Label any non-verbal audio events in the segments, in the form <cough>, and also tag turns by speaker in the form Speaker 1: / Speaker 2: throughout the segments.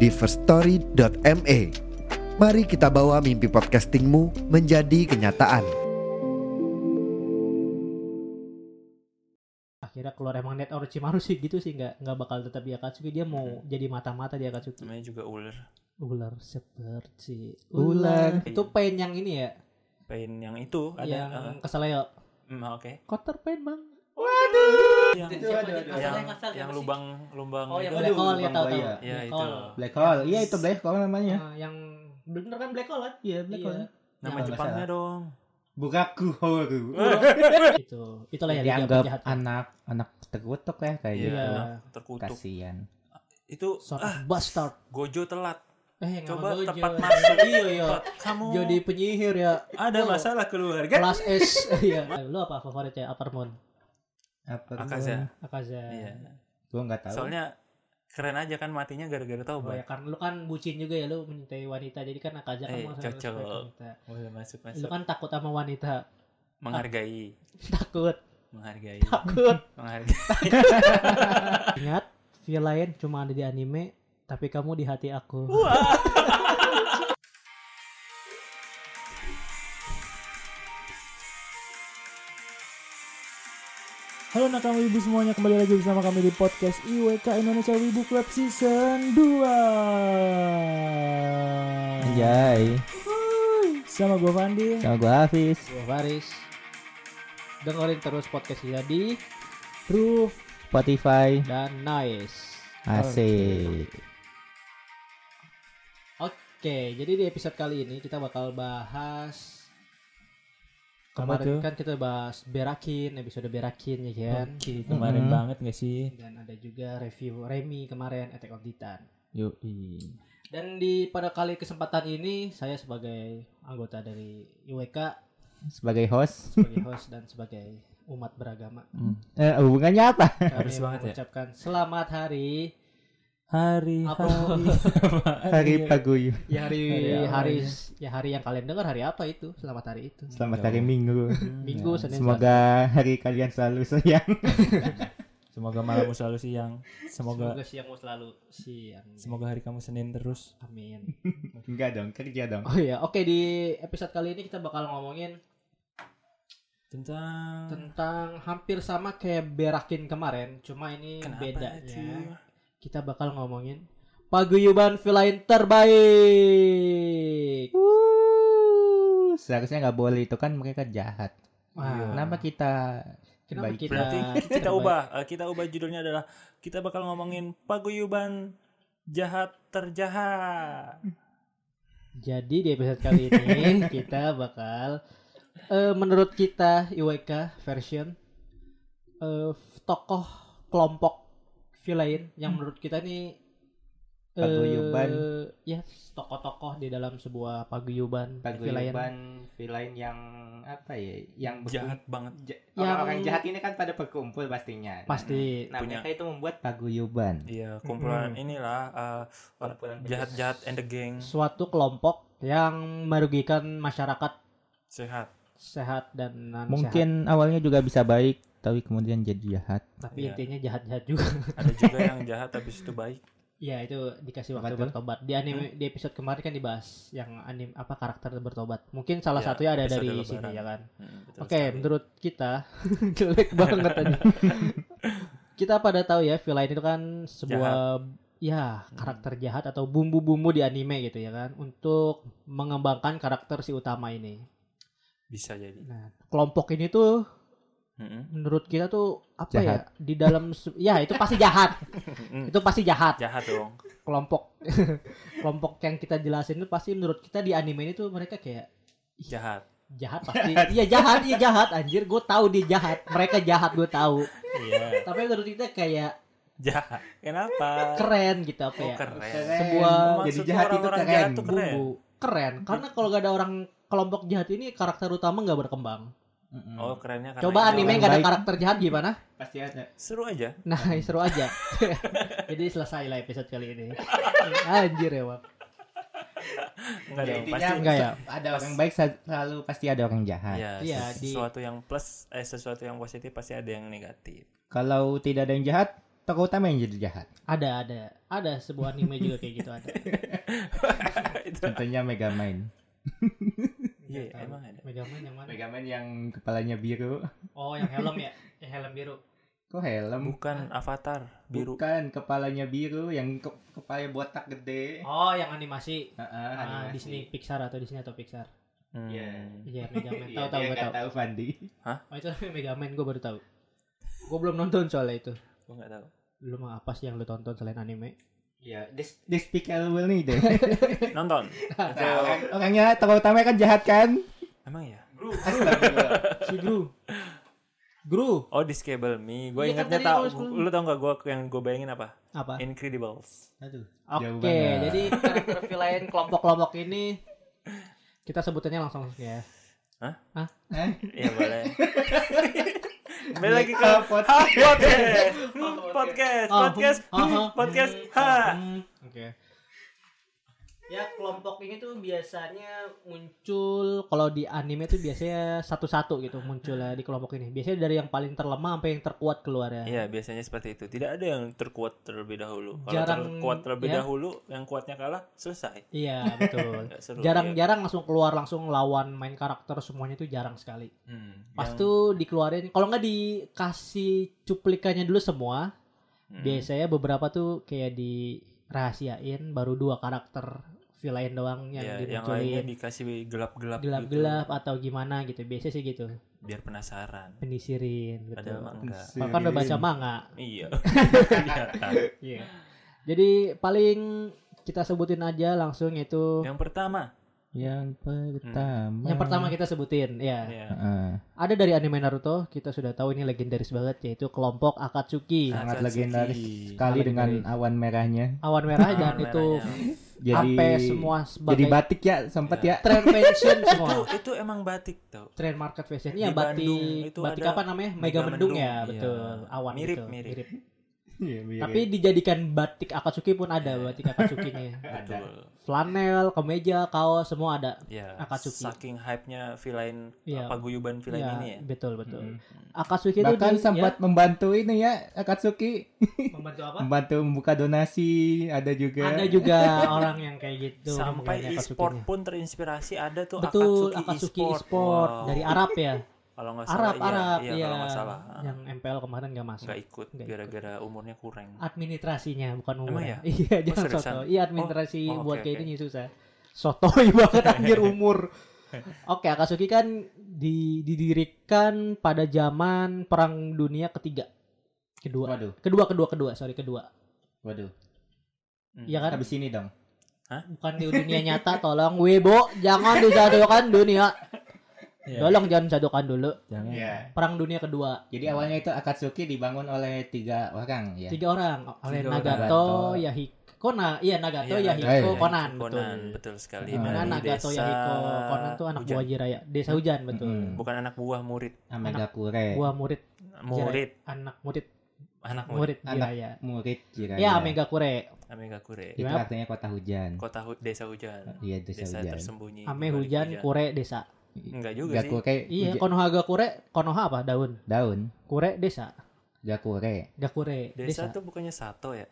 Speaker 1: di firststory.me. Mari kita bawa mimpi podcastingmu menjadi kenyataan.
Speaker 2: akhirnya keluar emang net Orochimaru sih gitu sih nggak nggak bakal tetap di Akatsuki dia
Speaker 3: Hmm.
Speaker 2: mau jadi mata-mata di Akatsuki
Speaker 3: namanya juga ular
Speaker 2: ular seperti
Speaker 4: Ular.
Speaker 2: itu pain yang ini ya
Speaker 3: pain yang itu ada
Speaker 2: yang
Speaker 3: eh,
Speaker 2: keseleo
Speaker 3: mm, oke
Speaker 2: kotor pain bang
Speaker 3: yang,
Speaker 4: Aduh, aduh, aduh.
Speaker 3: yang,
Speaker 4: Masalah,
Speaker 3: yang lubang lubang
Speaker 2: oh yang
Speaker 4: Aduh,
Speaker 2: black hole ya
Speaker 4: Bang
Speaker 2: tahu tahu
Speaker 4: Buaya.
Speaker 3: Ya,
Speaker 2: black
Speaker 3: itu.
Speaker 2: hole
Speaker 4: Black hole. Iya itu black hole namanya.
Speaker 2: Ah, yang bener kan black hole kan
Speaker 4: Iya black
Speaker 2: Iya.
Speaker 4: hole.
Speaker 3: nama
Speaker 4: Nggak
Speaker 3: Jepangnya dong
Speaker 4: Bukaku horu.
Speaker 2: itu itulah yang
Speaker 4: Dianggap
Speaker 2: jahat
Speaker 4: anak anak terkutuk ya kayak
Speaker 3: Iya,
Speaker 4: gitu.
Speaker 3: anak terkutuk
Speaker 4: Kasian.
Speaker 3: itu
Speaker 2: sort
Speaker 3: ah,
Speaker 2: of bastard
Speaker 3: Gojo telat
Speaker 2: eh yang sama
Speaker 3: coba
Speaker 2: Gojo. <laughs>
Speaker 3: tepat masuk
Speaker 2: iya iya
Speaker 3: Tepat. kamu
Speaker 2: jadi penyihir ya
Speaker 3: ada
Speaker 2: Oh.
Speaker 3: masalah keluarga
Speaker 2: kelas S <laughs> iya lu apa favoritnya Upper Moon
Speaker 4: Apa
Speaker 3: Akaza.
Speaker 4: gua-
Speaker 2: Akaza
Speaker 3: iya
Speaker 4: Gua nggak tahu.
Speaker 3: soalnya keren aja kan matinya
Speaker 2: Oh ya
Speaker 3: gara-gara taubat
Speaker 2: karena lu kan bucin juga ya lu mencintai wanita jadi kan akaja kan
Speaker 3: Eh,
Speaker 2: mau sama-
Speaker 3: cocok.
Speaker 2: sama wanita.
Speaker 3: boleh masuk
Speaker 2: Lu
Speaker 3: masuk
Speaker 2: kan takut sama wanita. <laughs>
Speaker 3: menghargai
Speaker 2: Takut,
Speaker 3: menghargai
Speaker 2: takut.
Speaker 3: menghargai
Speaker 2: <laughs> Ingat, villain cuma ada di anime tapi kamu di hati aku.
Speaker 5: Halo nakama wibu semuanya, kembali lagi bersama kami di podcast IWK Indonesia Wibu Club Season 2
Speaker 4: Anjay.
Speaker 5: Sama gue Fandi
Speaker 4: Sama gua Hafiz.
Speaker 2: Gua Faris. Dengerin terus podcast kita di
Speaker 5: Roof
Speaker 4: Spotify.
Speaker 2: dan Nice.
Speaker 4: Asik.
Speaker 2: Oke, jadi di episode kali ini kita bakal bahas
Speaker 5: Apa
Speaker 2: kemarin
Speaker 5: tuh?
Speaker 2: kan kita bahas berakin episode berakin ya kan.
Speaker 5: Oke, kemarin
Speaker 4: Mm-mm.
Speaker 5: banget gak sih?
Speaker 2: Dan ada juga review Remy kemarin Attack on Titan.
Speaker 4: Yoi.
Speaker 2: Dan di pada kali kesempatan ini saya sebagai anggota dari IWK
Speaker 4: Sebagai host.
Speaker 2: sebagai host dan sebagai umat beragama
Speaker 4: Eh, hubungannya apa?
Speaker 2: kami
Speaker 5: Harus banget ya.
Speaker 2: mengucapkan selamat hari
Speaker 5: Hari,
Speaker 2: Apa?
Speaker 5: hari,
Speaker 3: Eh, iya.
Speaker 4: Hari Paguyu.
Speaker 2: ya
Speaker 5: Hari
Speaker 2: hari
Speaker 5: apa
Speaker 2: hari ya hari yang kalian dengar hari apa itu selamat hari itu
Speaker 4: Selamat hari Minggu.
Speaker 2: minggu senin
Speaker 4: Semoga hari kalian selalu sayang. <laughs>
Speaker 5: Semoga malammu selalu siang
Speaker 2: semoga,
Speaker 5: Semoga
Speaker 2: siangmu selalu siang
Speaker 5: semoga hari kamu Senin terus
Speaker 2: amin
Speaker 4: Enggak dong, kerja dong.
Speaker 2: oh ya oke di episode kali ini kita bakal ngomongin
Speaker 5: Tentang
Speaker 2: tentang hampir sama kayak berakin kemarin cuma ini ya. bedanya
Speaker 3: cuy?
Speaker 2: kita bakal ngomongin paguyuban villain terbaik.
Speaker 4: Wuh, seharusnya nggak boleh itu kan mereka jahat.
Speaker 2: Wah,
Speaker 4: Kenapa Iya, kita
Speaker 2: kenapa
Speaker 4: baik?
Speaker 2: kita
Speaker 3: berarti kita
Speaker 2: terbaik?
Speaker 3: ubah Eh, kita ubah judulnya adalah kita bakal ngomongin paguyuban jahat terjahat
Speaker 2: Jadi di episode kali
Speaker 4: <laughs>
Speaker 2: ini kita bakal eh, menurut kita IWK version eh, tokoh kelompok villain yang menurut kita nih eh,
Speaker 4: Hmm. Paguyuban.
Speaker 2: ya tokoh-tokoh di dalam sebuah paguyuban, villain
Speaker 4: paguyuban villain yang apa ya? Yang berkum-
Speaker 3: jahat banget
Speaker 4: ja-
Speaker 2: Yang-
Speaker 4: orang-orang jahat ini kan pada berkumpul pastinya.
Speaker 2: pasti
Speaker 4: Nah,
Speaker 3: Punya.
Speaker 4: mereka itu membuat paguyuban.
Speaker 3: Iya, kumpulan inilah eh, orang
Speaker 4: Kumpulan
Speaker 3: jahat-jahat and the gang
Speaker 2: suatu kelompok yang merugikan masyarakat
Speaker 3: sehat.
Speaker 2: sehat dan non
Speaker 4: Mungkin awalnya juga bisa baik, tapi kemudian jadi jahat.
Speaker 2: tapi
Speaker 3: Iya.
Speaker 2: intinya jahat-jahat juga.
Speaker 3: Ada juga yang jahat tapi itu baik.
Speaker 2: <laughs> Iya itu dikasih
Speaker 4: Apa
Speaker 2: waktu
Speaker 4: tuh?
Speaker 2: bertobat. Di anime di episode kemarin kan dibahas yang anime apa karakter bertobat. Mungkin salah
Speaker 3: Iya,
Speaker 2: satunya ada
Speaker 3: episode
Speaker 2: dari
Speaker 3: lebaran.
Speaker 2: sini ya kan.
Speaker 3: Hmm, betul
Speaker 2: Oke,
Speaker 3: sekali.
Speaker 2: menurut kita <laughs> jelek banget aja. kita pada tahu ya villain itu kan sebuah ya karakter jahat atau bumbu-bumbu di anime gitu ya kan untuk mengembangkan karakter si utama ini.
Speaker 3: bisa jadi.
Speaker 2: Nah, kelompok ini tuh
Speaker 3: Mm-mm.
Speaker 2: menurut kita tuh apa
Speaker 4: Jahat.
Speaker 2: ya di dalam se- ya itu pasti jahat.
Speaker 3: Mm-mm.
Speaker 2: itu pasti jahat.
Speaker 3: Jahat dong.
Speaker 2: kelompok <laughs> kelompok yang kita jelasin itu pasti menurut kita di anime ini tuh mereka kayak
Speaker 3: Jahat.
Speaker 2: jahat
Speaker 3: <laughs>
Speaker 2: pasti iya jahat iya jahat anjir gue tahu dia jahat mereka jahat gue tahu
Speaker 3: Iya.
Speaker 2: tapi menurut kita kayak
Speaker 3: <laughs> jahat. Kenapa?
Speaker 2: keren gitu apa
Speaker 3: Oh,
Speaker 2: ya
Speaker 3: keren.
Speaker 4: Keren.
Speaker 2: Sebuah-
Speaker 4: jadi
Speaker 3: Maksud
Speaker 4: jahat itu
Speaker 3: orang-orang
Speaker 4: keren.
Speaker 3: jahat tuh keren.
Speaker 2: bumbu keren karena kalau gak ada orang kelompok jahat ini karakter utama nggak berkembang
Speaker 4: Mm-mm.
Speaker 3: Oh kerennya karena
Speaker 2: coba
Speaker 3: itu
Speaker 2: anime
Speaker 4: orang
Speaker 2: gak ada
Speaker 4: baik.
Speaker 2: karakter jahat gimana
Speaker 4: Pasti ada.
Speaker 3: seru aja.
Speaker 2: nah <laughs> seru aja jadi selesai lah episode kali
Speaker 3: <laughs>
Speaker 2: ini anjir ya Wak.
Speaker 3: Enggak
Speaker 4: Ya,
Speaker 3: dong,
Speaker 4: intinya
Speaker 3: pasti
Speaker 2: enggak ya
Speaker 4: Ada orang baik sa- selalu pasti ada orang jahat.
Speaker 3: ya,
Speaker 2: Iya,
Speaker 3: ses-
Speaker 2: di-
Speaker 3: sesuatu yang plus eh sesuatu yang positif pasti ada yang negatif. <laughs>
Speaker 4: Kalau tidak ada yang jahat, tokoh utama yang jadi jahat.
Speaker 2: ada ada ada sebuah anime juga kayak gitu ada
Speaker 3: Itu.
Speaker 4: Contohnya Megamind.
Speaker 3: Iya,
Speaker 2: Nggak tahu.
Speaker 3: emang ada.
Speaker 2: Megamind yang mana
Speaker 4: Megamind yang kepalanya biru.
Speaker 2: oh yang helm
Speaker 4: <laughs>
Speaker 2: ya yang helm biru
Speaker 4: Kok helm?
Speaker 3: Bukan avatar biru.
Speaker 4: Bukan kepalanya biru yang ke- kepalanya botak gede.
Speaker 2: oh yang animasi
Speaker 4: Ah, ah,
Speaker 2: Ah,
Speaker 4: animasi.
Speaker 2: Disney Pixar atau Disney atau Pixar
Speaker 3: Hmm.
Speaker 4: Iya. <laughs>
Speaker 2: iya Megaman
Speaker 4: Iya,
Speaker 2: tahu tahu
Speaker 4: dia
Speaker 2: gue
Speaker 4: nggak
Speaker 2: tahu
Speaker 4: tahu Fandi.
Speaker 2: oh itu <laughs> Megaman gue baru tahu gue belum nonton soalnya itu
Speaker 3: Gua enggak
Speaker 2: <laughs>
Speaker 3: tahu.
Speaker 2: lu mah apa sih yang lu tonton selain anime
Speaker 4: Iya, Des- Despicable Me deh. <laughs>
Speaker 2: <laughs>
Speaker 3: Nonton. Itu-
Speaker 4: Nah, orang, orangnya tokoh utama kan jahat kan?
Speaker 3: emang ya?
Speaker 4: Astagfirullah.
Speaker 2: si Gru Gru
Speaker 3: Oh, Disable Me. Gue
Speaker 2: Iya, kan
Speaker 3: ingatnya
Speaker 2: tadi
Speaker 3: tahu.
Speaker 2: kalau sebelum-
Speaker 3: Lu tau gak gue yang gue bayangin apa?
Speaker 2: apa
Speaker 3: Incredibles.
Speaker 4: Aduh. Jauh
Speaker 2: Oke,
Speaker 4: banget. <laughs>
Speaker 2: jadi karakter villain kelompok-kelompok ini kita sebutannya langsung ya. <laughs>
Speaker 3: Iya boleh. Balik lagi ke
Speaker 4: Ah, pot-
Speaker 3: Ha, podcast, Hmm, podcast,
Speaker 2: Oh,
Speaker 3: podcast,
Speaker 2: hmm,
Speaker 3: Hmm,
Speaker 2: hmm,
Speaker 3: podcast.
Speaker 2: hmm,
Speaker 3: Ha.
Speaker 2: hmm, Oke. Ya kelompok ini tuh biasanya muncul kalau di anime tuh biasanya satu-satu gitu munculnya di kelompok ini. Biasanya dari yang paling terlemah sampai yang terkuat keluar ya.
Speaker 3: Iya biasanya seperti itu. Tidak ada yang terkuat terlebih dahulu. Kalau
Speaker 2: Jarang,
Speaker 3: terkuat terlebih
Speaker 2: ya.
Speaker 3: dahulu, yang kuatnya kalah selesai.
Speaker 2: Iya, <laughs> betul.
Speaker 3: Nggak seru. ya.
Speaker 2: Jarang-jarang langsung keluar langsung lawan main karakter semuanya tuh jarang sekali.
Speaker 3: Hmm,
Speaker 2: Pas
Speaker 3: yang-
Speaker 2: tuh dikeluarin kalau nggak dikasih cuplikannya dulu semua
Speaker 3: hmm.
Speaker 2: biasanya beberapa tuh kayak dirahasiain baru dua karakter villain doang Iya, yang
Speaker 3: Ya, yang lainnya
Speaker 2: dimunculin
Speaker 3: dikasih gelap-gelap.
Speaker 2: gelap-gelap atau gimana gitu biasanya sih gitu
Speaker 3: Gitu, biar penasaran.
Speaker 2: penisirin gitu
Speaker 3: Padahal mah enggak.
Speaker 2: Pak kan udah baca manga
Speaker 3: Iya. <laughs> Kelihatan.
Speaker 2: jadi paling kita sebutin aja langsung itu
Speaker 3: yang pertama.
Speaker 4: Yang pertama.
Speaker 2: yang pertama kita sebutin ya
Speaker 3: Ya.
Speaker 4: Ah,
Speaker 2: ada dari anime Naruto kita sudah tahu ini legendaris banget yaitu kelompok Akatsuki
Speaker 3: Ah.
Speaker 4: sangat
Speaker 3: Akatsuki.
Speaker 4: legendaris sekali dengan awan merahnya.
Speaker 2: awan merah dan
Speaker 3: Warna
Speaker 2: nah, itu
Speaker 3: merahnya.
Speaker 4: Jadi
Speaker 2: sampai semua
Speaker 4: jadi
Speaker 2: sebagai
Speaker 4: batik ya sempat ya. <laughs>
Speaker 2: trend fashion semua
Speaker 3: itu, itu emang batik tau.
Speaker 2: trend market fashion iya
Speaker 3: Di
Speaker 2: batik
Speaker 3: Bandung itu
Speaker 2: batik
Speaker 3: ada
Speaker 2: apa namanya mega
Speaker 3: Megamendung,
Speaker 2: mendung ya
Speaker 3: iya.
Speaker 2: betul awan
Speaker 3: Mirip,
Speaker 2: gitu,
Speaker 3: mirip.
Speaker 4: Iya, mirip.
Speaker 2: tapi dijadikan batik akatsuki pun ada
Speaker 3: Iya.
Speaker 2: batik
Speaker 3: <laughs>
Speaker 2: akatsukinya
Speaker 4: ada.
Speaker 3: Betul.
Speaker 2: flanel kemeja kaos semua ada
Speaker 3: Ya,
Speaker 2: Akatsuki.
Speaker 3: saking hype-nya villain
Speaker 2: Iya.
Speaker 3: apa guyuban villain
Speaker 2: Ya,
Speaker 3: ini ya.
Speaker 2: betul betul
Speaker 4: Mm.
Speaker 2: akatsuki itu
Speaker 4: Bahkan
Speaker 2: di-
Speaker 4: sempat membantu ini ya Akatsuki
Speaker 2: ya, membantu apa
Speaker 4: membantu membuka donasi ada juga.
Speaker 2: ada
Speaker 4: <laughs>
Speaker 2: juga orang yang kayak gitu
Speaker 3: Sampai
Speaker 2: membantu
Speaker 3: e-sport
Speaker 2: Akatsukinya.
Speaker 3: pun terinspirasi ada tuh
Speaker 2: betul akatsuki
Speaker 3: Akatsuki,
Speaker 2: e-sport
Speaker 3: Wow.
Speaker 2: dari Arab
Speaker 3: <laughs>
Speaker 2: ya
Speaker 3: kalau nggak salah
Speaker 2: Arab
Speaker 3: iya,
Speaker 2: Arab
Speaker 3: iya,
Speaker 2: ya
Speaker 3: kalau nggak salah
Speaker 2: yang MPL kemarin nggak masuk
Speaker 3: nggak
Speaker 2: Nggak
Speaker 3: ikut
Speaker 2: ikut. Ah,
Speaker 3: gara-gara umurnya kurang
Speaker 2: administrasinya bukan umur.
Speaker 3: Emang ya?
Speaker 2: <laughs> Iya, jangan
Speaker 3: seriusan?
Speaker 2: soto. Iya, administrasi
Speaker 3: Oh, oh,
Speaker 2: buat
Speaker 3: oke,
Speaker 2: kayak
Speaker 3: oke.
Speaker 2: ini susah. Sotoy <laughs> banget
Speaker 3: <laughs>
Speaker 2: anjir umur. Oke, Akatsuki kan di- didirikan pada zaman Perang Dunia Ketiga. Kedua.
Speaker 4: Waduh,
Speaker 2: Kedua, kedua, kedua. Sorry, kedua.
Speaker 4: waduh.
Speaker 3: Hmm.
Speaker 2: Iya kan?
Speaker 4: Habis ini dong.
Speaker 2: Bukan di dunia nyata, tolong Webo, jangan disatukan dunia.
Speaker 3: Iya.
Speaker 2: Tolong jangan disatukan dulu.
Speaker 4: Jangan.
Speaker 2: Perang Dunia Kedua.
Speaker 4: Iya. Jadi awalnya itu Akatsuki dibangun oleh tiga orang ya.
Speaker 2: Tiga orang oleh
Speaker 3: Tiga orang.
Speaker 2: Nagato, Yahiko, Kona, iya Nagato,
Speaker 3: Iya,
Speaker 2: Yahiko,
Speaker 4: Nagato,
Speaker 2: Konan, betul.
Speaker 3: Conan betul sekali
Speaker 4: Hmm.
Speaker 2: Dimana
Speaker 3: Dari
Speaker 2: Nagato
Speaker 3: Iya, desa
Speaker 2: Yahiko Konan tuh anak
Speaker 3: hujan.
Speaker 2: buah Jiraya Desa Hujan betul
Speaker 4: Mm-mm.
Speaker 3: bukan anak buah murid
Speaker 4: Amegakure.
Speaker 2: Buah murid
Speaker 3: murid
Speaker 2: Anak murid
Speaker 3: anak
Speaker 2: Iya.
Speaker 3: Iya, murid
Speaker 2: Murid
Speaker 4: Anak. Iya,
Speaker 2: Jiraya
Speaker 4: Murid Jiraiya.
Speaker 2: Ya Amegakure
Speaker 3: Amega Kure
Speaker 4: Itu
Speaker 2: Gimana?
Speaker 4: artinya kota hujan.
Speaker 3: kota hu- desa hujan
Speaker 4: Iya, desa,
Speaker 3: desa
Speaker 4: hujan.
Speaker 3: tersembunyi di
Speaker 2: Ame
Speaker 3: balik
Speaker 2: hujan kure desa
Speaker 3: enggak juga sih
Speaker 4: Gakure
Speaker 2: Iya
Speaker 4: hujan-
Speaker 2: Konohaga kure Konoha apa daun
Speaker 4: daun.
Speaker 2: Kure desa
Speaker 4: Gakure.
Speaker 2: Gakure
Speaker 3: desa,
Speaker 2: desa
Speaker 3: tuh bukannya sato ya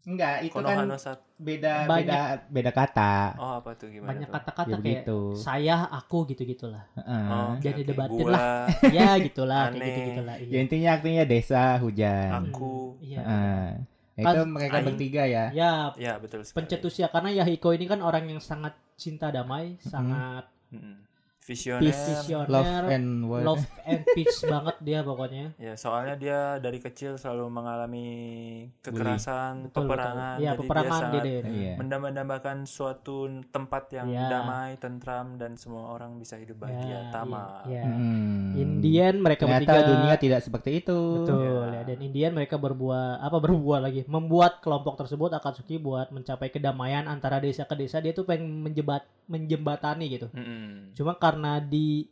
Speaker 4: Enggak, itu
Speaker 3: konohano
Speaker 4: kan
Speaker 3: sato
Speaker 4: beda beda
Speaker 2: Banyak.
Speaker 4: beda kata.
Speaker 3: oh apa tuh gimana
Speaker 2: Banyak
Speaker 3: tuh?
Speaker 4: ya
Speaker 2: kata-kata kayak
Speaker 4: begitu.
Speaker 2: Saya aku gitu-gitulah
Speaker 4: Heeh.
Speaker 3: Oh, oke,
Speaker 2: Jadi
Speaker 3: oke.
Speaker 2: debatin
Speaker 3: Gua,
Speaker 2: Ya gitulah kayak
Speaker 3: Aneh.
Speaker 2: gitu-gitulah
Speaker 4: Ya
Speaker 2: Iya
Speaker 4: intinya artinya desa hujan.
Speaker 3: aku
Speaker 2: Iya
Speaker 4: Heeh. Nah,
Speaker 2: Kan-
Speaker 4: Itu mereka
Speaker 3: Aing.
Speaker 4: bertiga ya.
Speaker 2: Ya
Speaker 3: <laughs> ya betul sekali
Speaker 2: pencetusnya karena Yahiko ini kan orang yang sangat cinta damai, sangat
Speaker 3: Mm-mm. Hmm. visioner.
Speaker 2: visioner
Speaker 4: Mm-hmm. Love and what?
Speaker 2: Iya, love and peace <laughs> banget dia pokoknya
Speaker 3: Ya, soalnya dia dari kecil selalu mengalami
Speaker 2: Betul,
Speaker 3: kekerasan,
Speaker 2: betul.
Speaker 3: peperangan.
Speaker 2: ya
Speaker 3: Jadi
Speaker 2: peperangan
Speaker 3: dia
Speaker 2: dia,
Speaker 3: sangat
Speaker 2: dia.
Speaker 4: Iya.
Speaker 3: mendambakan suatu tempat yang
Speaker 2: Ya.
Speaker 3: damai, tentram dan semua orang bisa hidup bahagia,
Speaker 2: Ya,
Speaker 3: tamak.
Speaker 2: iya, iya.
Speaker 4: Hmm.
Speaker 2: Indian mereka
Speaker 4: Ternyata
Speaker 2: bertiga
Speaker 4: dunia tidak seperti itu.
Speaker 2: Betul ya.
Speaker 3: Ya.
Speaker 2: Dan Indian mereka berbuat apa berbuat lagi? Membuat kelompok tersebut Akatsuki buat mencapai kedamaian antara desa ke desa. Dia tuh pengen menjebat menjembatani gitu.
Speaker 3: Mm-mm.
Speaker 2: Cuma karena di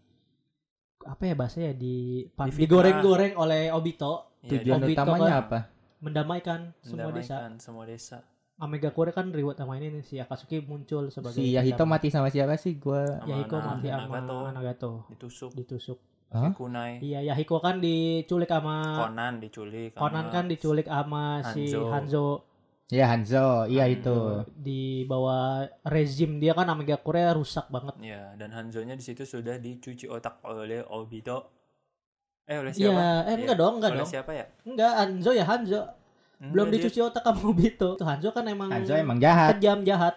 Speaker 2: apa ya bahasanya di
Speaker 3: Di fitnah.
Speaker 2: digoreng-goreng oleh Obito
Speaker 3: Ya,
Speaker 4: Tujuan
Speaker 2: Obito
Speaker 4: utamanya
Speaker 2: kan
Speaker 4: apa?
Speaker 2: mendamaikan semua desa.
Speaker 3: mendamaikan semua desa.
Speaker 2: Amegakure kan riwayat sama ini nih, si Akatsuki muncul sebagai
Speaker 4: Si Yahito
Speaker 2: pendamai.
Speaker 4: mati sama siapa sih? Gua
Speaker 3: Sama
Speaker 2: Yahiko
Speaker 3: anak-
Speaker 2: mati sama
Speaker 3: Nagato Eh.
Speaker 2: Nagato
Speaker 3: ditusuk,
Speaker 2: ditusuk.
Speaker 4: Hah?
Speaker 3: dikunai,
Speaker 2: Iya, Yahiko kan diculik sama
Speaker 3: Conan diculik. sama-
Speaker 2: Conan kan diculik sama si
Speaker 3: Hanzo.
Speaker 2: Hanzo
Speaker 4: Ya Hanzo, iya
Speaker 3: Hanzo.
Speaker 4: itu.
Speaker 2: di bawah rezim dia kan Amegakure rusak banget.
Speaker 3: Ya, dan Hanzo-nya di situ sudah dicuci otak oleh Obito. Eh, oleh siapa?
Speaker 2: Iya, eh enggak dong, enggak
Speaker 3: oleh
Speaker 2: dong.
Speaker 3: siapa ya?
Speaker 2: Enggak, Hanzo ya Hanzo. Belum
Speaker 3: Enggak, dia
Speaker 2: dicuci otak sama Obito. Tuh, Hanzo kan emang
Speaker 4: Hanzo emang jahat.
Speaker 2: kejam jahat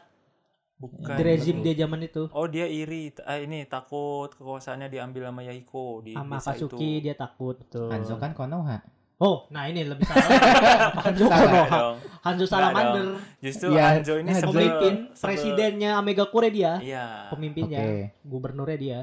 Speaker 3: Bukan.
Speaker 2: di rezim
Speaker 3: Kan, Betul.
Speaker 2: dia zaman itu.
Speaker 3: Oh, dia iri. T- ah, ini takut kekuasaannya diambil sama Yaiko di
Speaker 2: Sama
Speaker 3: desa
Speaker 2: Kasuki
Speaker 3: itu.
Speaker 2: dia takut betul.
Speaker 4: Hanzo kan Konoha.
Speaker 2: Oh, nah ini lebih
Speaker 4: <laughs>
Speaker 2: salah. Hanzo
Speaker 4: Salah
Speaker 2: Konoha.
Speaker 3: dong.
Speaker 2: Hanzo
Speaker 3: Enggak
Speaker 2: Salamander,
Speaker 3: Justru
Speaker 2: Iya,
Speaker 4: Ya,
Speaker 3: Hanzo ini
Speaker 4: Hanzo.
Speaker 3: sebel,
Speaker 2: pemimpin
Speaker 3: sebel-
Speaker 2: presidennya Amegakure dia,
Speaker 3: Iya.
Speaker 4: Oke.
Speaker 2: pemimpinnya, gubernurnya dia.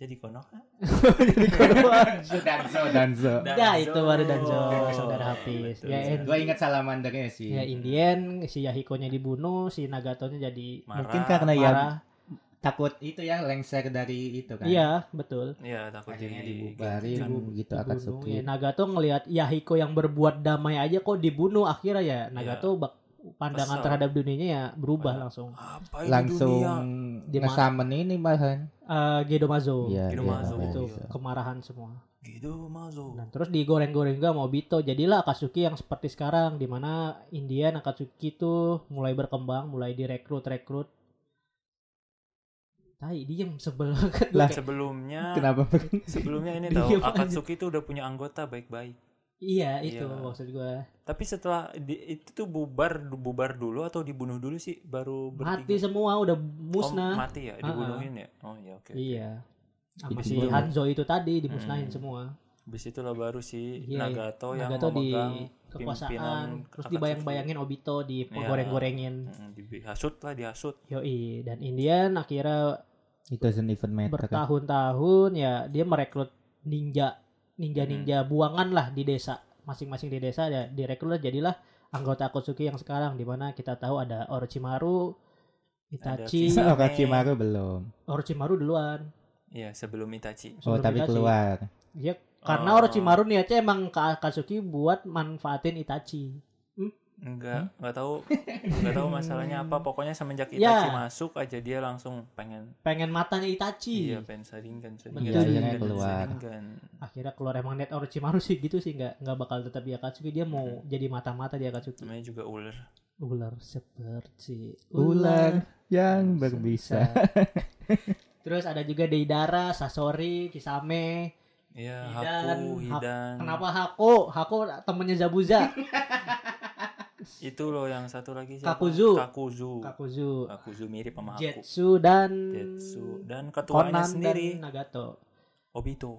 Speaker 4: <laughs>
Speaker 3: Jadi Konoha.
Speaker 2: Jadi Konoha.
Speaker 4: Danzo, <laughs> Danzo.
Speaker 2: Ya itu baru Danzo,
Speaker 3: Danzo.
Speaker 2: saudara habis.
Speaker 3: Iya, Betul. Iya.
Speaker 2: Ya, and-
Speaker 4: Gue inget salamandernya sih.
Speaker 2: Ya Indian si Yahiko-nya dibunuh, si Nagato-nya jadi
Speaker 3: Marah.
Speaker 4: Mungkin karena ya
Speaker 2: marah.
Speaker 4: takut itu ya lengser dari itu kan.
Speaker 2: Iya, betul.
Speaker 3: Iya, takut jadi
Speaker 4: Akhirnya dibubarin
Speaker 3: gantikan.
Speaker 4: gitu
Speaker 2: Dibunuh. Ya,
Speaker 4: Akatsuki.
Speaker 2: Nagato ngelihat Yahiko yang berbuat damai aja kok dibunuh akhirnya ya Nagato bak- pandangan
Speaker 3: Iya. Kesel. Iya. terhadap
Speaker 2: terhadap dunianya ya berubah
Speaker 3: Padahal.
Speaker 2: langsung.
Speaker 3: Apa ini
Speaker 4: Langsung
Speaker 3: dunia?
Speaker 2: Dia ma-
Speaker 4: ngesamen ini malahan.
Speaker 2: Eh Gedomazo.
Speaker 4: Iya,
Speaker 3: Gitu
Speaker 4: iya,
Speaker 3: masuk.
Speaker 4: iya,
Speaker 2: Itu
Speaker 4: iya.
Speaker 2: kemarahan semua.
Speaker 3: Gitu masuk.
Speaker 2: Dan Nah, terus digoreng-goreng juga sama Obito. Jadilah Akatsuki yang seperti sekarang di mana Indian Akatsuki tuh mulai berkembang, mulai direkrut-rekrut. Tai diem sebel <laughs> banget gue
Speaker 4: Lah,
Speaker 2: kayak,
Speaker 3: Sebelumnya
Speaker 4: Kenapa?
Speaker 3: sebelumnya
Speaker 2: <laughs>
Speaker 3: ini
Speaker 2: Diam
Speaker 3: tahu
Speaker 2: aja.
Speaker 3: Akatsuki itu udah punya anggota baik-baik.
Speaker 2: Iya itu
Speaker 3: Iya.
Speaker 2: maksud gue.
Speaker 3: Tapi setelah di- itu tuh bubar bubar dulu atau dibunuh dulu sih baru
Speaker 2: Mati
Speaker 3: bertiga.
Speaker 2: semua udah
Speaker 3: Oh,
Speaker 2: musnah.
Speaker 3: mati ya, dibunuhin ya. Oh iya oke. oke.
Speaker 2: Iya. Sama
Speaker 4: Itu
Speaker 2: si
Speaker 4: gua-
Speaker 2: Hanzo itu tadi dimusnahin
Speaker 3: Hmm.
Speaker 2: semua.
Speaker 3: Habis itu lah baru si
Speaker 2: Iya,
Speaker 3: Nagato yang
Speaker 2: Nagato di
Speaker 3: memegang pimpinan
Speaker 2: kekuasaan, terus
Speaker 3: Akatsuki.
Speaker 2: dibayang-bayangin Obito digoreng-gorengin.
Speaker 3: Mm, dihasut lah dihasut.
Speaker 2: Yoi, dan Indian akhirnya
Speaker 4: <laughs> Itu doesn't even matter kan.
Speaker 2: bertahun-tahun ya dia merekrut ninja,
Speaker 4: Hmm.
Speaker 2: ninja-ninja buangan lah di desa, masing-masing di desa ya direkrut lah, jadilah anggota Akatsuki yang sekarang di mana kita tahu ada Orochimaru, Itachi,
Speaker 4: <laughs>
Speaker 3: Kisame.
Speaker 4: Orochimaru Oh, belum.
Speaker 2: Orochimaru duluan.
Speaker 3: Iya, sebelum Itachi.
Speaker 4: Oh,
Speaker 2: sebelum
Speaker 4: tapi
Speaker 2: Itachi.
Speaker 4: keluar.
Speaker 2: Iya, karena
Speaker 3: Oh.
Speaker 2: Orochimaru niatnya emang ke Akatsuki buat manfaatin Itachi.
Speaker 3: Enggak, enggak tahu enggak tahu masalahnya
Speaker 2: <laughs>
Speaker 3: apa. Pokoknya semenjak
Speaker 2: Ya.
Speaker 3: Itachi masuk aja dia langsung pengen
Speaker 2: Pengen matanya Itachi.
Speaker 3: iya pengen saringan,
Speaker 2: Betul.
Speaker 3: saringan,
Speaker 2: Iya,
Speaker 4: akhirnya
Speaker 3: saringan,
Speaker 4: keluar.
Speaker 3: saringan.
Speaker 2: Akhirnya keluar emang net Orochimaru sih gitu sih nggak nggak bakal tetap di Akatsuki dia mau
Speaker 3: Hmm.
Speaker 2: jadi mata-mata di Akatsuki.
Speaker 3: Namanya juga ular.
Speaker 2: Ular seperti
Speaker 4: Ular yang berbisa.
Speaker 3: <laughs>
Speaker 2: Terus ada juga Deidara, Sasori, Kisame. Hidan,
Speaker 3: Iya, Haku,
Speaker 2: Hak-
Speaker 3: Hidan.
Speaker 2: Kenapa Hako? Hako temennya Zabuza,
Speaker 3: Itu loh yang satu lagi siapa?
Speaker 2: Kakuzu.
Speaker 3: Kakuzu.
Speaker 2: Kakuzu,
Speaker 3: Kakuzu mirip sama Haku.
Speaker 2: Jetsu dan
Speaker 3: Jetsu dan ketuanya
Speaker 2: Conan
Speaker 3: sendiri
Speaker 2: dan Nagato.
Speaker 3: Obito.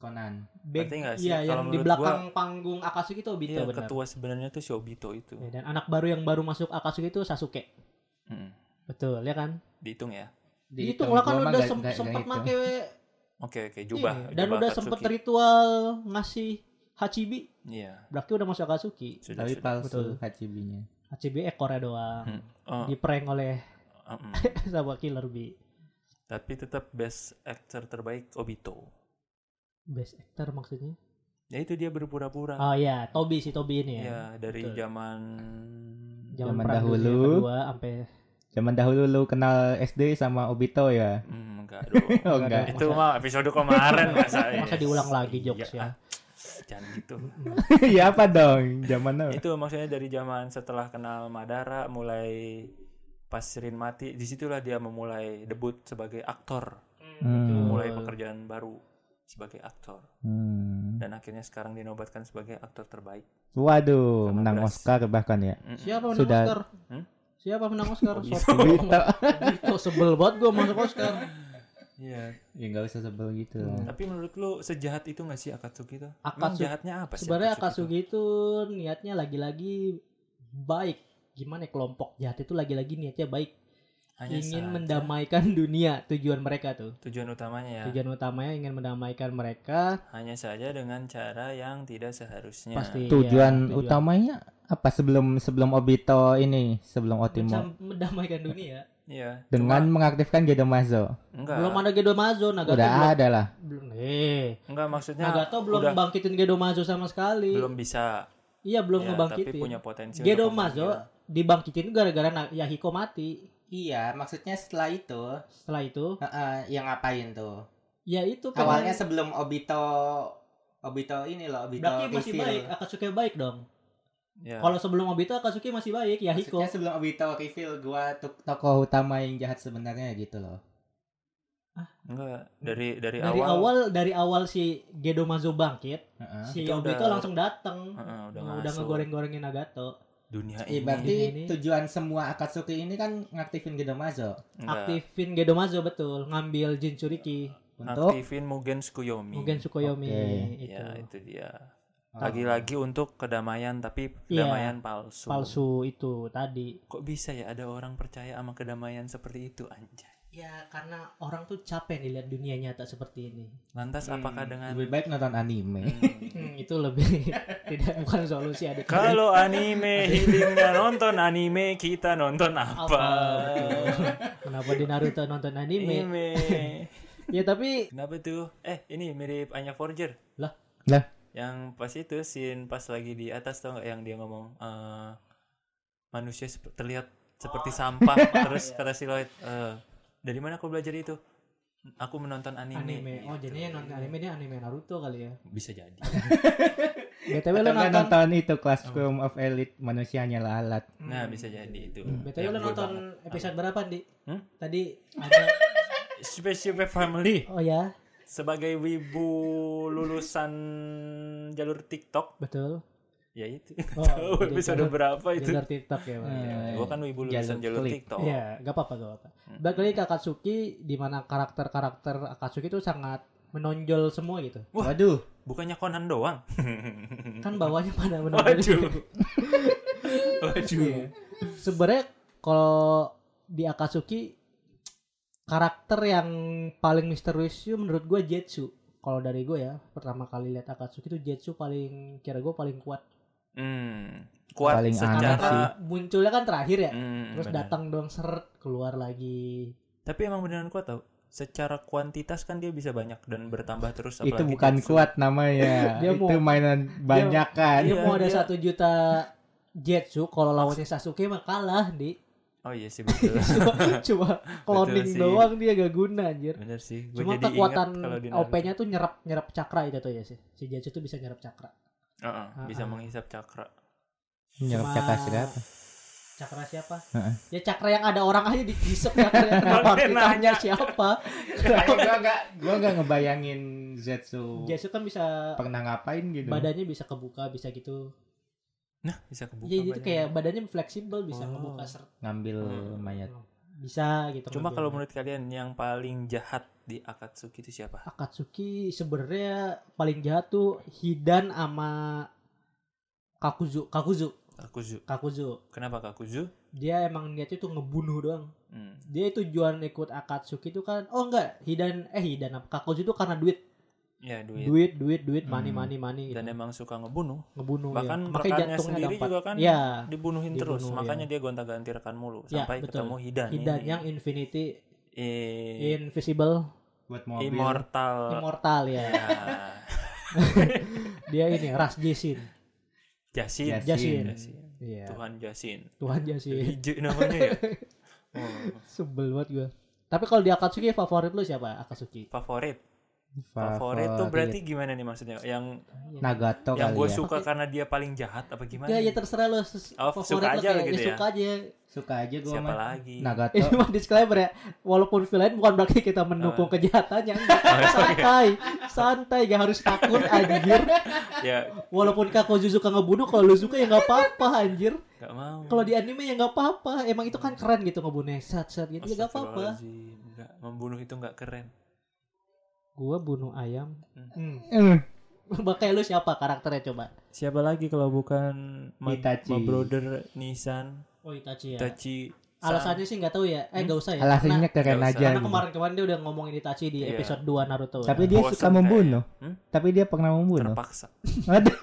Speaker 4: Conan.
Speaker 2: Back,
Speaker 3: Ngerti nggak sih?
Speaker 2: iya,
Speaker 3: Kalau
Speaker 2: yang di
Speaker 3: menurut
Speaker 2: belakang panggung Akatsuki itu Obito
Speaker 3: Iya,
Speaker 2: benar.
Speaker 3: ketua sebenarnya tuh si Obito itu.
Speaker 2: Ya, dan anak baru yang baru masuk Akatsuki itu Sasuke.
Speaker 3: Mm-mm.
Speaker 2: Betul ya kan?
Speaker 3: Hmm, Dihitung ya.
Speaker 2: Dihitung lah kan
Speaker 4: Gua mah
Speaker 2: udah
Speaker 4: nggak-
Speaker 2: sem-
Speaker 4: nggak-
Speaker 2: sempet
Speaker 4: nggak
Speaker 2: make
Speaker 4: hitung.
Speaker 3: Oke, oke, jubah.
Speaker 2: ini, Iya, dan
Speaker 3: jubah
Speaker 2: udah
Speaker 3: gitu. Akatsuki.
Speaker 2: sempet ritual ngasih Hachibi.
Speaker 3: Iya,
Speaker 2: Berarti udah masuk Akatsuki.
Speaker 3: sudah
Speaker 4: Tapi
Speaker 3: sudah.
Speaker 4: palsu
Speaker 2: Betul.
Speaker 4: Hachibinya.
Speaker 2: Hachibi ekornya doang.
Speaker 3: Hmm. Oh,
Speaker 2: Di prank oleh <laughs>
Speaker 3: mm-mm.
Speaker 2: sama Killer Bee.
Speaker 3: Tapi tetap best actor terbaik Obito.
Speaker 2: Best actor maksudnya?
Speaker 3: Ya itu dia berpura-pura.
Speaker 2: Oh iya, Tobi si Tobi ini ya.
Speaker 3: ya, dari
Speaker 2: betul.
Speaker 3: zaman
Speaker 2: Zaman
Speaker 4: Zaman
Speaker 2: perang
Speaker 4: dahulu.
Speaker 2: dunia kedua sampai
Speaker 4: Zaman dahulu lu kenal SD sama Obito ya?
Speaker 3: Hmm, enggak dong.
Speaker 2: <laughs>
Speaker 4: Oh enggak.
Speaker 3: itu mah episode kemarin masa
Speaker 2: masa
Speaker 3: yes.
Speaker 2: diulang lagi
Speaker 3: Iya,
Speaker 2: jokes
Speaker 3: ah.
Speaker 2: ya.
Speaker 3: Jangan gitu.
Speaker 4: <laughs> ya apa dong? Zaman apa?
Speaker 3: itu maksudnya dari zaman setelah kenal Madara mulai pas Rin mati disitulah dia memulai debut sebagai aktor
Speaker 4: Hmm.
Speaker 3: mulai pekerjaan baru sebagai aktor
Speaker 4: Hmm.
Speaker 3: dan akhirnya sekarang dinobatkan sebagai aktor terbaik
Speaker 4: Waduh,
Speaker 3: Sama
Speaker 4: menang
Speaker 3: beras.
Speaker 4: Oscar bahkan <laughs> ya.
Speaker 3: Mm-mm.
Speaker 2: Siapa menang
Speaker 4: Sudah.
Speaker 2: Oscar?
Speaker 3: Hmm? Oh, gitu.
Speaker 2: Siapa menang Oscar?
Speaker 3: <laughs> Obito.
Speaker 2: Sob- Obito sebel banget gue masuk Oscar.
Speaker 3: Iya.
Speaker 4: Ya nggak usah sebel gitu lah.
Speaker 3: Tapi menurut lu sejahat itu nggak sih Akatsuki itu? Emang
Speaker 2: Akatsuki
Speaker 3: jahatnya apa sih?
Speaker 2: Sebenarnya Akatsuki itu niatnya lagi-lagi baik. Gimana ya, kelompok jahat itu lagi-lagi niatnya baik,
Speaker 3: Hanya
Speaker 2: ingin
Speaker 3: saja
Speaker 2: mendamaikan dunia tujuan mereka tuh.
Speaker 3: Tujuan utamanya ya.
Speaker 2: Tujuan utamanya ingin mendamaikan mereka
Speaker 3: Hanya saja dengan cara yang tidak seharusnya.
Speaker 2: pasti ya,
Speaker 4: Iya, Tujuan utamanya apa sebelum sebelum Obito ini, sebelum Otimo
Speaker 2: Mencam- mendamaikan dunia.
Speaker 3: Iya.
Speaker 4: dengan
Speaker 3: Cuma-
Speaker 4: mengaktifkan Gedomazo.
Speaker 3: enggak.
Speaker 2: Belum ada Gedomazo, Nagato
Speaker 4: Udah
Speaker 2: belum,
Speaker 4: ada lah.
Speaker 2: belum eh
Speaker 3: Enggak maksudnya
Speaker 2: Nagato belum
Speaker 3: Ya, udah
Speaker 2: bangkitin Gedomazo sama sekali.
Speaker 3: belum bisa.
Speaker 2: Iya, belum
Speaker 3: Ya,
Speaker 2: ngebangkitin.
Speaker 3: Tapi punya potensi. untuk
Speaker 2: Gedomazo
Speaker 3: memanggil.
Speaker 2: dibangkitin gara-gara Na- Yahiko mati.
Speaker 4: Iya, maksudnya setelah itu
Speaker 2: Setelah itu,
Speaker 4: yang ngapain tuh?
Speaker 2: ya itu pengen-
Speaker 4: Awalnya sebelum Obito Obito ini loh, Obito
Speaker 2: Berarti masih
Speaker 4: reveal.
Speaker 2: baik, ah, Akatsuki baik dong.
Speaker 3: Ya.
Speaker 2: Kalau sebelum Obito Akatsuki masih baik, Yahiko.
Speaker 4: Maksudnya sebelum Obito reveal gua tuk- tokoh utama yang jahat sebenarnya gitu loh.
Speaker 3: enggak dari dari,
Speaker 2: Dari awal, dari awal si Gedomazo bangkit,
Speaker 4: Heeh.
Speaker 2: si
Speaker 3: Itu
Speaker 2: Obito
Speaker 3: udah-
Speaker 2: langsung dateng.
Speaker 3: Heeh, udah,
Speaker 2: udah Eh,
Speaker 3: masuk
Speaker 2: ngegoreng-gorengin Nagato.
Speaker 3: dunia
Speaker 4: Iya,
Speaker 3: ini.
Speaker 4: berarti
Speaker 2: Ini- ini.
Speaker 4: tujuan semua Akatsuki ini kan ngaktifin Gedomazo
Speaker 3: Enggak.
Speaker 2: Aktifin Gedomazo betul, ngambil Jinchuriki,
Speaker 4: untuk
Speaker 3: aktifin Mugen Tsukuyomi.
Speaker 2: Mugen Tsukuyomi
Speaker 4: Oke.
Speaker 2: itu.
Speaker 3: Ya, itu dia.
Speaker 4: Oh.
Speaker 3: Lagi-lagi untuk kedamaian tapi
Speaker 2: Iya.
Speaker 3: kedamaian palsu.
Speaker 2: Palsu itu tadi.
Speaker 3: Kok bisa ya ada orang percaya sama kedamaian seperti itu anjay.
Speaker 2: Ya karena orang tuh capek nih lihat dunia nyata seperti ini.
Speaker 3: Lantas
Speaker 4: Hmm,
Speaker 3: apakah dengan
Speaker 4: lebih baik nonton <laughs> anime.
Speaker 2: Hmm, itu lebih <laughs> tidak bukan solusi adik.
Speaker 3: <laughs> kalau anime healingnya nonton anime kita nonton
Speaker 2: apa?
Speaker 3: <laughs> apa?
Speaker 2: betul. Kenapa di Naruto nonton anime?
Speaker 3: Anime.
Speaker 2: ya tapi
Speaker 3: Kenapa tuh? Eh, ini mirip Anya Forger.
Speaker 2: Lah?
Speaker 4: Lah?
Speaker 3: Yang pas itu scene pas lagi di atas tau nggak yang dia ngomong eh, manusia sep-
Speaker 2: Oh.
Speaker 3: terlihat seperti
Speaker 2: <laughs>
Speaker 3: sampah
Speaker 2: Iya.
Speaker 3: terus kata si Lloyd eh, dari mana kau belajar itu? Aku menonton anime.
Speaker 2: anime. Oh,
Speaker 3: Gitu.
Speaker 2: jadinya yang nonton anime dia anime Naruto kali ya.
Speaker 3: bisa jadi.
Speaker 2: BTW
Speaker 4: Atau
Speaker 2: lo
Speaker 4: nggak
Speaker 2: nonton Oh.
Speaker 4: nonton itu Classroom of Elite manusianya lalat.
Speaker 3: Nah, bisa jadi itu.
Speaker 2: BTW lo
Speaker 3: Yang gue
Speaker 2: Hmm. nonton
Speaker 3: banget.
Speaker 2: episode berapa, Di?
Speaker 3: Hmm?
Speaker 2: Tadi ada
Speaker 3: Space Shape Family
Speaker 2: Oh ya,
Speaker 3: sebagai wibu lulusan jalur TikTok
Speaker 2: betul.
Speaker 3: ya itu.
Speaker 2: Oh,
Speaker 3: <laughs> Tahu
Speaker 2: jadi
Speaker 3: episode
Speaker 2: jalur-
Speaker 3: berapa Oh, itu? Hmm.
Speaker 2: Jalur TikTok ya, Bang.
Speaker 3: Ya, gua kan wibu lulusan jalur,
Speaker 4: Jalur klik.
Speaker 3: TikTok.
Speaker 2: Iya, gak apa-apa, gak apa-apa. Balik lagi ke Akatsuki, di mana karakter-karakter Akatsuki itu sangat menonjol semua gitu.
Speaker 4: Waduh,
Speaker 3: Bukannya Conan doang.
Speaker 2: Kan bawahnya pada menonjol. <laughs>
Speaker 3: Waduh. Waduh.
Speaker 2: Iya. Sebenarnya kalau di Akatsuki karakter yang paling misterius itu menurut gue Jetsu. Kalau dari gue ya, pertama kali lihat Akatsuki itu Jetsu paling kira gue paling kuat.
Speaker 3: Hmm. Kuat
Speaker 4: Paling aneh
Speaker 3: secara
Speaker 2: Karena kan munculnya kan terakhir ya.
Speaker 3: Hmm,
Speaker 2: Terus
Speaker 3: benar.
Speaker 2: datang doang seret keluar lagi.
Speaker 3: Tapi emang beneran kuat tau. Secara kuantitas kan dia bisa banyak dan bertambah terus
Speaker 4: itu
Speaker 3: apalagi
Speaker 4: bukan
Speaker 3: Jetsu.
Speaker 4: kuat namanya.
Speaker 2: <laughs> Dia
Speaker 4: itu
Speaker 2: mau-
Speaker 4: mainan banyak kan.
Speaker 2: Dia
Speaker 3: Iya,
Speaker 2: mau ada
Speaker 3: dia-
Speaker 2: satu juta Jetsu kalau lawannya Sasuke mah kalah,
Speaker 3: <laughs>
Speaker 2: Di.
Speaker 3: Oh iya sih
Speaker 4: <laughs>
Speaker 3: betul.
Speaker 2: Cuma, cuma cloning
Speaker 3: sih.
Speaker 2: doang dia gak guna anjir.
Speaker 3: Bener sih. Gua
Speaker 2: Cuma
Speaker 3: jadi ingat
Speaker 2: kekuatan
Speaker 3: kalau di Naruto.
Speaker 2: OP-nya tuh nyerap nyerap cakra itu tuh ya sih. Si Jetsu tuh bisa nyerap cakra.
Speaker 3: Heeh, bisa
Speaker 2: Ah, ah.
Speaker 3: menghisap cakra.
Speaker 4: Nyerap
Speaker 2: Cuma-
Speaker 4: cakra siapa?
Speaker 2: <laughs> Cakra siapa?
Speaker 4: Heeh.
Speaker 2: Ya cakra yang ada orang aja digisep
Speaker 3: <laughs>
Speaker 2: cakra yang ada
Speaker 3: Makanya
Speaker 2: partikelnya
Speaker 3: nanya.
Speaker 2: siapa?
Speaker 4: gua enggak gua enggak ngebayangin
Speaker 3: Oh.
Speaker 4: Zetsu
Speaker 2: Jetsu kan bisa
Speaker 4: pernah ngapain gitu.
Speaker 2: badannya bisa kebuka bisa gitu.
Speaker 3: Nah, bisa kebuka.
Speaker 2: Ya itu
Speaker 3: badannya.
Speaker 2: kayak badannya fleksibel bisa
Speaker 3: Oh.
Speaker 2: ngebuka ser-
Speaker 4: Ngambil
Speaker 3: Hmm.
Speaker 4: mayat.
Speaker 2: bisa gitu.
Speaker 3: Cuma
Speaker 2: ngambilnya.
Speaker 3: kalau menurut kalian yang paling jahat di Akatsuki itu siapa?
Speaker 2: Akatsuki sebenarnya paling jahat tuh Hidan sama Kakuzu, Kakuzu,
Speaker 3: Kakuzu.
Speaker 2: Kakuzu.
Speaker 3: Kenapa Kakuzu?
Speaker 2: Dia emang niatnya tuh ngebunuh doang.
Speaker 3: Hmm.
Speaker 2: Dia tujuan ikut Akatsuki itu kan oh enggak, Hidan eh Hidan apa Kakuzu itu karena duit.
Speaker 3: Ya duit.
Speaker 2: Duit, duit, duit, money,
Speaker 4: Hmm.
Speaker 2: money, money gitu.
Speaker 3: Dan emang suka ngebunuh.
Speaker 2: ngebunuh
Speaker 3: Bahkan
Speaker 2: ya.
Speaker 3: rekannya sendiri juga kan
Speaker 2: ya
Speaker 3: dibunuhin
Speaker 2: Dibunuh,
Speaker 3: terus.
Speaker 2: ya.
Speaker 3: Makanya dia gonta-ganti rekan mulu
Speaker 2: Ya,
Speaker 3: sampai
Speaker 2: betul.
Speaker 3: ketemu Hidan.
Speaker 2: Hidan
Speaker 3: ini.
Speaker 2: yang infinity
Speaker 3: Eh,
Speaker 2: invisible
Speaker 4: Buat mobil.
Speaker 3: immortal.
Speaker 2: immortal ya
Speaker 3: Ah,
Speaker 2: dia
Speaker 3: <laughs>
Speaker 2: ini ras Jasin
Speaker 3: Jasin.
Speaker 2: Jasin.
Speaker 3: Jasin.
Speaker 2: Iya.
Speaker 3: Tuhan Jasin.
Speaker 2: Tuhan Jasin
Speaker 3: Hijau
Speaker 2: <laughs>
Speaker 3: namanya ya. Oh,
Speaker 2: sebel banget gue tapi kalau di Akatsuki favorit lu siapa Akatsuki
Speaker 3: favorit. Favorit tuh berarti gimana nih maksudnya? Yang
Speaker 4: Nagato
Speaker 3: yang
Speaker 4: kali
Speaker 3: gue
Speaker 4: ya.
Speaker 3: suka
Speaker 2: Oke.
Speaker 3: karena dia paling jahat apa gimana?
Speaker 2: Nah, Oh, ya ya terserah lu ses-
Speaker 3: Oh,
Speaker 2: favorit
Speaker 3: suka
Speaker 2: lu
Speaker 3: aja
Speaker 2: kayak-
Speaker 3: gitu ya?
Speaker 2: suka aja
Speaker 4: Suka aja gua
Speaker 3: Siapa
Speaker 4: sama
Speaker 3: lagi? <laughs>
Speaker 4: Nagato.
Speaker 2: <laughs> ini mah disclaimer ya walaupun villain bukan berarti kita mendukung kejahatannya Enggak.
Speaker 3: Oh,
Speaker 2: santai santai gak harus takut anjir
Speaker 3: ya
Speaker 2: walaupun Kakozu suka ngebunuh kalau lu suka ya nggak apa-apa anjir
Speaker 3: gak mau.
Speaker 2: kalau di anime ya nggak apa-apa emang itu kan keren gitu ngebunuhnya set set gitu ya nggak apa-apa
Speaker 3: Astagfirullahaladzim. Nggak, membunuh itu nggak keren.
Speaker 2: Gua bunuh ayam. Hmm.
Speaker 4: <laughs> Eh,
Speaker 2: <laughs> Makanya lu siapa karakternya coba?
Speaker 3: Siapa lagi kalau bukan Ma-
Speaker 4: Itachi.
Speaker 3: Ma Brother Nissan,
Speaker 2: Oh Itachi ya.
Speaker 3: Itachi. San.
Speaker 2: Alasannya sih nggak tahu ya. Eh nggak usah ya. Karena-
Speaker 4: alasannya
Speaker 3: Nggak
Speaker 4: keren
Speaker 3: usah.
Speaker 4: aja.
Speaker 2: karena
Speaker 4: gitu.
Speaker 2: kemarin-kemarin dia udah ngomongin Itachi di
Speaker 3: Iya.
Speaker 2: episode 2 Naruto.
Speaker 4: Tapi
Speaker 2: Ya.
Speaker 4: dia
Speaker 3: Bosen
Speaker 4: suka
Speaker 3: kayaknya.
Speaker 4: membunuh.
Speaker 3: Hmm?
Speaker 4: Tapi dia pernah membunuh. <laughs>
Speaker 3: Terpaksa,
Speaker 4: Aduh.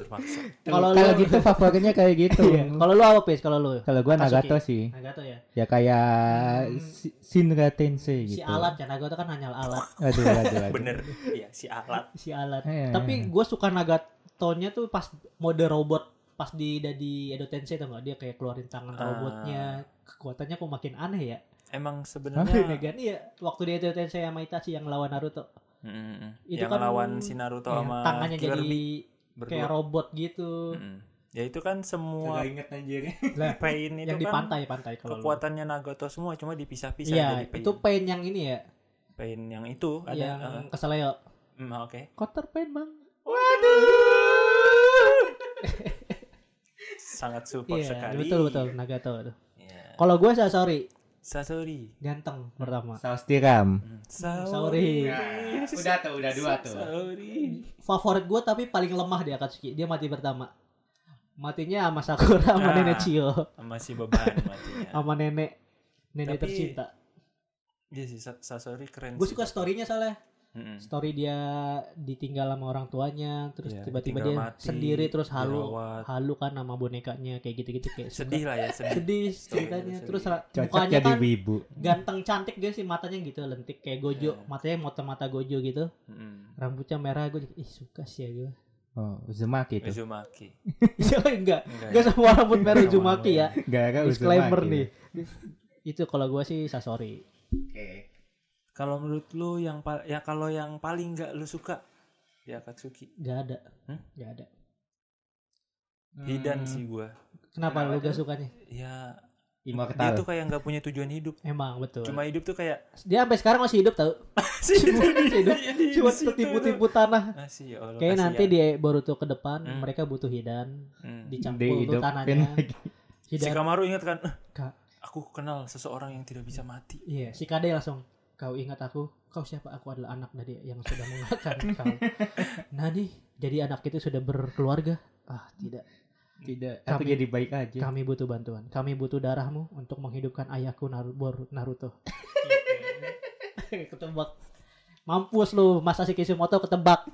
Speaker 3: terpaksa.
Speaker 2: <laughs> Kalau
Speaker 4: Kalau
Speaker 2: lu- Iya.
Speaker 4: gitu favoritnya kayak
Speaker 2: <laughs>
Speaker 4: gitu.
Speaker 2: kalau lu apa Pis? Kalau lu?
Speaker 4: Kalau gua
Speaker 2: Akatsuki.
Speaker 4: Nagato sih.
Speaker 2: Nagato ya.
Speaker 4: Ya kayak si- Shinra Tensei
Speaker 2: Hmm. Si
Speaker 4: gitu.
Speaker 2: alat ya Nagato kan hanya alat.
Speaker 4: Aduh, aduh, aduh.
Speaker 3: <laughs> Bener, iya si alat.
Speaker 2: Si alat.
Speaker 4: Iya,
Speaker 2: Tapi gue suka Nagatonya tuh pas mode robot pas di dari Edo Tensei tau gak dia kayak keluarin tangan
Speaker 3: Ah.
Speaker 2: robotnya kekuatannya kok makin aneh ya <laughs>
Speaker 3: Emang
Speaker 2: Tapi
Speaker 3: sebenarnya
Speaker 2: Negan iya waktu di Edo Tensei sama Itachi yang lawan Naruto
Speaker 3: Mm,
Speaker 2: Itu
Speaker 3: yang
Speaker 2: kan-
Speaker 3: lawan si Naruto
Speaker 2: Iya,
Speaker 3: sama
Speaker 2: tangannya
Speaker 3: Killer
Speaker 2: jadi
Speaker 3: Bee berdua.
Speaker 2: kayak robot gitu
Speaker 3: Mm. Ya itu kan semua
Speaker 4: inget anjir. ya.
Speaker 3: pain itu
Speaker 2: yang di
Speaker 3: kan
Speaker 2: pantai pantai kalau lu.
Speaker 3: kekuatannya Nagato semua cuma dipisah-pisah
Speaker 2: Iya,
Speaker 3: jadi pain.
Speaker 2: itu Iya. pain yang ini ya,
Speaker 3: pain yang itu ada
Speaker 2: yang
Speaker 3: uh,
Speaker 2: keseleo.
Speaker 3: mm, oke.
Speaker 2: Kotor pain bang.
Speaker 3: Sangat support
Speaker 2: Iya,
Speaker 3: sekali.
Speaker 2: betul betul Nagato. tuh.
Speaker 3: Iya.
Speaker 2: Kalau gue Sasori,
Speaker 3: Sasori.
Speaker 2: ganteng pertama.
Speaker 4: Saus tiram.
Speaker 3: Mm.
Speaker 2: Sasori.
Speaker 3: Iya,
Speaker 2: Ya,
Speaker 4: Udah tuh, udah dua tuh.
Speaker 3: Sasori.
Speaker 2: Favorit gue tapi paling lemah dia Akatsuki. Dia mati pertama. Matinya sama Sakura, sama
Speaker 3: Ah.
Speaker 2: nenek Chio,
Speaker 3: Masih beban
Speaker 2: <laughs>
Speaker 3: matinya.
Speaker 2: sama nenek nenek
Speaker 3: Tapi-
Speaker 2: tercinta.
Speaker 3: Iya sih Sa- Sasori keren.
Speaker 2: Gue
Speaker 3: sih.
Speaker 2: suka storynya soalnya.
Speaker 3: Hmm. Mm-mm.
Speaker 2: Story dia ditinggal sama orang tuanya, terus
Speaker 3: Iya,
Speaker 2: tiba-tiba
Speaker 3: tinggal
Speaker 2: dia
Speaker 3: mati,
Speaker 2: sendiri terus halu
Speaker 3: dirawat.
Speaker 2: halu kan sama bonekanya kayak gitu-gitu kayak suka.
Speaker 3: Sedih lah ya sedih.
Speaker 2: sedih
Speaker 3: Story
Speaker 2: ceritanya
Speaker 3: itu
Speaker 2: terus
Speaker 3: sedih.
Speaker 2: ra-
Speaker 4: Cocok
Speaker 2: mukanya
Speaker 4: jadi
Speaker 2: kan
Speaker 4: wibu.
Speaker 2: ganteng cantik dia sih matanya gitu lentik kayak gojo
Speaker 3: Iya.
Speaker 2: matanya mata mata gojo gitu
Speaker 3: Mm.
Speaker 2: rambutnya merah gue jadi, ih suka sih ya gue
Speaker 4: Oh, Uzumaki tuh.
Speaker 3: Uzumaki.
Speaker 2: ya <laughs> enggak
Speaker 3: Enggak
Speaker 2: Gitu. enggak
Speaker 3: ya?
Speaker 2: semua rambut merah
Speaker 3: Sama
Speaker 2: Uzumaki ya
Speaker 4: Gara-gara Uzumaki.
Speaker 2: disclaimer nih
Speaker 3: iya.
Speaker 2: itu kalau gue sih Sasori
Speaker 3: Hmm. Kalau menurut lu yang pa- ya kalau yang paling nggak lu suka Ya, di Akatsuki
Speaker 2: nggak ada
Speaker 3: Hmm?
Speaker 2: nggak ada
Speaker 3: Hidan
Speaker 4: Hmm,
Speaker 3: sih gua.
Speaker 2: kenapa,
Speaker 4: Kenapa
Speaker 2: lu gak
Speaker 4: tuh?
Speaker 2: sukanya
Speaker 3: Ya dia
Speaker 4: Immortal.
Speaker 3: tuh kayak nggak punya tujuan hidup.
Speaker 2: emang betul
Speaker 3: Cuma hidup tuh
Speaker 2: <laughs>
Speaker 3: kayak
Speaker 2: dia sampai sekarang masih hidup tau
Speaker 3: <laughs>
Speaker 2: masih hidup
Speaker 3: Iya,
Speaker 2: cuma tertipu-tipu tanah
Speaker 3: Masih ya Allah.
Speaker 2: kayak
Speaker 3: kasihan.
Speaker 2: nanti di Boruto ke depan
Speaker 3: Hmm.
Speaker 2: mereka butuh Hidan
Speaker 3: Hmm.
Speaker 2: dicampur tuh
Speaker 4: Dihidupin
Speaker 2: tanahnya
Speaker 4: lagi.
Speaker 3: Si
Speaker 2: Hidan
Speaker 3: Kamaru ingat kan? "Eh,
Speaker 2: Kak.
Speaker 3: Aku kenal seseorang yang tidak bisa mati.
Speaker 2: Iya, si Kade langsung kau ingat aku, kau siapa? Aku adalah anak dari yang sudah
Speaker 3: <laughs>
Speaker 2: mengeluarkan kau. Nani, jadi anak itu sudah berkeluarga? Ah, tidak.
Speaker 4: Tidak. Aku
Speaker 2: Kami-
Speaker 4: jadi baik aja.
Speaker 2: Kami butuh bantuan. Kami butuh darahmu untuk menghidupkan ayahku Naru- Bor- Naruto.
Speaker 3: <laughs>
Speaker 2: ketebak. Mampus lu, Masashi Kishimoto
Speaker 3: <laughs>
Speaker 2: ketebak.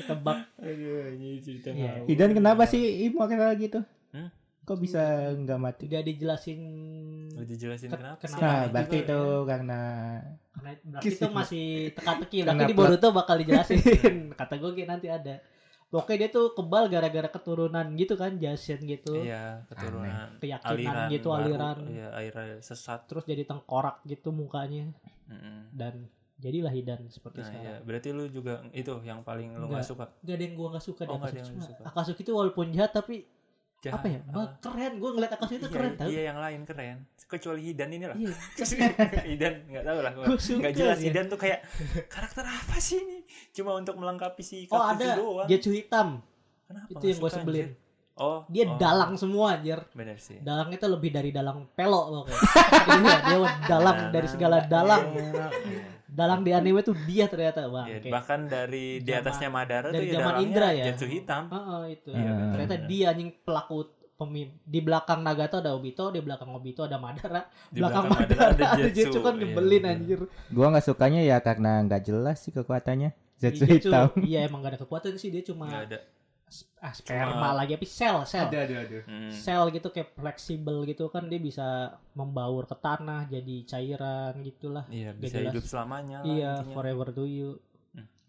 Speaker 2: ketebak.
Speaker 3: Aduh, ini cerita
Speaker 2: Iya.
Speaker 3: ngawur.
Speaker 4: Hidan kenapa sih immortal gitu?
Speaker 3: Hmm?
Speaker 4: Kok bisa nggak mati?
Speaker 2: Tidak dijelasin
Speaker 3: Lu dijelasin
Speaker 2: Ken-
Speaker 3: kenapa?
Speaker 2: kenapa?
Speaker 3: sih?
Speaker 4: Nah,
Speaker 2: Nah,
Speaker 4: berarti
Speaker 2: juga
Speaker 4: itu
Speaker 2: ya.
Speaker 4: karena
Speaker 2: karena berarti itu masih teka-teki berarti
Speaker 4: Karena
Speaker 2: di Boruto bakal
Speaker 3: <laughs>
Speaker 2: dijelasin kata gue kayak nanti ada pokoknya dia tuh kebal gara-gara keturunan gitu kan Jason gitu
Speaker 3: Iya, keturunan.
Speaker 2: keyakinan
Speaker 3: Aliran
Speaker 2: gitu
Speaker 3: baru.
Speaker 2: aliran
Speaker 3: Iya, aliran sesat.
Speaker 2: terus jadi tengkorak gitu mukanya
Speaker 3: Mm-mm.
Speaker 2: dan jadilah Hidan seperti
Speaker 3: Nah, iya.
Speaker 2: Gitu sekarang
Speaker 3: Berarti lu juga itu yang paling lu nggak
Speaker 2: Nggak.
Speaker 3: suka.
Speaker 2: gak ada yang gue gak suka dari
Speaker 3: Oh, nggak ada
Speaker 2: Akatsuki
Speaker 3: yang
Speaker 2: semua.
Speaker 3: suka.
Speaker 2: Akatsuki itu walaupun jahat tapi
Speaker 3: Jahat.
Speaker 2: apa ya
Speaker 3: Apa?
Speaker 2: bah, keren gue ngeliat Akatsuki itu
Speaker 3: Iya,
Speaker 2: keren tau
Speaker 3: Iya, yang lain keren. Kecuali Hidan ini lah.
Speaker 2: <laughs> iya
Speaker 3: <laughs> Hidan nggak tahu lah.
Speaker 2: gue suka ya.
Speaker 3: Nggak jelas
Speaker 2: dia.
Speaker 3: Hidan tuh kayak karakter apa sih ini? Cuma untuk melengkapi si
Speaker 2: oh
Speaker 3: Kakuzu
Speaker 2: ada
Speaker 3: doang.
Speaker 2: Getsu hitam
Speaker 3: Kenapa
Speaker 2: itu
Speaker 3: nggak
Speaker 2: yang gue
Speaker 3: suka,
Speaker 2: sebelin
Speaker 3: anjir? Oh,
Speaker 2: dia
Speaker 3: oh.
Speaker 2: dalang semua anjir
Speaker 3: Bener sih.
Speaker 2: Dalang itu lebih dari dalang pelok
Speaker 3: <laughs>
Speaker 2: pokoknya. Iya, dia dalang
Speaker 3: Nah,
Speaker 2: dari segala dalang.
Speaker 3: Iya.
Speaker 2: Dalang di anime tuh dia ternyata, Bang.
Speaker 3: Iya,
Speaker 2: <laughs> Oke.
Speaker 3: bahkan dari di
Speaker 2: Zaman-
Speaker 3: atasnya Madara
Speaker 2: dari
Speaker 3: tuh
Speaker 2: zaman
Speaker 3: dalangnya
Speaker 2: Indra ya.
Speaker 3: Jatuh hitam.
Speaker 2: Heeh, itu.
Speaker 4: Iya, benar,
Speaker 2: ternyata
Speaker 3: benar.
Speaker 2: dia anjing pelaku pemim di belakang Nagato ada Obito, di belakang Obito ada Madara,
Speaker 3: Di
Speaker 2: belakang, Madara <laughs> ada Jetsu, kan
Speaker 3: Iya,
Speaker 2: nyebelin
Speaker 3: bener.
Speaker 2: anjir.
Speaker 4: gua nggak sukanya ya karena nggak jelas sih kekuatannya. Zetsu
Speaker 2: Di Jetsu,
Speaker 4: hitam.
Speaker 2: Iya, emang gak ada kekuatan sih dia
Speaker 3: Nggak
Speaker 2: cuma
Speaker 3: ada.
Speaker 2: ah, sperma lagi tapi sel, sel.
Speaker 4: aduh, aduh.
Speaker 3: Hmm.
Speaker 2: Sel gitu kayak fleksibel gitu kan dia bisa membaur ke tanah jadi cairan gitulah.
Speaker 3: Iya,
Speaker 2: Nggak
Speaker 3: bisa
Speaker 2: jelas.
Speaker 3: hidup selamanya lah
Speaker 2: Iya,
Speaker 3: intinya. Hmm.
Speaker 2: forever to you.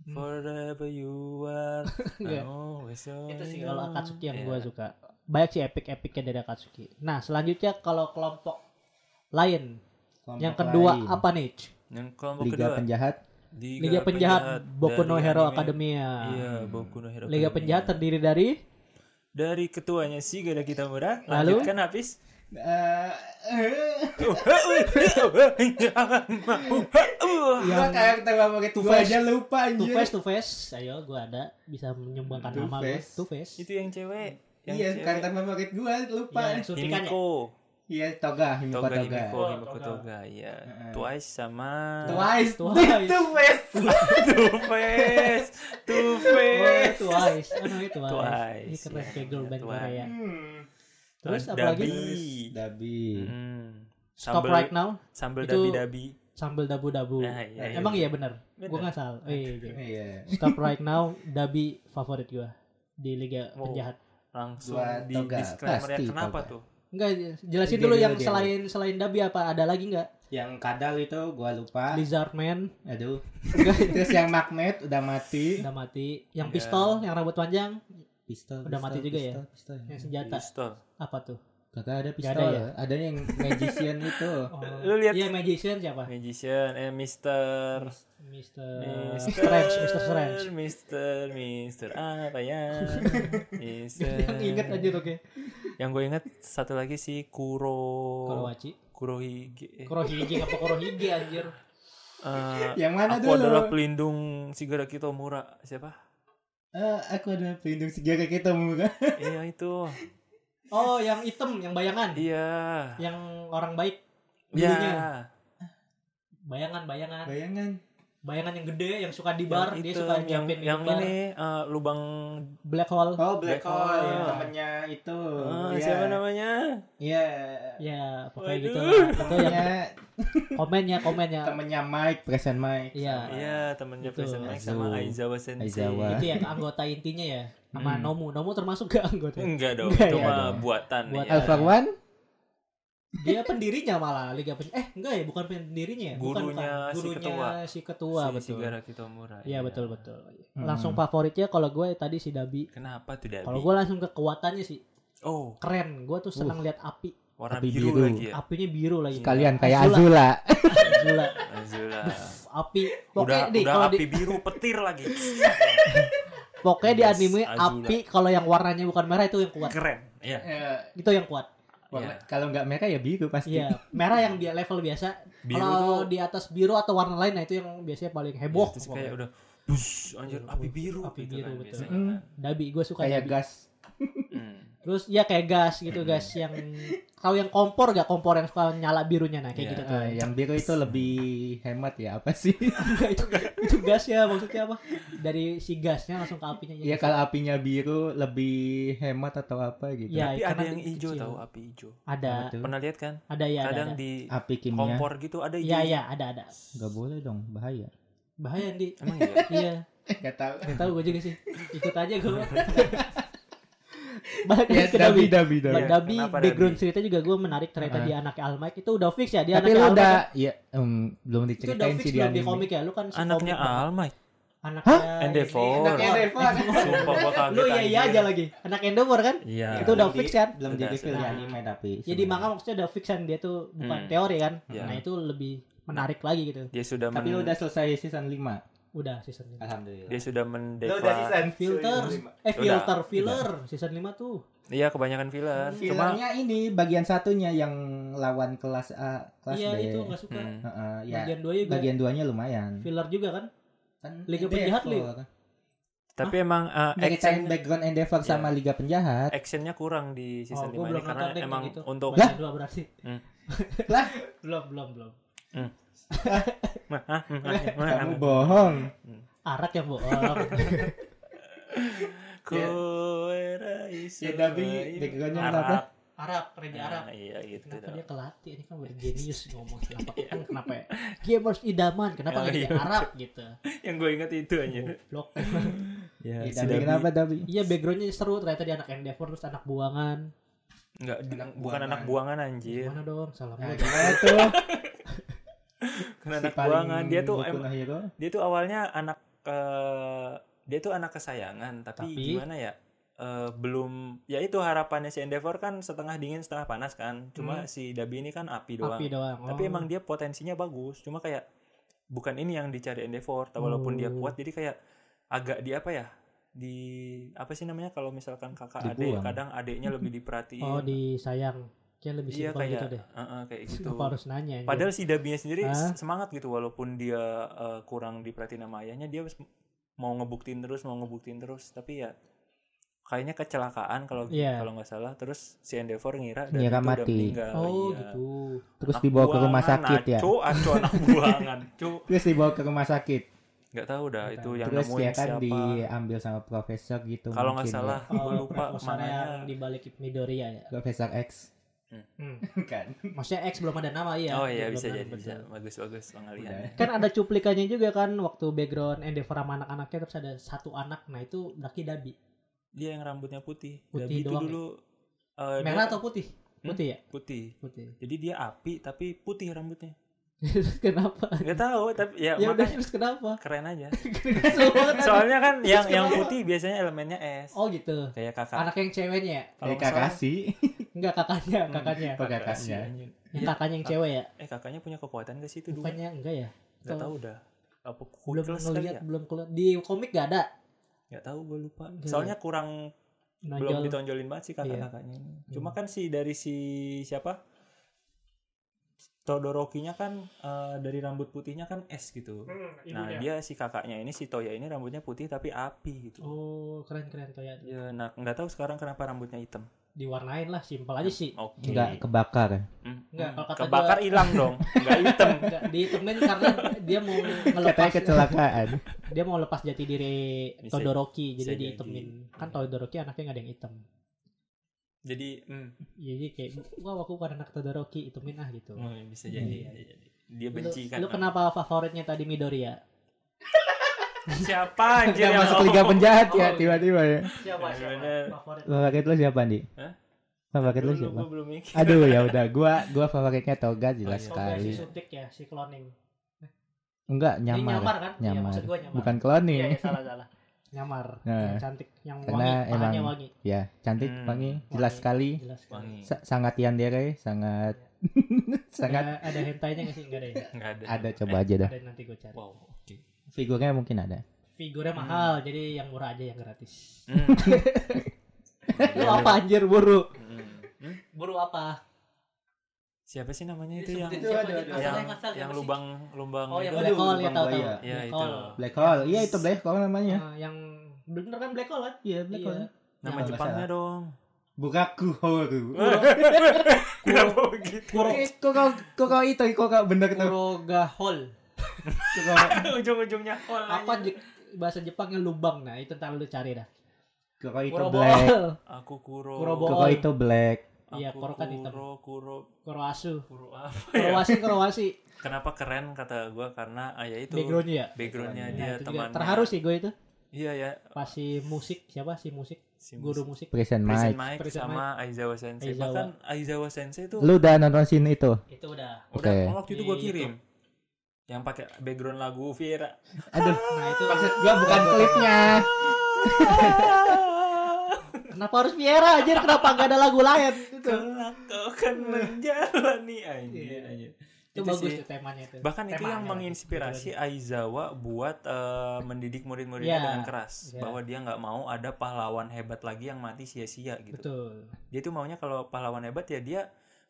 Speaker 3: Forever you are.
Speaker 2: <laughs> Nggak.
Speaker 3: oh, so
Speaker 2: itu sih kalau Akatsuki yang
Speaker 3: Iya.
Speaker 2: gue suka banyak sih epic epicnya dari Akatsuki nah selanjutnya kalau kelompok lain yang kedua apa nih
Speaker 3: Yang kelompok
Speaker 4: Liga
Speaker 3: kedua.
Speaker 4: Penjahat.
Speaker 3: Liga,
Speaker 2: Liga Penjahat Boku no
Speaker 3: dari
Speaker 2: Hero
Speaker 3: anime.
Speaker 2: Academia
Speaker 3: Iya, Boku no Hero
Speaker 2: Liga
Speaker 3: Academia.
Speaker 2: Penjahat terdiri dari
Speaker 3: dari ketuanya si Gada Kitamura.
Speaker 2: Lalu?
Speaker 3: Lanjutkan habis.
Speaker 4: Nah, eh.
Speaker 3: <laughs>
Speaker 2: Iya.
Speaker 4: Yang kayak ketawa pakai
Speaker 2: tufa aja
Speaker 4: lupa
Speaker 2: Two Face Two Face ayo gue ada bisa menyumbangkan
Speaker 4: Two
Speaker 2: nama gue
Speaker 4: Face.
Speaker 2: Two Face
Speaker 3: Itu yang cewek. Yang cewek.
Speaker 4: pakai Iya, gua lupa.
Speaker 2: Iya, suntikannya
Speaker 3: Himiko.
Speaker 4: Iya, toga, Himiko
Speaker 3: Toga
Speaker 4: toga.
Speaker 3: Himiko,
Speaker 5: Oh,
Speaker 3: Himiko
Speaker 5: Toga.
Speaker 3: Toga, iya.
Speaker 4: Heeh.
Speaker 3: Twice sama
Speaker 4: Twice,
Speaker 2: Twice.
Speaker 4: Two Face.
Speaker 3: Two Face, Two
Speaker 2: Oh,
Speaker 3: Face.
Speaker 2: Twice. Oh, namanya Twice.
Speaker 3: Twice,
Speaker 2: Ini keren
Speaker 3: ya,
Speaker 2: kayak girl band
Speaker 3: Twice.
Speaker 2: Korea.
Speaker 4: Hmm.
Speaker 2: Terus
Speaker 3: Terus
Speaker 2: apa lagi?
Speaker 3: Dabi.
Speaker 4: Dabi.
Speaker 3: Hmm.
Speaker 2: Stop
Speaker 3: Sambal-
Speaker 2: right now.
Speaker 3: Sambal
Speaker 2: Itu-
Speaker 3: dabi-dabi.
Speaker 2: Sambal dabu-dabu.
Speaker 3: Nah, iya, iya.
Speaker 2: Emang iya bener.
Speaker 3: Bener.
Speaker 2: Gue nggak salah. Oh, iya, iya.
Speaker 4: Iya.
Speaker 2: Stop right now. Dabi favorit gue di Liga
Speaker 3: Wow.
Speaker 2: Penjahat.
Speaker 3: Langsung
Speaker 4: Dua
Speaker 3: di
Speaker 4: Toga,
Speaker 3: disclaimer ya
Speaker 4: pasti
Speaker 3: kenapa
Speaker 4: Toga.
Speaker 3: tuh?
Speaker 2: Enggak, jelasin
Speaker 4: Dia
Speaker 2: dulu
Speaker 4: dulu,
Speaker 2: yang
Speaker 4: dia dulu.
Speaker 2: selain selain Dabi apa ada lagi nggak?
Speaker 4: Yang kadal itu gua lupa.
Speaker 2: Lizardman
Speaker 4: Aduh. <laughs> Terus yang magnet udah mati.
Speaker 2: udah mati. Yang
Speaker 3: Iya.
Speaker 2: pistol, yang rambut panjang,
Speaker 4: Pistol.
Speaker 2: Udah mati juga ya?
Speaker 4: Pistol.
Speaker 2: yang senjata.
Speaker 3: Pistol.
Speaker 2: Apa tuh?
Speaker 4: Kagak ada
Speaker 2: Nggak
Speaker 4: pistol.
Speaker 2: ada
Speaker 4: Ada
Speaker 2: ya?
Speaker 4: yang magician
Speaker 2: <laughs>
Speaker 4: itu.
Speaker 3: Lu lihat
Speaker 2: Iya, magician siapa?
Speaker 3: Magician, eh Mister,
Speaker 2: Mister
Speaker 3: Mister,
Speaker 2: Strange, Eh, Mister Strange.
Speaker 3: Mister, Mister apa
Speaker 2: <laughs>
Speaker 3: ya? Mister.
Speaker 2: yang inget aja tuh kayak
Speaker 3: Yang gue inget satu lagi si Kuro,
Speaker 2: Kurowachi.
Speaker 3: Kurohige. eh,
Speaker 2: Kurohige apa Kurohige anjir?
Speaker 3: eh,
Speaker 4: yang mana
Speaker 3: aku
Speaker 4: dulu?
Speaker 3: adalah pelindung Shigaraki Tomura.
Speaker 2: <laughs>
Speaker 3: Siapa?
Speaker 4: Eh, aku adalah pelindung segera kita muka.
Speaker 3: iya itu.
Speaker 2: Oh, yang hitam, yang bayangan.
Speaker 3: Iya.
Speaker 2: Yang orang baik.
Speaker 3: Iya.
Speaker 2: Dulunya. Bayangan, bayangan.
Speaker 4: Bayangan.
Speaker 2: Bayangan yang gede yang suka di bar,
Speaker 3: Yang
Speaker 2: dia
Speaker 3: item,
Speaker 2: suka
Speaker 3: yang,
Speaker 2: nyiapin
Speaker 3: yang
Speaker 2: di bar.
Speaker 3: ini eh, lubang
Speaker 2: Black hole. Ah,
Speaker 4: Oh,
Speaker 3: Black
Speaker 4: Black, Hole,
Speaker 3: Hole.
Speaker 4: yang temennya itu.
Speaker 2: Oh,
Speaker 3: eh,
Speaker 4: Iya.
Speaker 3: siapa namanya?
Speaker 4: Iya.
Speaker 2: Ya, pokoknya gitu.
Speaker 3: Waduh.
Speaker 2: lah. Itu yang
Speaker 4: Temennya,
Speaker 2: komennya, komennya.
Speaker 4: temennya Mike, present Mike.
Speaker 2: Iya.
Speaker 3: Iya, temennya
Speaker 2: Itu.
Speaker 3: Prison Mike sama
Speaker 4: Aizawa.
Speaker 3: Aizawa Sensei.
Speaker 4: Aizawa.
Speaker 2: Itu yang anggota intinya ya. Sama
Speaker 4: Hmm.
Speaker 2: Nomu. Nomu termasuk gak anggota?
Speaker 3: Enggak dong,
Speaker 2: Enggak,
Speaker 3: itu
Speaker 4: iya
Speaker 3: mah
Speaker 4: dong.
Speaker 3: buatan.
Speaker 2: Buat-
Speaker 3: ya.
Speaker 4: Alpha One.
Speaker 2: Dia pendirinya malah Liga Pen Eh, enggak ya, bukan pendirinya. ya? Bukan,
Speaker 3: Gurunya
Speaker 2: bukan.
Speaker 3: si
Speaker 2: Gurunya
Speaker 3: ketua.
Speaker 2: si ketua,
Speaker 3: si
Speaker 2: betul.
Speaker 3: Shigaraki Tomura.
Speaker 2: Iya, betul, betul.
Speaker 4: Hmm.
Speaker 2: Langsung favoritnya kalau gue tadi si Dabi.
Speaker 3: Kenapa tuh Dabi?
Speaker 2: Kalau gue langsung ke kekuatannya sih
Speaker 3: Oh,
Speaker 2: keren. Gue tuh
Speaker 3: Uh.
Speaker 2: senang lihat api.
Speaker 3: warna
Speaker 4: Tapi
Speaker 3: biru,
Speaker 4: biru.
Speaker 3: lagi ya.
Speaker 2: Apinya biru lagi.
Speaker 4: Kalian kayak
Speaker 2: Azula.
Speaker 4: Azula.
Speaker 2: Gila.
Speaker 3: Azula.
Speaker 2: api.
Speaker 3: udah
Speaker 2: Pokoknya di
Speaker 3: udah
Speaker 2: eh, kalau
Speaker 3: api
Speaker 2: di
Speaker 3: biru petir
Speaker 2: <laughs>
Speaker 3: lagi.
Speaker 2: pokoknya di
Speaker 3: Yes,
Speaker 2: anime
Speaker 3: Azula.
Speaker 2: api kalau yang warnanya bukan merah itu yang kuat.
Speaker 3: Keren. Iya.
Speaker 4: Eh,
Speaker 2: Itu yang kuat.
Speaker 4: warna-
Speaker 3: Iya.
Speaker 4: Kalau nggak merah ya biru pasti.
Speaker 2: Iya, merah yang dia level biasa.
Speaker 3: Biru
Speaker 2: Kalau
Speaker 3: tuh
Speaker 2: di atas biru atau warna lain nah itu yang biasanya paling heboh.
Speaker 3: Iya, terus
Speaker 2: pokoknya. Iya,
Speaker 3: kayak udah Bus, anjir, api biru.
Speaker 2: Api
Speaker 3: gitu
Speaker 2: biru,
Speaker 3: kan
Speaker 2: betul. Mm.
Speaker 3: biasanya
Speaker 4: Hmm.
Speaker 3: kan.
Speaker 2: Dabi gue suka
Speaker 4: Kayak
Speaker 2: Dabi.
Speaker 4: gas.
Speaker 3: Hmm.
Speaker 2: Terus ya kayak gas gitu gas yang kalau yang kompor gak kompor yang suka nyala birunya nah kayak
Speaker 3: Iya.
Speaker 2: gitu <laughs> tuh.
Speaker 4: Eh, yang biru itu lebih hemat ya apa
Speaker 2: <laughs>
Speaker 4: sih?
Speaker 2: Enggak, itu itu gas ya maksudnya apa? Dari si gasnya langsung ke apinya.
Speaker 4: Iya kalau apinya biru lebih hemat atau apa gitu.
Speaker 2: Iya,
Speaker 3: Tapi
Speaker 2: karena
Speaker 3: ada yang
Speaker 2: kecil.
Speaker 3: hijau tahu api hijau.
Speaker 2: ada
Speaker 4: Apa tuh?
Speaker 3: Pernah lihat kan?
Speaker 2: ada ya ada.
Speaker 3: Kadang
Speaker 2: ada.
Speaker 3: di
Speaker 4: Api kimia.
Speaker 3: kompor gitu ada hijau.
Speaker 2: Iya iya ada ada.
Speaker 4: Gak boleh dong,
Speaker 2: <laughs>
Speaker 4: bahaya. Ya,
Speaker 2: Bahaya di. <laughs>
Speaker 3: Emang iya.
Speaker 2: Iya.
Speaker 4: Gak tahu. <laughs>
Speaker 2: Gak tahu gue juga sih. Ikut aja gue. Balik
Speaker 4: Ya,
Speaker 2: lagi ke
Speaker 4: dabi
Speaker 2: Dabi.
Speaker 4: dabi dabi.
Speaker 2: Mbak
Speaker 3: Iya,
Speaker 2: Dabi
Speaker 3: kenapa
Speaker 2: background cerita juga gue menarik ternyata
Speaker 4: Ah.
Speaker 2: dia anak Almike itu udah fix ya dia
Speaker 4: Tapi
Speaker 2: anaknya
Speaker 4: lu
Speaker 2: Almike.
Speaker 4: udah ya em,
Speaker 2: itu
Speaker 4: belum
Speaker 2: udah
Speaker 4: diceritain
Speaker 2: fix
Speaker 4: sih di
Speaker 2: belum di
Speaker 4: anime.
Speaker 2: komik ya lu kan si
Speaker 3: Anaknya
Speaker 2: komik banget.
Speaker 3: Al
Speaker 2: <laughs>
Speaker 3: Mike.
Speaker 2: anaknya Iya,
Speaker 3: Endeavor. Anaknya
Speaker 4: Endeavor.
Speaker 3: Sumpah gua kaget.
Speaker 2: lu iya iya
Speaker 3: anjir.
Speaker 2: aja lagi anak Endeavor kan
Speaker 3: Iya.
Speaker 2: Itu udah fix kan?
Speaker 4: Nah, Belum
Speaker 3: Udah,
Speaker 4: di reveal di
Speaker 2: sudah.
Speaker 4: anime tapi.
Speaker 2: ya di manga maksudnya udah fix kan dia tuh bukan
Speaker 3: Hmm.
Speaker 2: teori kan
Speaker 3: Iya.
Speaker 2: nah itu lebih menarik lagi gitu
Speaker 3: Dia sudah
Speaker 4: Tapi
Speaker 3: men-
Speaker 4: lu udah selesai season 5.
Speaker 2: udah season 5
Speaker 4: Alhamdulillah.
Speaker 3: dia sudah
Speaker 2: iya.
Speaker 4: Lu
Speaker 3: mendeklar
Speaker 4: udah season
Speaker 2: filter
Speaker 4: lima.
Speaker 2: eh
Speaker 3: Udah.
Speaker 2: filter filler season 5 tuh
Speaker 3: Iya kebanyakan filler. Cuma
Speaker 4: Filmnya ini bagian satunya yang lawan kelas A, kelas
Speaker 2: iya
Speaker 4: B.
Speaker 2: itu nggak suka
Speaker 3: hmm.
Speaker 4: Heeh, ya.
Speaker 2: bagian 2 juga
Speaker 4: Bagian duanya lumayan.
Speaker 2: filler juga kan
Speaker 4: Kan
Speaker 2: Liga
Speaker 4: Endeavor.
Speaker 2: Penjahat, Li.
Speaker 3: tapi emang uh,
Speaker 4: Ceritain
Speaker 3: action
Speaker 4: background Endeavor
Speaker 3: Iya.
Speaker 4: sama Liga Penjahat.
Speaker 3: actionnya kurang di season
Speaker 2: oh gue
Speaker 3: 5 ini
Speaker 2: belum
Speaker 3: karena
Speaker 2: nonton deh
Speaker 3: emang
Speaker 2: kalau gitu
Speaker 3: untuk
Speaker 2: Bagian dua berarti <laughs>
Speaker 3: Hmm.
Speaker 4: Lah.
Speaker 2: belum belum belum
Speaker 3: Hah? Hmm,
Speaker 4: Eh,
Speaker 3: hmm,
Speaker 4: Kamu
Speaker 3: hmm.
Speaker 4: bohong.
Speaker 2: arak yang bohong
Speaker 3: Koeraisu
Speaker 4: Ya, tapi
Speaker 3: waiu.
Speaker 4: backgroundnya
Speaker 3: Arab.
Speaker 4: kenapa?
Speaker 2: <laughs> Arab kerja Arab
Speaker 3: Ah, iya gitu Iya.
Speaker 2: Kenapa
Speaker 3: dong.
Speaker 2: dia kelatih? Ini kan udah genius ngomong
Speaker 3: <laughs>
Speaker 2: kenapa? kenapa ya? Gamers idaman,
Speaker 3: Oh,
Speaker 2: kenapa nggak
Speaker 3: iya.
Speaker 2: jadi Arab gitu?
Speaker 3: yang gue ingat itu aja
Speaker 2: Blok.
Speaker 3: ya,
Speaker 4: Eh,
Speaker 3: si Dabi. Nah,
Speaker 4: Dabi kenapa Dabi?
Speaker 2: <laughs> Iya backgroundnya seru ternyata dia anak Endeavor terus anak buangan.
Speaker 3: Enggak, di-
Speaker 4: Anak
Speaker 3: bukan
Speaker 4: buangan.
Speaker 3: anak buangan anjir
Speaker 2: Gimana dong? Salam.
Speaker 4: Nah, gimana tuh?
Speaker 3: bukan gitu. <laughs> anak buangan dia tuh em-
Speaker 4: hero.
Speaker 3: dia tuh awalnya anak eh, dia tuh anak kesayangan tapi,
Speaker 2: Tapi-
Speaker 3: gimana ya Eh, belum ya itu harapannya si Endeavor kan setengah dingin setengah panas kan cuma si Dabi ini kan api doang
Speaker 2: Api doang.
Speaker 3: tapi
Speaker 2: Oh.
Speaker 3: emang dia potensinya bagus cuma kayak bukan ini yang dicari Endeavor tapi walaupun dia
Speaker 2: Oh.
Speaker 3: kuat jadi kayak agak di apa ya di apa sih namanya kalau misalkan kakak adik
Speaker 4: Dibuang.
Speaker 3: kadang adiknya lebih diperhatiin
Speaker 2: <laughs> Oh disayang. Kayak lebih
Speaker 3: iya
Speaker 2: simpel gitu
Speaker 3: kayak
Speaker 2: deh.
Speaker 3: eh, eh, kayak gitu
Speaker 2: Kenapa harus nanya? anjir?
Speaker 3: Padahal si Dabinya sendiri
Speaker 2: Hah?
Speaker 3: semangat gitu walaupun dia eh, kurang diperhatiin sama ayahnya dia harus mau ngebuktiin terus mau ngebuktiin terus tapi ya kayaknya kecelakaan kalau
Speaker 2: Iya.
Speaker 3: kalau nggak salah terus si Endeavor ngira dan
Speaker 4: Ngira
Speaker 3: itu udah
Speaker 4: mati.
Speaker 3: meninggal
Speaker 2: oh
Speaker 3: iya.
Speaker 2: gitu
Speaker 4: Terus
Speaker 3: Anak
Speaker 4: dibawa ke rumah
Speaker 3: buangan,
Speaker 4: sakit ya.
Speaker 3: acu, acu
Speaker 4: <laughs>
Speaker 3: anak buangan cu
Speaker 4: Terus dibawa ke rumah sakit.
Speaker 3: nggak tahu dah itu yang
Speaker 4: Terus
Speaker 3: nemuin
Speaker 4: dia kan
Speaker 3: Ya, siapa
Speaker 4: diambil sama profesor gitu.
Speaker 3: kalau nggak
Speaker 4: mungkin ya.
Speaker 3: salah gue
Speaker 2: oh
Speaker 3: lupa
Speaker 2: perkosaan
Speaker 3: mananya
Speaker 2: yang dibalik Midoriya ya
Speaker 4: Profesor X. <laughs>
Speaker 2: Hmm.
Speaker 4: kan.
Speaker 2: maksudnya X belum ada nama ya
Speaker 3: oh iya
Speaker 2: Belum
Speaker 3: bisa
Speaker 2: ada,
Speaker 3: jadi
Speaker 2: betul.
Speaker 3: bisa bagus-bagus pengalian
Speaker 4: Udah.
Speaker 2: kan ada cuplikannya juga kan waktu background Endeavor sama anak-anaknya terus ada satu anak nah itu Daki Dabi
Speaker 3: dia yang rambutnya putih
Speaker 2: Putih
Speaker 3: Dabi itu
Speaker 2: doang ya?
Speaker 3: dulu eh, dia
Speaker 2: merah atau putih
Speaker 3: Hmm?
Speaker 2: putih ya
Speaker 3: putih
Speaker 2: putih <laughs>
Speaker 3: jadi dia api tapi putih rambutnya
Speaker 2: terus kenapa
Speaker 3: nggak
Speaker 4: <laughs>
Speaker 3: tahu tapi ya,
Speaker 2: ya udah
Speaker 3: makanya
Speaker 2: terus kenapa <laughs>
Speaker 3: keren aja
Speaker 2: Soalnya-
Speaker 3: soalnya kan yang yang
Speaker 2: kenapa?
Speaker 3: putih biasanya elemennya es
Speaker 2: oh gitu
Speaker 3: kayak kakak
Speaker 2: anak yang ceweknya ya
Speaker 3: Kalau
Speaker 4: Kayak
Speaker 3: nggak salah-
Speaker 4: Kakashi.
Speaker 2: enggak kakaknya
Speaker 3: Hmm.
Speaker 2: kakaknya
Speaker 4: Apa
Speaker 3: Sih,
Speaker 4: kakaknya?
Speaker 3: anjing.
Speaker 2: Yang kakaknya yang cewek ya
Speaker 3: eh kakaknya punya kekuatan gak sih itu dulu
Speaker 2: bukannya enggak ya
Speaker 3: nggak
Speaker 2: atau-
Speaker 3: tahu dah apa
Speaker 2: belum
Speaker 3: kukilas kali
Speaker 2: ngeliat
Speaker 3: ya
Speaker 2: belum keluar di komik gak ada
Speaker 3: nggak tahu gue lupa
Speaker 2: Nggak
Speaker 3: soalnya kurang belum gitu.
Speaker 2: nonjol
Speaker 3: ditonjolin banget sih
Speaker 2: Iya.
Speaker 3: kakak-kakaknya ini. Cuma kan si dari si siapa? Todoroki-nya kan eh, dari rambut putihnya kan es gitu. nah, dia si kakaknya ini si Toya ini rambutnya putih tapi api gitu.
Speaker 2: oh keren keren tuh ya
Speaker 3: Ya, nah nggak tahu sekarang kenapa rambutnya hitam.
Speaker 2: diwarnain lah simpel
Speaker 3: Ya.
Speaker 2: aja sih
Speaker 3: Oke.
Speaker 4: Enggak kebakar.
Speaker 3: Hmm,
Speaker 2: Nggak,
Speaker 3: hmm.
Speaker 2: kalau kata
Speaker 3: Kebakar
Speaker 2: gua-
Speaker 3: hilang dong, nggak
Speaker 2: <laughs>
Speaker 3: hitam.
Speaker 2: Enggak, ditemen karena dia mau
Speaker 4: Katanya
Speaker 2: ngelepas
Speaker 4: kecelakaan.
Speaker 2: dia mau lepas jati diri
Speaker 3: Bisa-
Speaker 2: Todoroki jadi
Speaker 3: bisa jadi.
Speaker 2: dihitemin kan Todoroki anaknya nggak ada yang hitam
Speaker 3: Jadi, hmm,
Speaker 2: jadi kayak wah aku bukan anak Todoroki hitemin ah gitu
Speaker 3: hmm, bisa jadi.
Speaker 2: Iya.
Speaker 3: bisa jadi. Dia
Speaker 2: lu,
Speaker 3: benci kan.
Speaker 2: lu kenapa favoritnya tadi ya? Midoriya
Speaker 3: Siapa anjir
Speaker 4: Dia
Speaker 3: yang
Speaker 4: masuk liga penjahat ya
Speaker 2: Oh.
Speaker 4: tiba-tiba ya.
Speaker 2: siapa
Speaker 3: siapa? Bener.
Speaker 2: favorit
Speaker 4: Favorit lu siapa, Andi?
Speaker 3: Hah?
Speaker 4: Favorit lu
Speaker 3: Dulu
Speaker 4: siapa?
Speaker 3: gua belum mikir.
Speaker 4: Aduh ya udah gua gua favoritnya Toga
Speaker 2: Toga si
Speaker 3: Oh, iya.
Speaker 4: jelas sekali.
Speaker 2: Sutik ya si cloning
Speaker 4: Enggak
Speaker 2: Dia
Speaker 4: nyamar.
Speaker 2: nyamar kan Iya,
Speaker 4: Nyamar.
Speaker 2: maksud gua nyamar
Speaker 4: Bukan cloning.
Speaker 2: iya iya, salah salah nyamar
Speaker 4: Nah.
Speaker 2: yang cantik yang
Speaker 4: Karena
Speaker 2: wangi
Speaker 4: emang-
Speaker 2: pahanya wangi
Speaker 4: Ya, cantik,
Speaker 3: Hmm.
Speaker 4: wangi, jelas
Speaker 2: Wangi.
Speaker 4: sekali.
Speaker 2: jelas kan
Speaker 3: Wangi.
Speaker 4: Sa- sangat yandere, sangat <laughs> sangat
Speaker 2: ada, ada hentainya nggak sih nggak ada ya
Speaker 3: Nggak ada. Eh,
Speaker 4: ada coba aja dah.
Speaker 2: ada nanti gue cari
Speaker 3: Wow, oke.
Speaker 4: Figurnya mungkin ada.
Speaker 2: figurnya
Speaker 3: Hmm.
Speaker 2: mahal jadi yang murah aja yang gratis
Speaker 3: <laughs> Hmm.
Speaker 2: lu apa anjir buru
Speaker 3: Hmm.
Speaker 2: buru apa
Speaker 3: Siapa sih namanya itu
Speaker 2: Sebutin siapa
Speaker 3: yang
Speaker 4: Aduh,
Speaker 2: nih?
Speaker 4: aduh,
Speaker 2: Masalah,
Speaker 3: yang,
Speaker 2: masalah, apa
Speaker 3: yang
Speaker 2: sih?
Speaker 3: lubang lubang
Speaker 2: oh yang
Speaker 3: itu?
Speaker 4: Aduh,
Speaker 2: black hole ya
Speaker 4: lubang
Speaker 2: tahu tahu
Speaker 4: buaya.
Speaker 3: Ya,
Speaker 2: black
Speaker 3: itu.
Speaker 2: hole
Speaker 4: Black Hole. Iya itu Black Hole namanya.
Speaker 2: Nah, yang bener kan black hole kan
Speaker 4: Iya,
Speaker 2: Black Hole.
Speaker 3: nama
Speaker 4: Kalau nggak
Speaker 3: Jepangnya <laughs> dong.
Speaker 4: Bukaku Horu.
Speaker 3: Eh, Kenapa begitu?
Speaker 2: kuro
Speaker 4: Eh, Kok kau kok kau itu kok kau bener tuh.
Speaker 2: kuroga hole
Speaker 4: Kok kau-
Speaker 3: <laughs> Ujung-ujungnya kol.
Speaker 2: apa Je- bahasa Jepangnya lubang nah itu ntar lu cari dah
Speaker 4: kok kau itu
Speaker 2: kuro
Speaker 4: Black.
Speaker 3: <laughs>
Speaker 2: ball
Speaker 3: Aku kuro.
Speaker 2: Kuro
Speaker 4: Kok
Speaker 2: bohong.
Speaker 4: kau itu Black.
Speaker 3: Aku
Speaker 2: Iya, kuro kan hitam.
Speaker 3: Kuro, kuro,
Speaker 2: kuro asu
Speaker 3: kuro apa
Speaker 2: kuro
Speaker 3: ya?
Speaker 2: wasi kuro wasi
Speaker 3: Kenapa keren kata gua karena ah, ya itu
Speaker 2: backgroundnya ya
Speaker 3: backgroundnya
Speaker 4: Nah,
Speaker 3: dia
Speaker 2: Nah, itu juga.
Speaker 3: teman.
Speaker 2: terharu sih gue itu
Speaker 3: Iya ya.
Speaker 2: pas si musik siapa si musik
Speaker 3: Si
Speaker 2: guru musik
Speaker 4: Present
Speaker 3: Prison
Speaker 4: Mike.
Speaker 3: Mike
Speaker 2: Prison
Speaker 3: sama Aizawa Sensei.
Speaker 2: Aizawa.
Speaker 3: Bahkan Aizawa Sensei itu
Speaker 4: Lu udah nonton scene itu?
Speaker 2: itu udah
Speaker 3: udah
Speaker 4: Oke.
Speaker 3: waktu itu gua
Speaker 2: Di
Speaker 3: kirim. Iya, gitu. Yang pakai background lagu Viera.
Speaker 2: <laughs>
Speaker 4: Aduh.
Speaker 2: nah itu
Speaker 4: Maksud gua bukan klipnya.
Speaker 2: kenapa harus Viera anjir kenapa nggak ada lagu lain itu
Speaker 3: Kelak kau akan menjalani Ah, anjir
Speaker 2: Iya.
Speaker 3: anjir.
Speaker 2: itu
Speaker 3: Itu
Speaker 2: bagus
Speaker 3: sih.
Speaker 2: tuh temanya itu
Speaker 3: Bahkan itu
Speaker 2: Temanya
Speaker 3: yang
Speaker 2: lagi.
Speaker 3: menginspirasi
Speaker 2: Betul-betul.
Speaker 3: Aizawa buat eh, mendidik murid-muridnya
Speaker 2: Iya.
Speaker 3: dengan keras
Speaker 2: Iya.
Speaker 3: bahwa dia nggak mau ada pahlawan hebat lagi yang mati sia-sia gitu.
Speaker 2: betul
Speaker 3: Dia tuh maunya kalau pahlawan hebat ya dia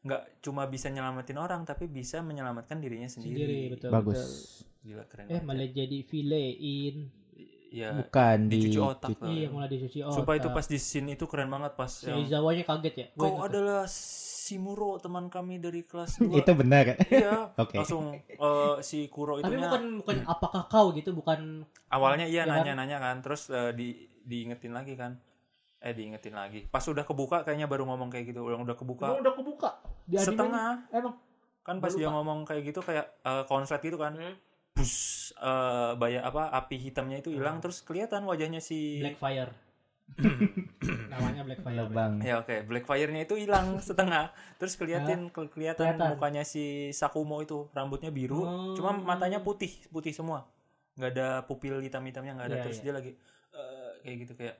Speaker 3: nggak cuma bisa nyelamatin orang tapi bisa menyelamatkan dirinya sendiri.
Speaker 2: sendiri betul
Speaker 4: Bagus.
Speaker 2: betul.
Speaker 3: Gila keren.
Speaker 2: eh
Speaker 3: banget.
Speaker 2: malah jadi filein
Speaker 3: ya,
Speaker 4: Bukan di
Speaker 3: dicuci otak. lah.
Speaker 2: iya mulai dicuci otak
Speaker 3: Supaya Oh, itu pas di scene itu keren banget pas
Speaker 2: si
Speaker 3: yang
Speaker 2: Izawanya kaget ya Gua
Speaker 3: kau
Speaker 2: ingat tuh.
Speaker 3: adalah Simuro teman kami dari
Speaker 2: <laughs>
Speaker 3: kelas 2.
Speaker 4: Itu benar.
Speaker 3: Iya,
Speaker 4: Oke.
Speaker 3: langsung eh, si Kuro itu
Speaker 2: tapi bukan bukan
Speaker 3: Hmm.
Speaker 2: apakah kau gitu bukan
Speaker 3: awalnya iya
Speaker 2: Iya kan?
Speaker 3: nanya-nanya kan, terus eh, di diingetin lagi kan. Eh diingetin lagi. Pas udah kebuka kayaknya baru ngomong kayak gitu. Ulang udah
Speaker 2: Gua
Speaker 3: kebuka
Speaker 2: udah kebuka di anime
Speaker 3: setengah.
Speaker 2: emang
Speaker 3: Kan pas
Speaker 2: Gua
Speaker 3: dia
Speaker 2: lupa. Hmm.
Speaker 3: ngomong kayak gitu kayak eh, konslet gitu kan. Bus eh baya apa api hitamnya itu
Speaker 2: Hmm.
Speaker 3: hilang terus kelihatan wajahnya si <coughs>
Speaker 2: Blackfire namanya Blackfire
Speaker 4: Lebang.
Speaker 3: Ya oke, Blackfire-nya itu hilang <laughs> setengah. Terus kelihatan ke- kelihatan
Speaker 2: Ah, Kelihatan.
Speaker 3: mukanya si Sakumo itu, rambutnya biru,
Speaker 2: Oh.
Speaker 3: cuma matanya putih, putih semua. nggak ada pupil hitam-hitamnya nggak ada.
Speaker 2: Iya,
Speaker 3: Terus
Speaker 2: iya.
Speaker 3: dia lagi eh, kayak gitu kayak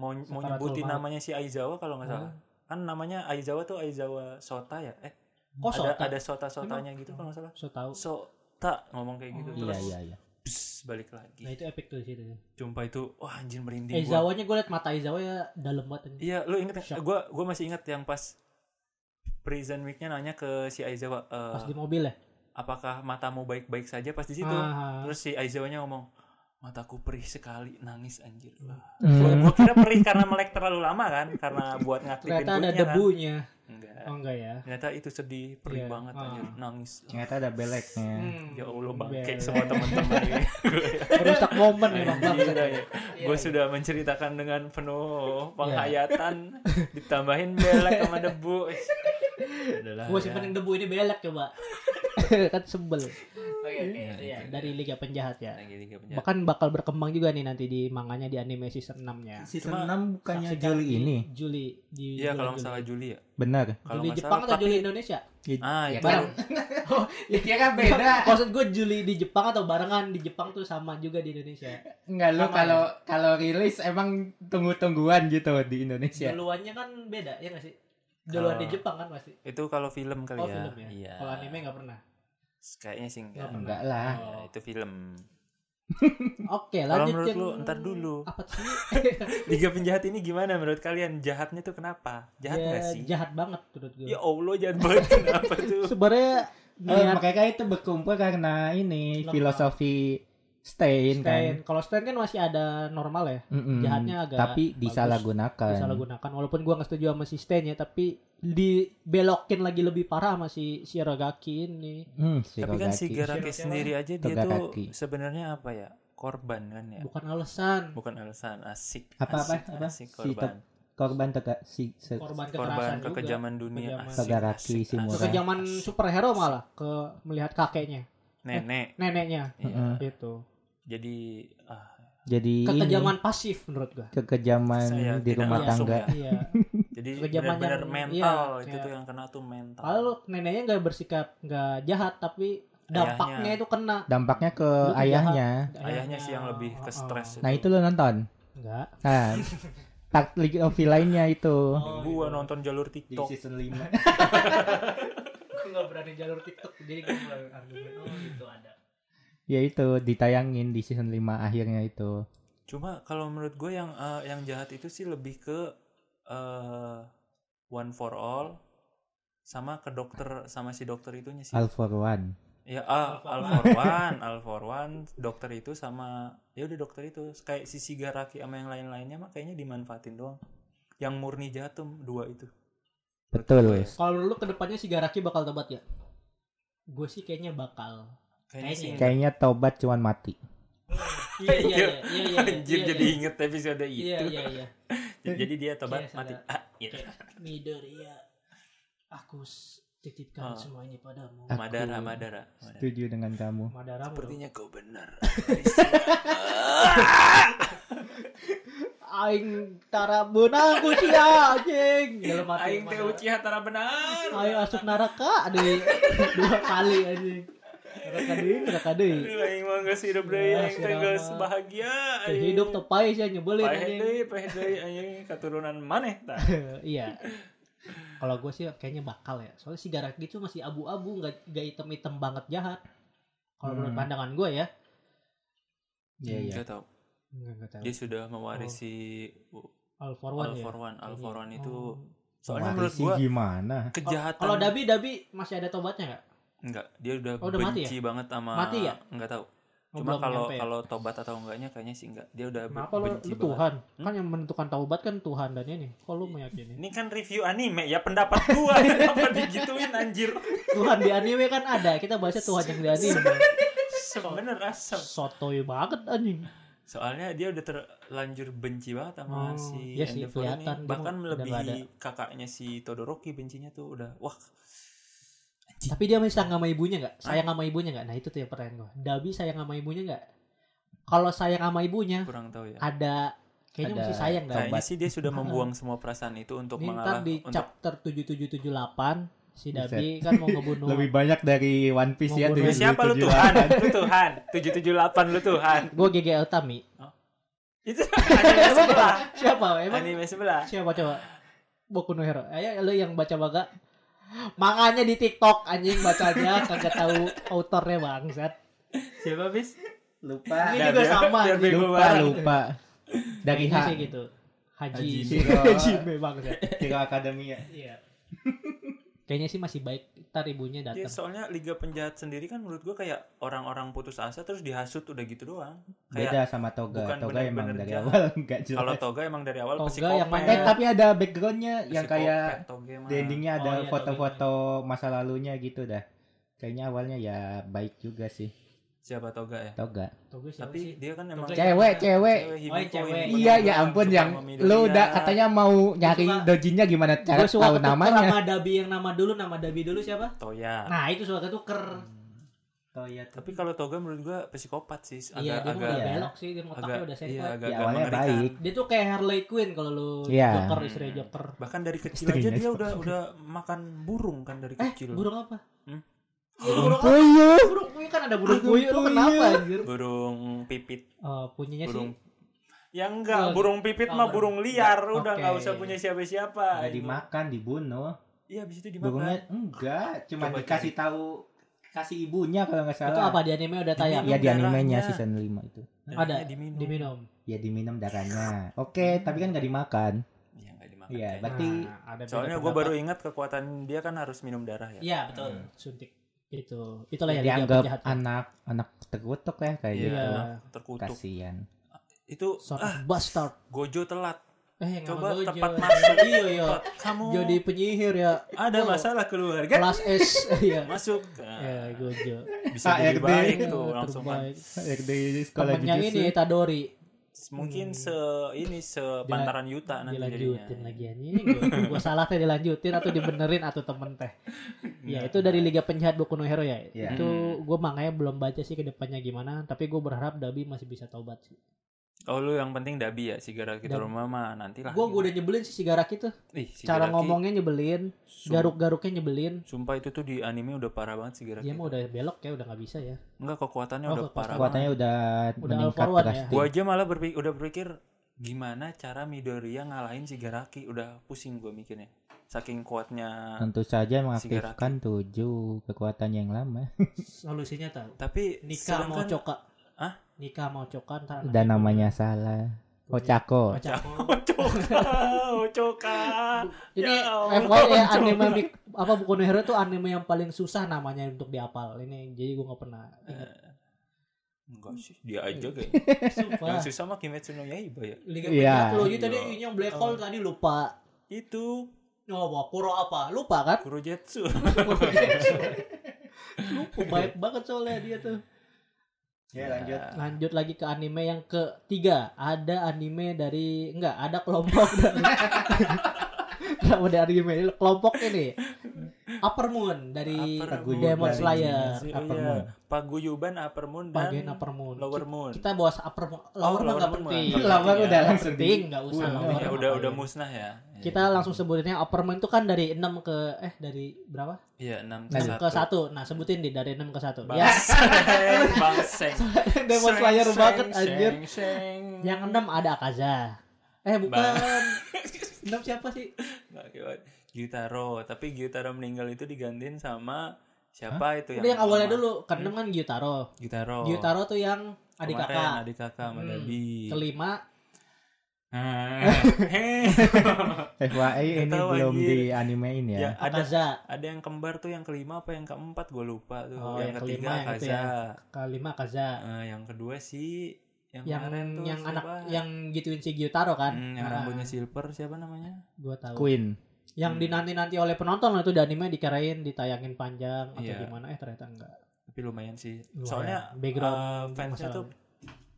Speaker 3: mau
Speaker 2: Sakaratul
Speaker 3: mau nyebutin
Speaker 2: maut.
Speaker 3: namanya si Aizawa kalau nggak
Speaker 2: Oh.
Speaker 3: salah. Kan namanya Aizawa tuh Aizawa Sota ya? Eh,
Speaker 2: kok
Speaker 3: ada
Speaker 2: Oh, Sota
Speaker 3: ada Sota-sotanya gitu kalau nggak salah.
Speaker 2: so tau
Speaker 3: Sota ngomong kayak gitu
Speaker 2: Oh,
Speaker 3: terus
Speaker 4: Iya iya iya.
Speaker 3: bus, balik lagi.
Speaker 2: nah itu epic tuh di situ
Speaker 3: Jumpa itu wah anjir merinding gua.
Speaker 2: Izawanya gue liat mata Izawanya dalam banget ini.
Speaker 3: Iya, lu inget
Speaker 2: Shock.
Speaker 3: Gue gua masih inget yang pas Prison Week-nya nanya ke si Aizawa, e,
Speaker 2: pas di mobil ya
Speaker 3: apakah matamu baik-baik saja pas di situ?
Speaker 2: Ah, ah.
Speaker 3: Terus si Aizawanya ngomong, mataku perih sekali nangis anjir Wah. Gua
Speaker 4: Hmm.
Speaker 3: gua kira perih karena melek terlalu lama kan karena
Speaker 2: <laughs>
Speaker 3: buat ngaklipin
Speaker 2: Ternyata ada
Speaker 3: kulitnya kan.
Speaker 2: debunya.
Speaker 3: Enggak.
Speaker 2: Oh enggak ya.
Speaker 3: Ternyata itu sedih, perih
Speaker 2: Iya.
Speaker 3: banget
Speaker 2: Ah.
Speaker 3: anjir, nangis.
Speaker 4: Ternyata ada beleknya.
Speaker 2: Hmm.
Speaker 3: Ya Allah bangke
Speaker 2: Belek.
Speaker 3: semua teman-teman
Speaker 2: <laughs>
Speaker 3: ini.
Speaker 2: Merusak momen memang bangsa. Iya,
Speaker 3: Gue Iya, sudah menceritakan dengan penuh penghayatan ditambahin belek sama debu. Eh, Adalah.
Speaker 2: Gue
Speaker 3: ya.
Speaker 2: simpenin debu ini belek coba. <laughs> kan sebel.
Speaker 4: Oke
Speaker 3: iya.
Speaker 2: Dari Liga Penjahat ya.
Speaker 3: Lagi tiga penjahat.
Speaker 2: Bahkan bakal berkembang juga nih nanti di manganya di anime season 6-nya.
Speaker 4: Season
Speaker 3: Cuma
Speaker 4: 6 bukannya Juli ini.
Speaker 2: Juli di bulan
Speaker 3: Iya kalau nggak
Speaker 2: Juli.
Speaker 3: salah Juli ya.
Speaker 4: Benar.
Speaker 3: Kalau
Speaker 2: Juli
Speaker 3: nggak
Speaker 2: Jepang
Speaker 3: salah
Speaker 2: atau
Speaker 3: tapi
Speaker 2: Juli
Speaker 3: <laughs>
Speaker 2: Indonesia?
Speaker 3: ah
Speaker 4: Ya
Speaker 3: itu
Speaker 4: kan? Oh, ya kira kan beda.
Speaker 2: <laughs> Maksud gue Juli di Jepang atau barengan di Jepang tuh sama juga di Indonesia.
Speaker 4: Enggak lu
Speaker 2: Sama
Speaker 4: kalau kalau rilis emang tunggu-tungguan gitu di Indonesia.
Speaker 2: Duluannya kan beda ya nggak sih? Duluan
Speaker 3: Kalau-
Speaker 2: di Jepang kan pasti.
Speaker 3: itu kalau film kali
Speaker 2: Oh
Speaker 3: ya.
Speaker 2: film ya.
Speaker 3: Oh. Iya.
Speaker 2: Kalau anime Oh. nggak pernah.
Speaker 3: Kayaknya sih enggak.
Speaker 2: Nggak
Speaker 4: Enggak lah.
Speaker 3: Ya, itu film.
Speaker 2: Oke
Speaker 3: Kalau
Speaker 2: lanjut.
Speaker 3: menurut
Speaker 2: yang-
Speaker 3: lu ntar dulu.
Speaker 2: Apa sih?
Speaker 3: Liga penjahat ini gimana menurut kalian? Jahatnya tuh kenapa? Jahat
Speaker 2: Ya,
Speaker 3: nggak sih?
Speaker 2: Jahat banget menurut gue.
Speaker 3: Ya Allah jahat banget <laughs> kenapa tuh?
Speaker 2: Sebenarnya
Speaker 4: Eh,
Speaker 2: niat
Speaker 4: mereka itu berkumpul karena ini
Speaker 2: Lemah.
Speaker 4: filosofi Stein,
Speaker 2: Stein.
Speaker 4: kan.
Speaker 2: Kalau Stein kan masih ada normal ya.
Speaker 4: Mm-mm.
Speaker 2: Jahatnya agak bagus.
Speaker 4: tapi disalahgunakan.
Speaker 2: Disalahgunakan. Walaupun gua nggak setuju sama si Stein ya, tapi dibelokin lagi lebih parah sama si Shirogaki ini.
Speaker 4: Hmm, si
Speaker 3: Tapi kan
Speaker 4: Kogaki.
Speaker 3: si Garaki sendiri aja dia
Speaker 4: Togakaki.
Speaker 3: tuh sebenarnya apa ya? Korban kan ya?
Speaker 2: Bukan alasan.
Speaker 3: Bukan alasan asik.
Speaker 4: Apa, apa,
Speaker 3: asik,
Speaker 4: apa?
Speaker 3: asik
Speaker 4: Si
Speaker 3: korban.
Speaker 4: korban tega si se-
Speaker 2: Korban
Speaker 3: korban
Speaker 2: kekerasan juga.
Speaker 3: kekejaman Iya. dunia
Speaker 2: Kekejaman.
Speaker 3: asik,
Speaker 4: Togakaki,
Speaker 3: asik,
Speaker 4: Shimura.
Speaker 3: asik.
Speaker 2: kekejaman superhero malah ke melihat kakeknya
Speaker 3: nenek.
Speaker 2: neneknya
Speaker 3: Iya.
Speaker 2: gitu
Speaker 3: Jadi ah,
Speaker 4: jadi ini
Speaker 2: kekejaman pasif menurut gua
Speaker 4: kekejaman
Speaker 3: Saya
Speaker 4: di
Speaker 3: tidak
Speaker 4: rumah
Speaker 3: langsung
Speaker 4: tangga.
Speaker 2: iya
Speaker 3: jadi
Speaker 2: Kekejaman
Speaker 3: benar-benar
Speaker 2: yang-
Speaker 3: mental
Speaker 2: iya,
Speaker 3: itu
Speaker 2: kayak-
Speaker 3: tuh yang kena tuh mental.
Speaker 2: kalau neneknya nggak bersikap nggak jahat tapi dampaknya itu kena
Speaker 4: Dampaknya ke
Speaker 2: Lu kejahat.
Speaker 4: ayahnya.
Speaker 3: Ayahnya sih yang lebih ke stres. ya.
Speaker 4: Nah, itu lo nonton.
Speaker 2: enggak
Speaker 4: Nah, part League of lainnya itu.
Speaker 3: Gua nonton jalur TikTok.
Speaker 4: season 5.
Speaker 2: gue nggak berani jalur tiktok jadi gue argumen oh gitu ada
Speaker 4: ya itu ditayangin di season 5 akhirnya itu.
Speaker 3: Cuma kalau menurut gue yang eh, yang jahat itu sih lebih ke eh, one for all sama ke dokter sama si dokter itunya sih.
Speaker 4: All for One.
Speaker 3: ya ah, all for one, all for one, dokter itu sama ya udah dokter itu kayak si Sigaraki sama yang lain-lainnya mah kayaknya dimanfaatin doang. Yang murni jatum dua itu. Menurut gue
Speaker 4: Betul.
Speaker 3: ya.
Speaker 2: kalau lu kedepannya si Garaki bakal tobat ya gue sih kayaknya
Speaker 3: <laughs>
Speaker 2: bakal
Speaker 3: Kayaknya sih.
Speaker 4: Kayaknya tobat cuman mati.
Speaker 2: iya iya
Speaker 3: Iya.
Speaker 2: iya iya iya
Speaker 3: Anjir
Speaker 2: iya,
Speaker 3: jadi gitu.
Speaker 2: iya.
Speaker 3: inget episode itu.
Speaker 2: iya iya iya
Speaker 3: Jadi dia tobat
Speaker 2: Iya,
Speaker 3: mati.
Speaker 2: sadar.
Speaker 3: Ah, iya.
Speaker 2: Kayak, Midoriya aku s- titipkan
Speaker 3: Ah.
Speaker 2: semua ini padamu
Speaker 4: Aku
Speaker 3: Madara, Madara. Madara.
Speaker 4: Setuju dengan kamu.
Speaker 2: Madara
Speaker 3: Sepertinya kau benar.
Speaker 2: aing tarabuna aku sia anjing dalam hati
Speaker 3: <laughs> Aing teh
Speaker 2: Madara.
Speaker 3: Uchiha tara benar.
Speaker 2: ayo asup neraka aduh dua kali anjing neraka deui neraka deui
Speaker 3: Aduh, Aing mah geus hidup deui,
Speaker 2: Ya,
Speaker 3: aing teh geus
Speaker 2: sirama.
Speaker 3: bahagia.
Speaker 2: Tuh, hidup tepai sih nyebelin
Speaker 3: Pahit
Speaker 2: anjing
Speaker 3: deui, pahit deui anjing keturunan maneh tah.
Speaker 2: <laughs> iya kalau gue sih kayaknya bakal ya soalnya si Garaki itu masih abu-abu nggak nggak item-item banget jahat kalau menurut
Speaker 4: Hmm.
Speaker 2: pandangan gue ya
Speaker 4: Iya, iya.
Speaker 3: Gak tau.
Speaker 2: Nggak- nggak tahu.
Speaker 3: Dia sudah mewarisi
Speaker 2: all for Oh. one
Speaker 3: All
Speaker 2: ya
Speaker 3: for One. All for One itu
Speaker 2: Oh.
Speaker 3: soalnya
Speaker 4: Wah,
Speaker 3: menurut
Speaker 4: sih
Speaker 3: gua
Speaker 4: gimana?
Speaker 3: kejahatan.
Speaker 2: Kalau Dabi Dabi masih ada tobatnya nggak?
Speaker 3: enggak, dia udah,
Speaker 2: Oh, udah mati
Speaker 3: benci banget sama
Speaker 2: Mati ya?
Speaker 3: Enggak tahu.
Speaker 2: Oh,
Speaker 3: Cuma
Speaker 2: belum
Speaker 3: kalau
Speaker 2: nyampe ya?
Speaker 3: kalau tobat atau enggaknya kayaknya sih enggak. Dia udah be-
Speaker 2: Kenapa lo
Speaker 3: benci
Speaker 2: lu
Speaker 3: banget. Hmm?
Speaker 2: Tuhan? Kan yang menentukan taubat kan Tuhan dan ini. Kok lu meyakini? <laughs>
Speaker 3: Ini kan review anime ya pendapat gua kenapa digituin anjir.
Speaker 2: Tuhan di anime kan ada. Kita bahasnya Tuhan yang di
Speaker 3: <laughs>
Speaker 2: anime.
Speaker 3: Sebener asem.
Speaker 2: Sotoy banget anjing.
Speaker 3: Soalnya dia udah terlanjur benci banget sama
Speaker 2: Oh,
Speaker 3: si
Speaker 2: iya sih,
Speaker 3: Endeavor ini.
Speaker 2: kelihatan dia
Speaker 3: Bahkan
Speaker 2: udah
Speaker 3: melebihi
Speaker 2: nggak ada.
Speaker 3: kakaknya si Todoroki bencinya tuh udah wah. Anjing.
Speaker 2: Tapi dia masih sayang sama ibunya nggak? Sayang sama ibunya nggak? Nah itu tuh yang pertanyaan gua. Dabi sayang sama ibunya nggak? Kalau sayang sama ibunya
Speaker 3: Kurang tahu ya.
Speaker 2: ada kayaknya
Speaker 4: Ada
Speaker 2: masih sayang nggak?
Speaker 3: Kayaknya sih dia sudah
Speaker 2: <laughs>
Speaker 3: membuang semua perasaan itu untuk
Speaker 2: Ini ntar
Speaker 3: mengalah
Speaker 2: di
Speaker 3: untuk
Speaker 2: chapter 7778 si
Speaker 4: Buset.
Speaker 2: Dabi kan mau ngebunuh
Speaker 4: <laughs> Lebih banyak dari One Piece ya.
Speaker 2: Membunuh
Speaker 4: tujuh-
Speaker 3: siapa lu
Speaker 4: tujuh-
Speaker 3: Tuhan? lu Tuhan. 778 lu Tuhan.
Speaker 2: gue GG Utami. <laughs>
Speaker 3: Itu anime sebelah.
Speaker 2: Siapa? Emang
Speaker 3: Anime sebelah.
Speaker 2: Siapa coba? Boku no Hero. Ayo lu yang baca baga. Makanya di TikTok anjing
Speaker 4: <laughs>
Speaker 2: bacanya kagak tahu autornya bangsat.
Speaker 3: Siapa bis?
Speaker 4: Lupa.
Speaker 2: Ini
Speaker 3: Biar-
Speaker 2: juga
Speaker 3: biar-
Speaker 2: sama
Speaker 3: biar
Speaker 2: anjing.
Speaker 3: bego
Speaker 4: Lupa,
Speaker 3: banget.
Speaker 4: lupa. Dari
Speaker 2: Kayaknya
Speaker 4: H.
Speaker 2: sih gitu. Haji.
Speaker 4: Haji.
Speaker 2: Haji bangsat.
Speaker 4: Kira Akademia.
Speaker 2: Iya. Kayaknya sih masih baik ntar ibunya
Speaker 3: Ya,
Speaker 2: datang.
Speaker 3: soalnya Liga Penjahat sendiri kan menurut gua kayak orang-orang putus asa terus dihasut udah gitu doang.
Speaker 4: Beda
Speaker 3: Kayak
Speaker 4: sama Toga.
Speaker 3: bukan
Speaker 4: Toga
Speaker 3: bener-bener
Speaker 4: emang dari
Speaker 3: jahat.
Speaker 4: awal <laughs> nggak jelas.
Speaker 3: kalau Toga emang dari awal
Speaker 2: Toga
Speaker 3: psikopat.
Speaker 2: yang
Speaker 3: <laughs>
Speaker 2: mana-
Speaker 4: eh tapi ada backgroundnya yang
Speaker 3: Psikopat,
Speaker 4: kayak
Speaker 3: Toga mah.
Speaker 4: di endingnya
Speaker 2: Oh,
Speaker 4: ada
Speaker 2: iya,
Speaker 4: foto-foto masa lalunya gitu dah. Kayaknya awalnya ya baik juga sih
Speaker 3: Siapa Toga ya?
Speaker 4: Toga.
Speaker 2: Tuh, gue siapa
Speaker 3: Tapi
Speaker 2: sih?
Speaker 3: dia kan emang
Speaker 2: Toga yang-
Speaker 4: Cewek, cewek.
Speaker 2: Oh,
Speaker 3: Himiko,
Speaker 2: cewek.
Speaker 3: Himiko
Speaker 4: Iya
Speaker 3: Himiko
Speaker 4: ya
Speaker 3: yang
Speaker 4: ampun
Speaker 3: suka
Speaker 4: yang
Speaker 3: sama Midoriya.
Speaker 4: lu udah katanya mau nyari
Speaker 2: Gua suka-
Speaker 4: dojinya gimana cara
Speaker 2: Gue suka
Speaker 4: tahu
Speaker 2: ketuker
Speaker 4: namanya.
Speaker 2: sama Dabi yang nama dulu, nama Dabi dulu siapa?
Speaker 3: Toya.
Speaker 2: Nah itu suka ketuker.
Speaker 4: Toya
Speaker 3: Tapi kalau Toga menurut gua psikopat sih
Speaker 2: Iya,
Speaker 3: agak
Speaker 2: dia mah
Speaker 3: agak
Speaker 2: udah
Speaker 4: Iya.
Speaker 2: belok sih, dia
Speaker 3: agak
Speaker 2: otaknya udah
Speaker 3: iya,
Speaker 2: sengkot.
Speaker 3: agak,
Speaker 4: ya,
Speaker 3: agak
Speaker 4: awalnya
Speaker 3: mengerikan.
Speaker 4: baik.
Speaker 2: Dia tuh kayak Harley Quinn kalau lu
Speaker 4: Iya.
Speaker 2: Joker,
Speaker 3: Hmm.
Speaker 2: istri Joker.
Speaker 3: Bahkan dari kecil aja
Speaker 4: Istrinya
Speaker 3: dia
Speaker 4: juga.
Speaker 3: udah udah makan burung kan dari
Speaker 2: Eh,
Speaker 3: kecil.
Speaker 2: burung apa?
Speaker 3: Hmm?
Speaker 2: <gasps> Burung apa?
Speaker 4: Puyuh.
Speaker 2: Burung puyuh kan ada burung puyuh, lu kenapa anjir?
Speaker 3: Burung pipit.
Speaker 2: Oh, punyanya sih
Speaker 3: burung ya
Speaker 2: Oh,
Speaker 3: enggak burung pipit
Speaker 2: oh,
Speaker 3: mah burung liar
Speaker 4: enggak,
Speaker 3: udah nggak
Speaker 4: oke.
Speaker 3: usah punya siapa-siapa gitu.
Speaker 4: Nggak dimakan, dibunuh.
Speaker 3: iya habis itu
Speaker 4: Burungnya
Speaker 3: dimakan
Speaker 4: enggak, cuma
Speaker 3: Coba
Speaker 4: dikasih tahu kasih ibunya kalau nggak salah.
Speaker 2: itu apa di anime udah tayang?
Speaker 4: Ya di animenya
Speaker 3: Darahnya.
Speaker 4: season 5 itu.
Speaker 3: Dan
Speaker 2: Ada
Speaker 3: akhirnya diminum Iya,
Speaker 2: diminum.
Speaker 4: Ya diminum darahnya. Oke, tapi kan nggak dimakan.
Speaker 3: Iya, nggak dimakan
Speaker 4: Iya,
Speaker 3: kayaknya.
Speaker 4: berarti
Speaker 2: Nah, ada beda
Speaker 3: soalnya gue
Speaker 2: pendapat.
Speaker 3: baru ingat kekuatan dia kan harus minum darah ya
Speaker 2: Iya, betul. Suntik. Itu. Itulah yang dianggap
Speaker 4: dianggap
Speaker 2: jahat.
Speaker 4: anak anak terkutuk ya kayak
Speaker 3: Iya,
Speaker 4: gitu.
Speaker 2: Iya.
Speaker 3: terkutuk
Speaker 4: Kasihan.
Speaker 3: itu
Speaker 2: Sort
Speaker 3: ah
Speaker 2: of bastard.
Speaker 3: gojo telat
Speaker 2: Eh,
Speaker 3: coba
Speaker 2: nggak mau
Speaker 3: tepat
Speaker 2: Gojo.
Speaker 3: masuk
Speaker 2: Iya, iya.
Speaker 3: Tepat kamu
Speaker 2: Jadi penyihir ya.
Speaker 3: ada
Speaker 2: Oh,
Speaker 3: masalah keluarga
Speaker 2: Kelas
Speaker 3: <laughs>
Speaker 2: S iya.
Speaker 3: masuk Nah,
Speaker 2: Ya, Gojo.
Speaker 3: bisa
Speaker 4: Ah,
Speaker 3: jadi
Speaker 4: RD.
Speaker 3: baik tuh langsung kan.
Speaker 2: Terbaik.
Speaker 4: Di
Speaker 2: Temennya ini Itadori
Speaker 3: mungkin se ini sepantaran Yuta nanti
Speaker 2: Hmm. dilanjutin
Speaker 3: jadinya
Speaker 2: lagi anjing Gua- gua salah teh dilanjutin atau dibenerin atau temen teh
Speaker 3: Hmm.
Speaker 2: ya itu dari Liga Penjahat Boku no Hero ya
Speaker 4: Iya.
Speaker 2: itu gue makanya belum baca sih kedepannya gimana tapi gue berharap Dabi masih bisa taubat sih
Speaker 3: oh lu yang penting dabi ya sigara kita
Speaker 2: Dabi.
Speaker 3: rumah mah nanti lah
Speaker 2: gue gue udah nyebelin sih si Garaki tuh
Speaker 3: Ih, Nah, si
Speaker 2: cara
Speaker 3: Garaki,
Speaker 2: ngomongnya nyebelin
Speaker 3: sum-
Speaker 2: garuk-garuknya nyebelin
Speaker 3: Sumpah itu tuh di anime udah parah banget sih Garaki.
Speaker 2: dia mah udah belok ya udah nggak bisa ya
Speaker 3: Enggak kekuatannya
Speaker 2: Oh,
Speaker 3: udah
Speaker 2: kekuatan.
Speaker 3: parah banget.
Speaker 4: Kekuatannya udah,
Speaker 2: Udah
Speaker 4: meningkat
Speaker 2: all for one ya?
Speaker 4: drastis.
Speaker 3: Gua aja malah berpikir udah berpikir gimana cara Midoriya ngalahin si Garaki. Udah pusing gua mikirnya. Saking kuatnya.
Speaker 4: Tentu saja mengaktifkan tujuh kekuatan yang lama.
Speaker 2: solusinya tahu
Speaker 3: Tapi
Speaker 2: nikah mau
Speaker 3: <laughs> sedangkan-
Speaker 2: coka
Speaker 3: Hah?
Speaker 2: nikah mau coka ntar
Speaker 4: Dan namanya salah. Oh,
Speaker 2: Iya.
Speaker 4: Ocako.
Speaker 2: Ocako. <laughs>
Speaker 3: Oh, <laughs> coka, oh, coka.
Speaker 2: Ini
Speaker 3: Ya Allah,
Speaker 2: FYI ya,
Speaker 3: coba.
Speaker 2: anime mik- apa Boku no Hero itu anime yang paling susah namanya untuk dihafal. Ini jadi gue gak pernah ingat.
Speaker 3: Eh, Enggak sih, dia aja kayaknya.
Speaker 2: Sumpah.
Speaker 3: Yang susah mah Kimetsu no Yaiba ya.
Speaker 2: Liga
Speaker 4: Iya.
Speaker 2: Penjahat lo tadi
Speaker 3: Iya.
Speaker 2: ini yang Black Hole tadi lupa.
Speaker 3: Itu
Speaker 2: Oh, wah, Kuro apa? Lupa
Speaker 3: <laughs>
Speaker 2: kan?
Speaker 3: Kurojetsu.
Speaker 2: lupa baik banget soalnya dia tuh.
Speaker 4: Ya
Speaker 2: Lanjut lagi ke anime yang ketiga. Ada anime dari enggak, ada kelompok <laughs>
Speaker 3: <laughs>
Speaker 2: dari Kenapa dari anime ini? kelompok ini. Upper Moon dari
Speaker 3: Upper
Speaker 4: Moon
Speaker 2: Demon
Speaker 4: dari-
Speaker 2: Slayer.
Speaker 3: Oh,
Speaker 4: Upper
Speaker 3: iya.
Speaker 4: Moon.
Speaker 3: Paguyuban Upper Moon dan
Speaker 2: Bagian Upper Moon.
Speaker 3: Lower Moon. Oh,
Speaker 2: kita bawa upper mo- lower
Speaker 3: lower
Speaker 2: mah nggak
Speaker 3: moon
Speaker 2: penting
Speaker 3: mah.
Speaker 4: Lama
Speaker 3: Iya.
Speaker 4: udah langsung
Speaker 2: penting
Speaker 4: di.
Speaker 2: nggak usah
Speaker 4: Iya,
Speaker 2: lower
Speaker 3: Ya
Speaker 2: mah
Speaker 3: udah
Speaker 2: ngapain.
Speaker 3: udah musnah ya.
Speaker 2: kita langsung sebutinnya upper moon itu kan dari 6 ke eh dari berapa
Speaker 3: Iya, 6
Speaker 4: Nah,
Speaker 2: 6 ke 1 nah sebutin di dari 6 ke 1 ya <laughs>
Speaker 3: Bangseng, bangseng.
Speaker 2: Demon Slayer
Speaker 3: Seng,
Speaker 2: banget
Speaker 3: seng,
Speaker 2: anjir
Speaker 3: seng, seng.
Speaker 2: yang 6 ada Akaza eh bukan
Speaker 3: <laughs>
Speaker 2: 6 siapa sih
Speaker 3: Nggak, nggak. Gyutaro, tapi Gyutaro meninggal itu digantiin sama siapa itu
Speaker 2: udah yang awalnya dulu ke 6 kan Gyutaro
Speaker 3: Gyutaro.
Speaker 2: Gyutaro tuh yang adik
Speaker 3: Oh.
Speaker 2: kakak
Speaker 3: Kemarin Adik kakak
Speaker 2: Hmm.
Speaker 3: sama Dabi. Nah.
Speaker 2: kelima <laughs>
Speaker 3: <laughs> Heh.
Speaker 4: FYI Eh, ini
Speaker 3: Ketawa,
Speaker 4: belum
Speaker 3: anjir.
Speaker 4: di animein ya.
Speaker 3: ya, ada
Speaker 2: Akaza
Speaker 3: ada yang kembar tuh yang kelima apa yang keempat gue lupa tuh.
Speaker 2: Oh,
Speaker 3: yang,
Speaker 2: yang
Speaker 3: ketiga
Speaker 2: kelima yang itu
Speaker 3: Akaza.
Speaker 2: kelima Akaza
Speaker 3: Eh, yang kedua sih yang,
Speaker 2: yang
Speaker 3: kemarin tuh
Speaker 2: yang anak
Speaker 3: siapa?
Speaker 2: yang gituin si Gyutaro kan
Speaker 3: Hmm, yang rambutnya Hmm. silver siapa namanya?
Speaker 2: gue tahu
Speaker 4: Queen.
Speaker 2: yang dinanti-nanti oleh penonton lah itu di anime dikirain ditayangin panjang atau
Speaker 3: Iya.
Speaker 2: gimana eh ternyata enggak
Speaker 3: Tapi lumayan sih.
Speaker 2: Lumayan.
Speaker 3: Soalnya
Speaker 2: Background
Speaker 3: eh, fansnya
Speaker 2: masalah.
Speaker 3: tuh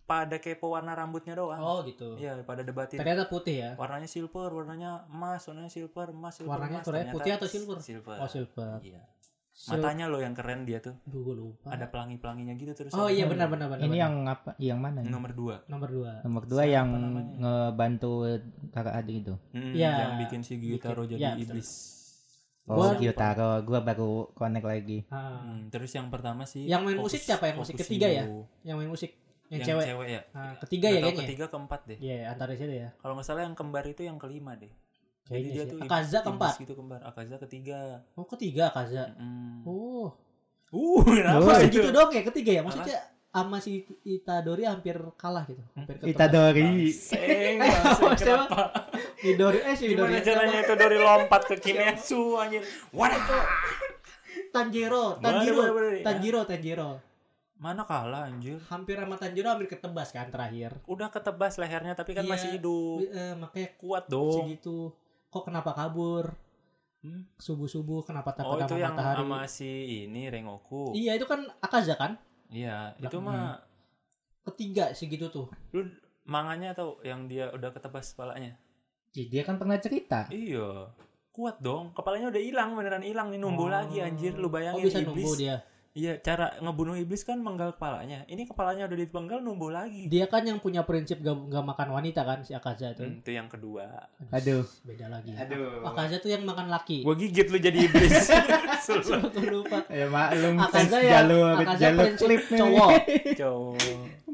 Speaker 3: pada kepo warna rambutnya doang.
Speaker 2: oh gitu
Speaker 3: Iya, pada debatin.
Speaker 2: ternyata putih ya
Speaker 3: Warnanya silver, warnanya emas, warnanya silver, emas, silver,
Speaker 2: Warnanya
Speaker 3: emas.
Speaker 2: tuh, ya,
Speaker 3: Ternyata
Speaker 2: putih atau silver?
Speaker 3: Silver.
Speaker 2: oh silver
Speaker 3: Iya.
Speaker 2: Sil-
Speaker 3: Matanya lo yang keren dia tuh.
Speaker 2: Duh, gua lupa
Speaker 3: Ada pelangi-pelanginya gitu terus.
Speaker 2: oh
Speaker 3: ada
Speaker 2: iya benar benar benar
Speaker 4: Ini
Speaker 2: benar.
Speaker 4: yang apa? Yang mana? ini?
Speaker 3: nomor dua.
Speaker 2: nomor dua
Speaker 4: Nomor dua
Speaker 3: Siapa
Speaker 4: yang
Speaker 3: namanya?
Speaker 4: ngebantu kakak adik itu.
Speaker 3: Hmm,
Speaker 2: Iya.
Speaker 3: Yang bikin si Gyutaro
Speaker 2: Bikin-
Speaker 3: jadi
Speaker 2: iya, betul.
Speaker 3: iblis.
Speaker 4: Oh,
Speaker 2: Gua-
Speaker 4: Gyutaro. Gua baru connect lagi.
Speaker 2: Ah.
Speaker 3: Hmm, terus yang pertama sih
Speaker 2: Yang main musik siapa yang musik? Ketiga ya? yang main musik yang, cewek
Speaker 3: ya.
Speaker 2: Ah, ketiga
Speaker 3: Nggak
Speaker 2: ya
Speaker 3: tahu
Speaker 2: kayaknya
Speaker 3: Ketiga keempat deh.
Speaker 2: iya antara situ ya
Speaker 3: Kalau nggak salah yang kembar itu yang kelima deh. Jadi
Speaker 2: kayaknya
Speaker 3: dia
Speaker 2: sih.
Speaker 3: tuh
Speaker 2: Akaza
Speaker 3: iblis-
Speaker 2: keempat
Speaker 3: iblis gitu kembar. Akaza ketiga.
Speaker 2: oh ketiga Akaza
Speaker 3: Mm.
Speaker 2: oh
Speaker 3: Uh, kenapa
Speaker 2: Masih
Speaker 3: itu?
Speaker 2: gitu dong ya ketiga ya maksudnya sama si Itadori hampir kalah gitu
Speaker 3: Hmm?
Speaker 2: hampir ketemu.
Speaker 4: Itadori.
Speaker 2: <laughs>
Speaker 3: Bangseng,
Speaker 2: Oh,
Speaker 3: bangseng,
Speaker 2: siapa?
Speaker 3: kenapa?
Speaker 2: Midori eh si Midori
Speaker 3: Gimana caranya itu dari lompat ke Kimetsu anjir. Waduh.
Speaker 2: Tanjiro,
Speaker 3: Mana
Speaker 2: Tanjiro,
Speaker 3: bener-bener ya?
Speaker 2: Tanjiro, Tanjiro.
Speaker 3: Mana kalah anjir?
Speaker 2: Hampir sama Tanjiro hampir ketebas kan terakhir.
Speaker 3: Udah ketebas lehernya tapi kan
Speaker 2: Iya.
Speaker 3: masih hidup.
Speaker 2: Eh, makanya
Speaker 3: Kuat dong.
Speaker 2: segitu kok kenapa kabur
Speaker 3: Hmm?
Speaker 2: subuh subuh kenapa
Speaker 3: Oh
Speaker 2: takut
Speaker 3: itu
Speaker 2: sama
Speaker 3: yang
Speaker 2: matahari
Speaker 3: sama si ini Rengoku.
Speaker 2: iya itu kan Akaza kan
Speaker 3: Iya, itu
Speaker 4: Hmm.
Speaker 3: mah
Speaker 2: ketiga segitu tuh
Speaker 3: lu manganya atau yang dia udah ketebas kepalanya?
Speaker 4: Ih, dia kan pernah cerita.
Speaker 3: Iya. Kuat dong, kepalanya udah hilang beneran hilang nih numbuh
Speaker 4: Oh.
Speaker 3: lagi anjir. Lu
Speaker 2: oh
Speaker 3: bayangin
Speaker 2: bisa
Speaker 3: iblis.
Speaker 2: nunggu dia
Speaker 3: Iya, cara ngebunuh iblis kan menggal kepalanya. Ini kepalanya udah dipenggal numbuh lagi.
Speaker 2: dia kan yang punya prinsip gak, gak makan wanita kan si Akaza tuh
Speaker 3: Hmm, itu yang kedua.
Speaker 4: Aduh.
Speaker 2: beda lagi
Speaker 4: Aduh.
Speaker 2: Akaza tuh yang makan <laughs> laki
Speaker 3: Gua gigit lu jadi
Speaker 2: <laughs>
Speaker 3: iblis. Sulut,
Speaker 2: Aku lupa
Speaker 4: Ya maklum
Speaker 2: Akaza
Speaker 4: fans
Speaker 2: ya,
Speaker 4: jalur
Speaker 2: Akaza
Speaker 4: jalur
Speaker 2: prinsip
Speaker 4: klip nih. <laughs>
Speaker 2: cowok.
Speaker 3: cowok.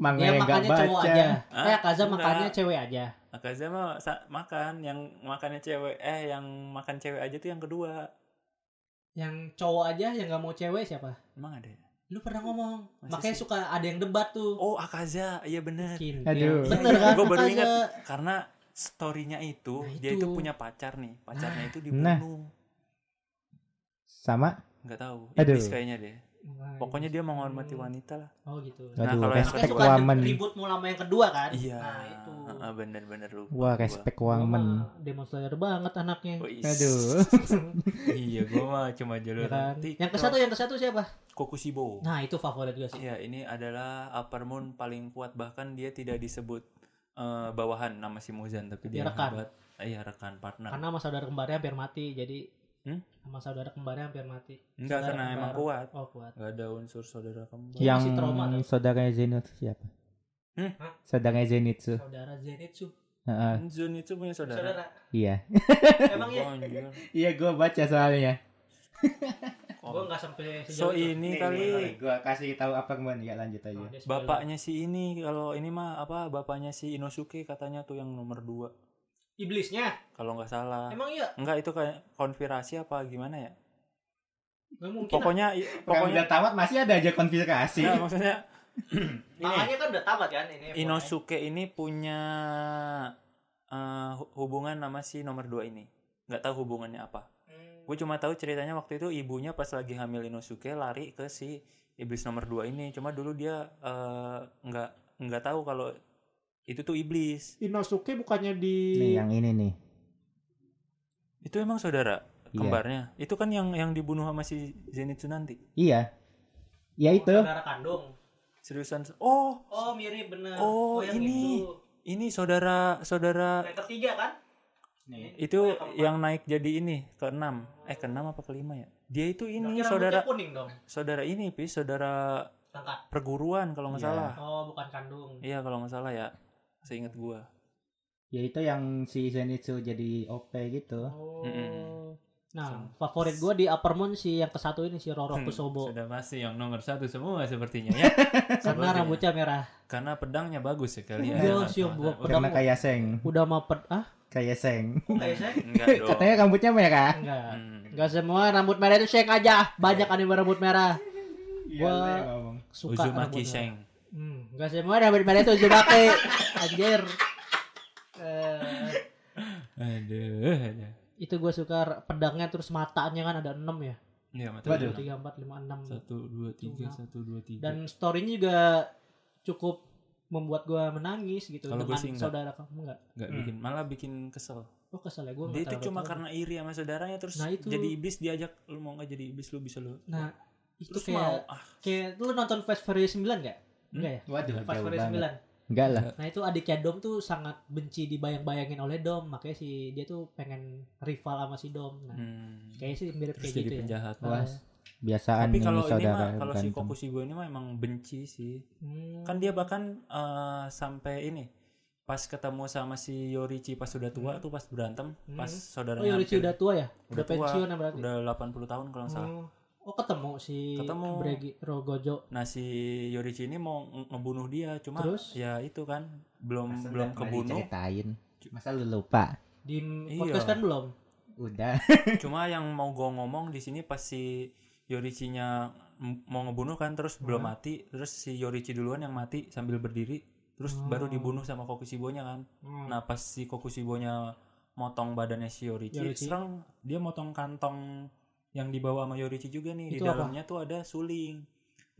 Speaker 4: Mangga
Speaker 2: dia
Speaker 4: yang nggak
Speaker 2: makannya cowok
Speaker 4: baca.
Speaker 2: aja
Speaker 3: Hah?
Speaker 2: eh Akaza
Speaker 3: Enggak.
Speaker 2: makannya cewek aja
Speaker 3: Akaza mah sa- makan yang makannya cewek eh yang makan cewek aja tuh yang kedua.
Speaker 2: yang cowok aja yang gak mau cewek siapa
Speaker 3: Emang ada? ya?
Speaker 2: lu pernah ngomong
Speaker 3: Masih
Speaker 2: makanya
Speaker 3: sih.
Speaker 2: suka ada yang debat tuh
Speaker 3: Oh, Akaza. Iya bener
Speaker 2: Kintil.
Speaker 4: Aduh.
Speaker 2: bener kan
Speaker 3: Gua baru
Speaker 2: Akaza?
Speaker 3: ingat. Karena story-nya itu,
Speaker 2: Nah,
Speaker 3: dia
Speaker 2: itu.
Speaker 3: itu punya pacar nih. Pacarnya itu
Speaker 4: Nah.
Speaker 3: dibunuh.
Speaker 4: Sama
Speaker 3: nggak tahu.
Speaker 4: Aduh.
Speaker 3: Iblis kayaknya deh. Pokoknya dia menghormati
Speaker 2: Hmm.
Speaker 3: wanita lah.
Speaker 2: oh gitu
Speaker 3: Nah,
Speaker 4: Aduh,
Speaker 3: kalau yang
Speaker 2: Makanya
Speaker 4: respect
Speaker 2: suka
Speaker 4: woman.
Speaker 2: ribut mau lama yang kedua kan?
Speaker 3: Iya.
Speaker 2: Nah, itu.
Speaker 3: Heeh, bener-bener lu.
Speaker 4: Wah, respect woman.
Speaker 2: Demonstrator banget anaknya.
Speaker 4: Aduh.
Speaker 3: Oh, <laughs> iya, gua mah cuma jalur
Speaker 2: Ya kan?
Speaker 3: TikTok.
Speaker 2: Yang ke satu, yang ke satu siapa?
Speaker 3: Kokushibo.
Speaker 2: Nah, itu favorit gue sih.
Speaker 3: Ya, ini adalah Upper Moon paling kuat bahkan dia tidak disebut eh, bawahan nama si Muzan tapi dia
Speaker 2: Dia rekan.
Speaker 3: sahabat. Iya, rekan partner.
Speaker 2: Karena sama saudara kembarnya hampir mati, jadi
Speaker 3: Hmm?
Speaker 2: sama saudara kembarnya hampir mati. Saudara
Speaker 3: Enggak
Speaker 2: Iya.
Speaker 3: karena
Speaker 2: kembar.
Speaker 3: emang kuat.
Speaker 2: Oh, kuat.
Speaker 3: Gak ada unsur saudara kembar.
Speaker 2: Dia
Speaker 4: yang
Speaker 2: masih trauma tuh.
Speaker 4: saudaranya Zenitsu siapa?
Speaker 3: Hmm?
Speaker 4: Saudaranya Zenitsu.
Speaker 2: Saudara Zenitsu.
Speaker 4: Heeh,
Speaker 3: Jun itu punya Iya. saudara. <laughs>
Speaker 2: Saudara.
Speaker 4: iya.
Speaker 2: Emang ya?
Speaker 3: Oh, anjir.
Speaker 4: Iya, gua baca soalnya.
Speaker 3: Oh.
Speaker 2: Gue nggak sampai sejauh
Speaker 3: So
Speaker 2: itu.
Speaker 3: ini kali
Speaker 4: gua kasih tahu apa kemarin ya lanjut
Speaker 2: Nah,
Speaker 4: aja.
Speaker 2: dia spoiler.
Speaker 3: bapaknya si ini kalau ini mah apa bapaknya si Inosuke katanya tuh yang nomor dua
Speaker 2: iblisnya.
Speaker 3: kalau nggak salah.
Speaker 2: Emang iya?
Speaker 3: Enggak itu kayak konspirasi apa gimana ya?
Speaker 2: Gak mungkin. Pokoknya,
Speaker 3: Pokoknya i-
Speaker 4: Pokoknya
Speaker 3: pokoknya
Speaker 4: udah tamat masih ada aja konfirmasi.
Speaker 3: Nggak,
Speaker 2: <clears throat>
Speaker 3: maksudnya ini
Speaker 2: kan udah tamat kan ini.
Speaker 3: Inosuke ini punya eh, hu- hubungan sama si nomor dua ini. Nggak tahu hubungannya apa.
Speaker 2: Hmm.
Speaker 3: Gue cuma tahu ceritanya waktu itu ibunya pas lagi hamil Inosuke lari ke si iblis nomor 2 ini. Cuma dulu dia eh, nggak nggak tahu kalau itu tuh iblis.
Speaker 5: Inosuke bukannya di
Speaker 4: Nih yang ini nih.
Speaker 3: Itu emang saudara
Speaker 4: Iya.
Speaker 3: kembarnya. Itu kan yang yang dibunuh sama si Zenitsu nanti.
Speaker 4: Iya. Ya itu.
Speaker 2: Saudara kandung.
Speaker 3: Seriusan. Oh,
Speaker 2: Oh mirip bener.
Speaker 3: Oh,
Speaker 2: yang
Speaker 3: ini.
Speaker 2: itu.
Speaker 3: ini saudara saudara
Speaker 2: Yang ketiga kan?
Speaker 3: itu yang naik jadi ini keenam. Eh keenam apa kelima ya? Dia itu ini saudara
Speaker 2: kuning dong.
Speaker 3: saudara ini pis saudara
Speaker 2: Tangkat.
Speaker 3: perguruan kalau nggak
Speaker 4: Iya.
Speaker 3: salah.
Speaker 2: Oh bukan kandung.
Speaker 3: Ah. Iya kalau nggak salah ya. Seingat gua.
Speaker 4: Ya itu yang si Zenitsu jadi OP gitu.
Speaker 2: Oh.
Speaker 3: Mm-mm.
Speaker 2: Nah favorit gue di Upper Moon si yang ke satu ini si Roro
Speaker 3: Hmm,
Speaker 2: Kusobo
Speaker 3: Sudah pasti yang nomor satu semua sepertinya ya. Sepertinya.
Speaker 2: <laughs> karena rambutnya merah.
Speaker 3: Karena pedangnya bagus ya sekali.
Speaker 2: Iya, sih, yang buat pedang.
Speaker 4: Karena kayak seng,
Speaker 2: Udah mepet ah?
Speaker 4: kayak seng.
Speaker 2: Kayak saya?
Speaker 3: Enggak dong.
Speaker 4: Katanya rambutnya merah.
Speaker 2: Enggak.
Speaker 3: Hmm.
Speaker 2: Enggak semua rambut merah itu sheng aja. Banyak anime rambut merah.
Speaker 4: Iya,
Speaker 2: Wah.
Speaker 4: lu yang ngomong.
Speaker 2: Suka
Speaker 3: Uzumaki
Speaker 2: rambut merah.
Speaker 3: Sheng.
Speaker 2: Hmm, enggak semua rambut merah itu
Speaker 3: <laughs>
Speaker 2: Uzumaki. Anjir. Eh,
Speaker 3: Aduh, aduh.
Speaker 2: itu gue suka pedangnya terus matanya kan ada 6 ya
Speaker 3: Iya, mata
Speaker 4: Waduh.
Speaker 3: pedang.
Speaker 2: 3, 4, 5, 6
Speaker 3: Satu, dua, tiga, satu, dua, tiga.
Speaker 2: dan story-nya juga cukup membuat gua menangis gitu
Speaker 3: Kalau
Speaker 2: dengan
Speaker 3: gua sih enggak.
Speaker 2: saudara kamu enggak
Speaker 3: Nggak
Speaker 4: Hmm.
Speaker 3: bikin, malah bikin kesel.
Speaker 2: oh kesel ya gue
Speaker 3: Dia itu cuma karena iri sama saudaranya terus
Speaker 2: Nah, itu.
Speaker 3: jadi iblis diajak lu mau nggak jadi iblis lu bisa lu.
Speaker 2: nah itu
Speaker 3: Terus mau
Speaker 2: kayak
Speaker 3: Hmm? ah
Speaker 2: kayak lu nonton Fast Furious 9 enggak enggak ya
Speaker 4: Waduh,
Speaker 2: Fast
Speaker 4: jauh
Speaker 2: Furious
Speaker 4: banget.
Speaker 2: 9
Speaker 4: Enggak lah.
Speaker 2: nah itu adiknya Dom tuh sangat benci dibayang-bayangin oleh Dom makanya si dia tuh pengen rival sama si Dom nah
Speaker 3: hmm.
Speaker 2: kayaknya sih mirip
Speaker 3: terus
Speaker 2: kayak
Speaker 3: jadi
Speaker 2: gitu ya
Speaker 3: penjahat.
Speaker 2: Nah,
Speaker 4: Wah, Biasaan
Speaker 3: Tapi
Speaker 4: ini
Speaker 3: kalau ini
Speaker 4: saudara.
Speaker 3: mah kalau
Speaker 4: bukan
Speaker 3: si
Speaker 4: teman.
Speaker 3: Kokushibo ini mah emang benci sih.
Speaker 2: hmm.
Speaker 3: kan dia bahkan eh, sampai ini pas ketemu sama si Yorichi pas sudah tua tuh pas berantem
Speaker 2: Hmm.
Speaker 3: pas saudaranya
Speaker 2: oh Yorichi
Speaker 3: hampir-
Speaker 2: udah tua ya udah,
Speaker 3: udah tua,
Speaker 2: pensiun ya berarti
Speaker 3: udah 80 tahun kalau nggak salah
Speaker 2: Hmm. oh ketemu si
Speaker 3: Ketemu.
Speaker 2: Bregi Rogojo
Speaker 3: nah si Yorichi ini mau nge- ngebunuh dia cuma
Speaker 2: Terus?
Speaker 3: ya itu kan belum
Speaker 4: Masa
Speaker 3: belum
Speaker 4: udah pernah <laughs>
Speaker 3: kebunuh
Speaker 4: diceritain. Masa lu lupa?
Speaker 2: di
Speaker 3: Iya.
Speaker 2: podcast kan belum
Speaker 3: <laughs>
Speaker 4: Udah.
Speaker 3: cuma yang mau gua ngomong di sini pas si Yorichinya m- mau ngebunuh kan terus belum
Speaker 2: Hmm.
Speaker 3: mati terus si Yorichi duluan yang mati sambil berdiri terus baru
Speaker 2: Hmm.
Speaker 3: dibunuh sama Kokushibonya kan
Speaker 2: Hmm.
Speaker 3: Nah pas si Kokushibonya motong badannya si Yorichi,
Speaker 2: Yorichi.
Speaker 3: serang dia motong kantong yang dibawa sama Yorichi juga nih.
Speaker 2: Itu
Speaker 3: di
Speaker 2: apa?
Speaker 3: dalamnya tuh ada suling.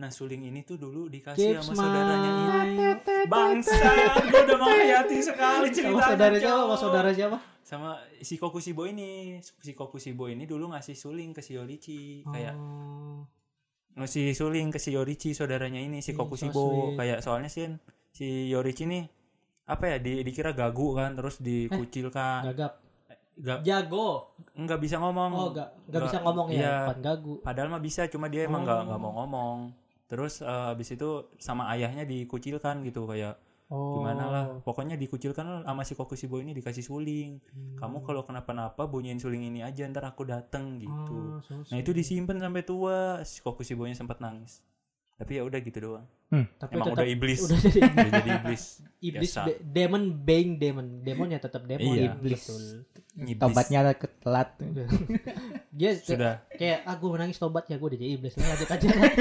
Speaker 3: Nah, suling ini tuh dulu dikasih
Speaker 2: Chips
Speaker 3: sama saudaranya ini.
Speaker 2: Mike.
Speaker 3: Bangsa, gue udah menghayati sekali cerita.
Speaker 2: Sama saudara siapa? Sama saudara siapa?
Speaker 3: Sama si Kokusibo ini. Si Kokusibo ini dulu ngasih suling ke si Yorichi kayak
Speaker 2: Oh.
Speaker 3: ngasih suling ke si Yorichi saudaranya ini si
Speaker 2: Hmm, so
Speaker 3: Kokusibo
Speaker 2: sweet.
Speaker 3: kayak soalnya sih si Yorichi nih apa ya di, dikira gagu kan terus
Speaker 2: Eh,
Speaker 3: dikucilkan
Speaker 2: gagap.
Speaker 3: Ga-
Speaker 2: Jago.
Speaker 3: nggak bisa ngomong
Speaker 2: Oh, enggak enggak
Speaker 3: Hmm. Nggak-
Speaker 2: bisa ngomong ya,
Speaker 3: iya.
Speaker 2: bukan gagu.
Speaker 3: padahal mah bisa cuma dia emang nggak
Speaker 2: Oh.
Speaker 3: nggak mau ngomong terus eh, abis itu sama ayahnya dikucilkan gitu kayak
Speaker 2: Oh.
Speaker 3: gimana lah pokoknya dikucilkan lah sama si Kokusibo ini dikasih suling
Speaker 2: Hmm.
Speaker 3: kamu kalau kenapa-napa bunyiin suling ini aja ntar aku dateng
Speaker 2: Oh,
Speaker 3: gitu nah itu disimpan sampai tua si Kokusibonya sempat nangis tapi ya udah gitu
Speaker 2: <laughs>
Speaker 3: doang
Speaker 2: Tapi
Speaker 3: emang
Speaker 2: tetap
Speaker 3: udah iblis
Speaker 2: udah jadi
Speaker 3: <laughs> udah jadi iblis
Speaker 2: iblis
Speaker 3: Biasa.
Speaker 2: de- demon being demon. Demonnya tetap demon.
Speaker 3: Iya.
Speaker 2: Iblis.
Speaker 3: Iblis.
Speaker 4: Tobatnya ketelat.
Speaker 2: <laughs> Dia kayak-
Speaker 3: sudah
Speaker 2: kayak ah gue nangis tobat ya gue udah jadi iblis Lu lanjut aja <laughs> Gak ada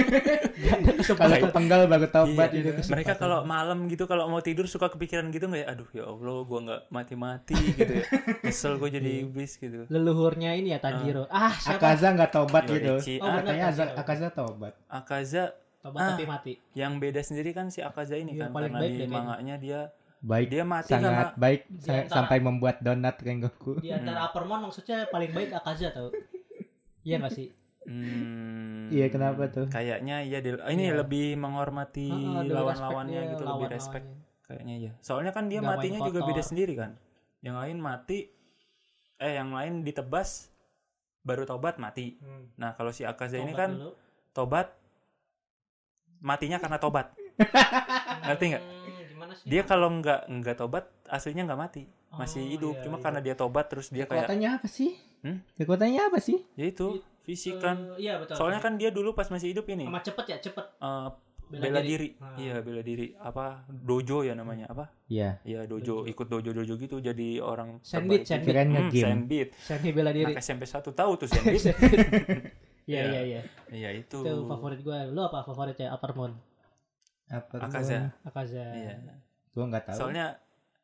Speaker 4: Kalau
Speaker 2: kesempatan
Speaker 4: kepenggal baru tobat
Speaker 3: Iya,
Speaker 4: gitu.
Speaker 3: mereka kalau malam gitu kalau mau tidur suka kepikiran gitu nggak ya aduh ya allah gua nggak mati mati gitu
Speaker 2: <laughs>
Speaker 3: ya kesel gue jadi
Speaker 2: Iya.
Speaker 3: iblis gitu
Speaker 2: leluhurnya ini ya Tanjiro ah siapa
Speaker 4: Akaza nggak
Speaker 3: Iya,
Speaker 4: tobat gitu.
Speaker 3: Yorichi,
Speaker 2: Oh, benar.
Speaker 4: Katanya Aza- Akaza tobat.
Speaker 3: Akaza
Speaker 2: tobat
Speaker 3: Ah.
Speaker 2: tapi mati
Speaker 3: yang beda sendiri kan si Akaza ini
Speaker 2: Iya,
Speaker 3: kan
Speaker 2: paling
Speaker 3: karena
Speaker 2: baik
Speaker 3: di
Speaker 2: deh kayaknya.
Speaker 3: manganya dia
Speaker 4: Baik.
Speaker 3: dia mati
Speaker 4: Sangat
Speaker 3: karena
Speaker 4: baik
Speaker 2: Di
Speaker 4: sa-
Speaker 2: antara-
Speaker 4: sampai membuat donat Rengoku.
Speaker 2: di
Speaker 3: Hmm.
Speaker 2: antara Uppermon maksudnya paling baik Akaza tau iya gak sih
Speaker 3: Hmm,
Speaker 4: Iya, kenapa tuh?
Speaker 3: Kayaknya iya di- ini
Speaker 2: Iya.
Speaker 3: lebih menghormati
Speaker 2: Ah, ah, lebih respect
Speaker 3: lawan-lawannya
Speaker 2: dia,
Speaker 3: gitu lebih
Speaker 2: lawan-lawannya.
Speaker 3: respect kayaknya iya. Soalnya kan dia
Speaker 2: Nggak main
Speaker 3: matinya juga beda
Speaker 2: kotor.
Speaker 3: sendiri kan. Yang lain mati eh yang lain ditebas baru tobat mati.
Speaker 2: Hmm.
Speaker 3: Nah, kalau si Akaza ini
Speaker 2: Tobat
Speaker 3: kan
Speaker 2: dulu.
Speaker 3: tobat matinya karena tobat.
Speaker 2: Iya.
Speaker 3: Ngerti nggak?
Speaker 2: Hmm, gimana sih?
Speaker 3: Dia kalau nggak nggak tobat aslinya nggak mati, masih
Speaker 2: Oh,
Speaker 3: hidup.
Speaker 2: iya,
Speaker 3: Cuma
Speaker 2: iya.
Speaker 3: karena dia tobat terus dia kayak
Speaker 4: Kekuatannya apa sih?
Speaker 3: Hmm?
Speaker 4: Kekuatannya apa sih?
Speaker 3: ya itu fisik
Speaker 2: Iya.
Speaker 3: kan.
Speaker 2: Eh, iya betul
Speaker 3: Soalnya kan dia dulu pas masih hidup ini
Speaker 2: sama cepet ya cepet
Speaker 3: eh,
Speaker 2: Bela
Speaker 3: bela,
Speaker 2: diri.
Speaker 3: diri,
Speaker 2: Ah.
Speaker 3: iya bela diri apa dojo ya namanya apa?
Speaker 4: Iya.
Speaker 3: Iya dojo, ikut dojo-dojo gitu jadi orang
Speaker 2: Sandwich,
Speaker 3: terbaik.
Speaker 2: sandwich.
Speaker 4: Kirain
Speaker 3: Hmm,
Speaker 4: nge-game.
Speaker 3: sandwich.
Speaker 2: Sandy bela diri
Speaker 3: Anak SMP 1 tahu tuh sandwich.
Speaker 2: <laughs> iya
Speaker 3: Iya.
Speaker 2: iya iya
Speaker 3: Iya itu.
Speaker 2: itu favorit gue lu apa favoritnya Uppermon
Speaker 4: Apa tuh?
Speaker 3: Akaza.
Speaker 2: Akaza
Speaker 3: Iya.
Speaker 4: Gua nggak tahu.
Speaker 3: Soalnya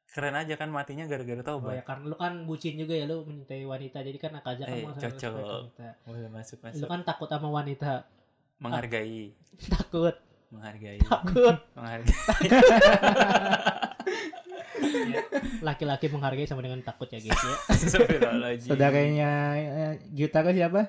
Speaker 3: keren aja kan matinya gara-gara
Speaker 2: Oh ya
Speaker 3: taubat.
Speaker 2: karena lu kan bucin juga ya lu mencintai wanita jadi kan Akaza kan
Speaker 3: Eh,
Speaker 2: mau sama
Speaker 3: cocok.
Speaker 2: wanita.
Speaker 3: Boleh masuk
Speaker 2: Lu
Speaker 3: masuk.
Speaker 2: kan takut sama wanita. <laughs>
Speaker 3: Menghargai,
Speaker 2: Takut, <laughs>
Speaker 3: menghargai,
Speaker 2: takut.
Speaker 3: menghargai.
Speaker 2: Laki-laki menghargai sama dengan takut ya
Speaker 3: <laughs>
Speaker 2: guys ya.
Speaker 3: Astagfirullahaladzim.
Speaker 4: Saudaranya eh, Gyutaro siapa?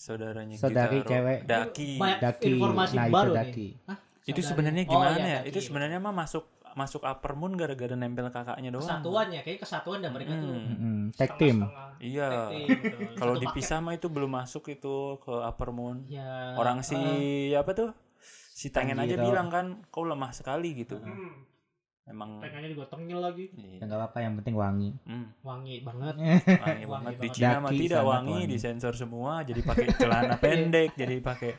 Speaker 3: saudaranya
Speaker 4: Saudari
Speaker 3: Gitaro.
Speaker 4: cewek.
Speaker 3: Daki.
Speaker 2: Banyak
Speaker 4: Daki.
Speaker 2: informasi
Speaker 4: nah,
Speaker 2: baru
Speaker 4: itu
Speaker 2: nih.
Speaker 4: Daki.
Speaker 3: Itu
Speaker 2: Saudari.
Speaker 3: sebenarnya
Speaker 2: Oh,
Speaker 3: gimana
Speaker 2: iya,
Speaker 3: ya?
Speaker 2: Daki.
Speaker 3: Itu sebenarnya mah masuk masuk upper moon gara-gara nempel kakaknya doang.
Speaker 2: kesatuan ya, kayaknya kesatuan dah mereka tuh.
Speaker 3: Hmm.
Speaker 4: Mm-mm, Tag team.
Speaker 2: Setengah-setengah.
Speaker 3: Iya.
Speaker 2: Tag team, betul.
Speaker 3: <laughs> Kalau
Speaker 2: Satu
Speaker 3: dipisah mah itu belum masuk itu ke upper moon.
Speaker 2: paket. ya,
Speaker 3: Orang si
Speaker 2: ah.
Speaker 3: apa tuh? Si tangan aja
Speaker 4: Tanjiro.
Speaker 3: bilang kan kau lemah sekali gitu.
Speaker 2: hmm,
Speaker 3: Emang iya.
Speaker 2: pengennya digotongnya lagi.
Speaker 4: Ya, nggak apa-apa yang penting wangi.
Speaker 3: Hmm,
Speaker 4: <laughs>
Speaker 2: Wangi banget.
Speaker 4: Iya.
Speaker 3: wangi banget di
Speaker 2: banget.
Speaker 3: Cina mah
Speaker 4: Daki
Speaker 3: tidak
Speaker 4: sangat
Speaker 3: wangi,
Speaker 4: wangi.
Speaker 3: disensor semua jadi pakai
Speaker 2: <laughs>
Speaker 3: celana pendek, jadi pakai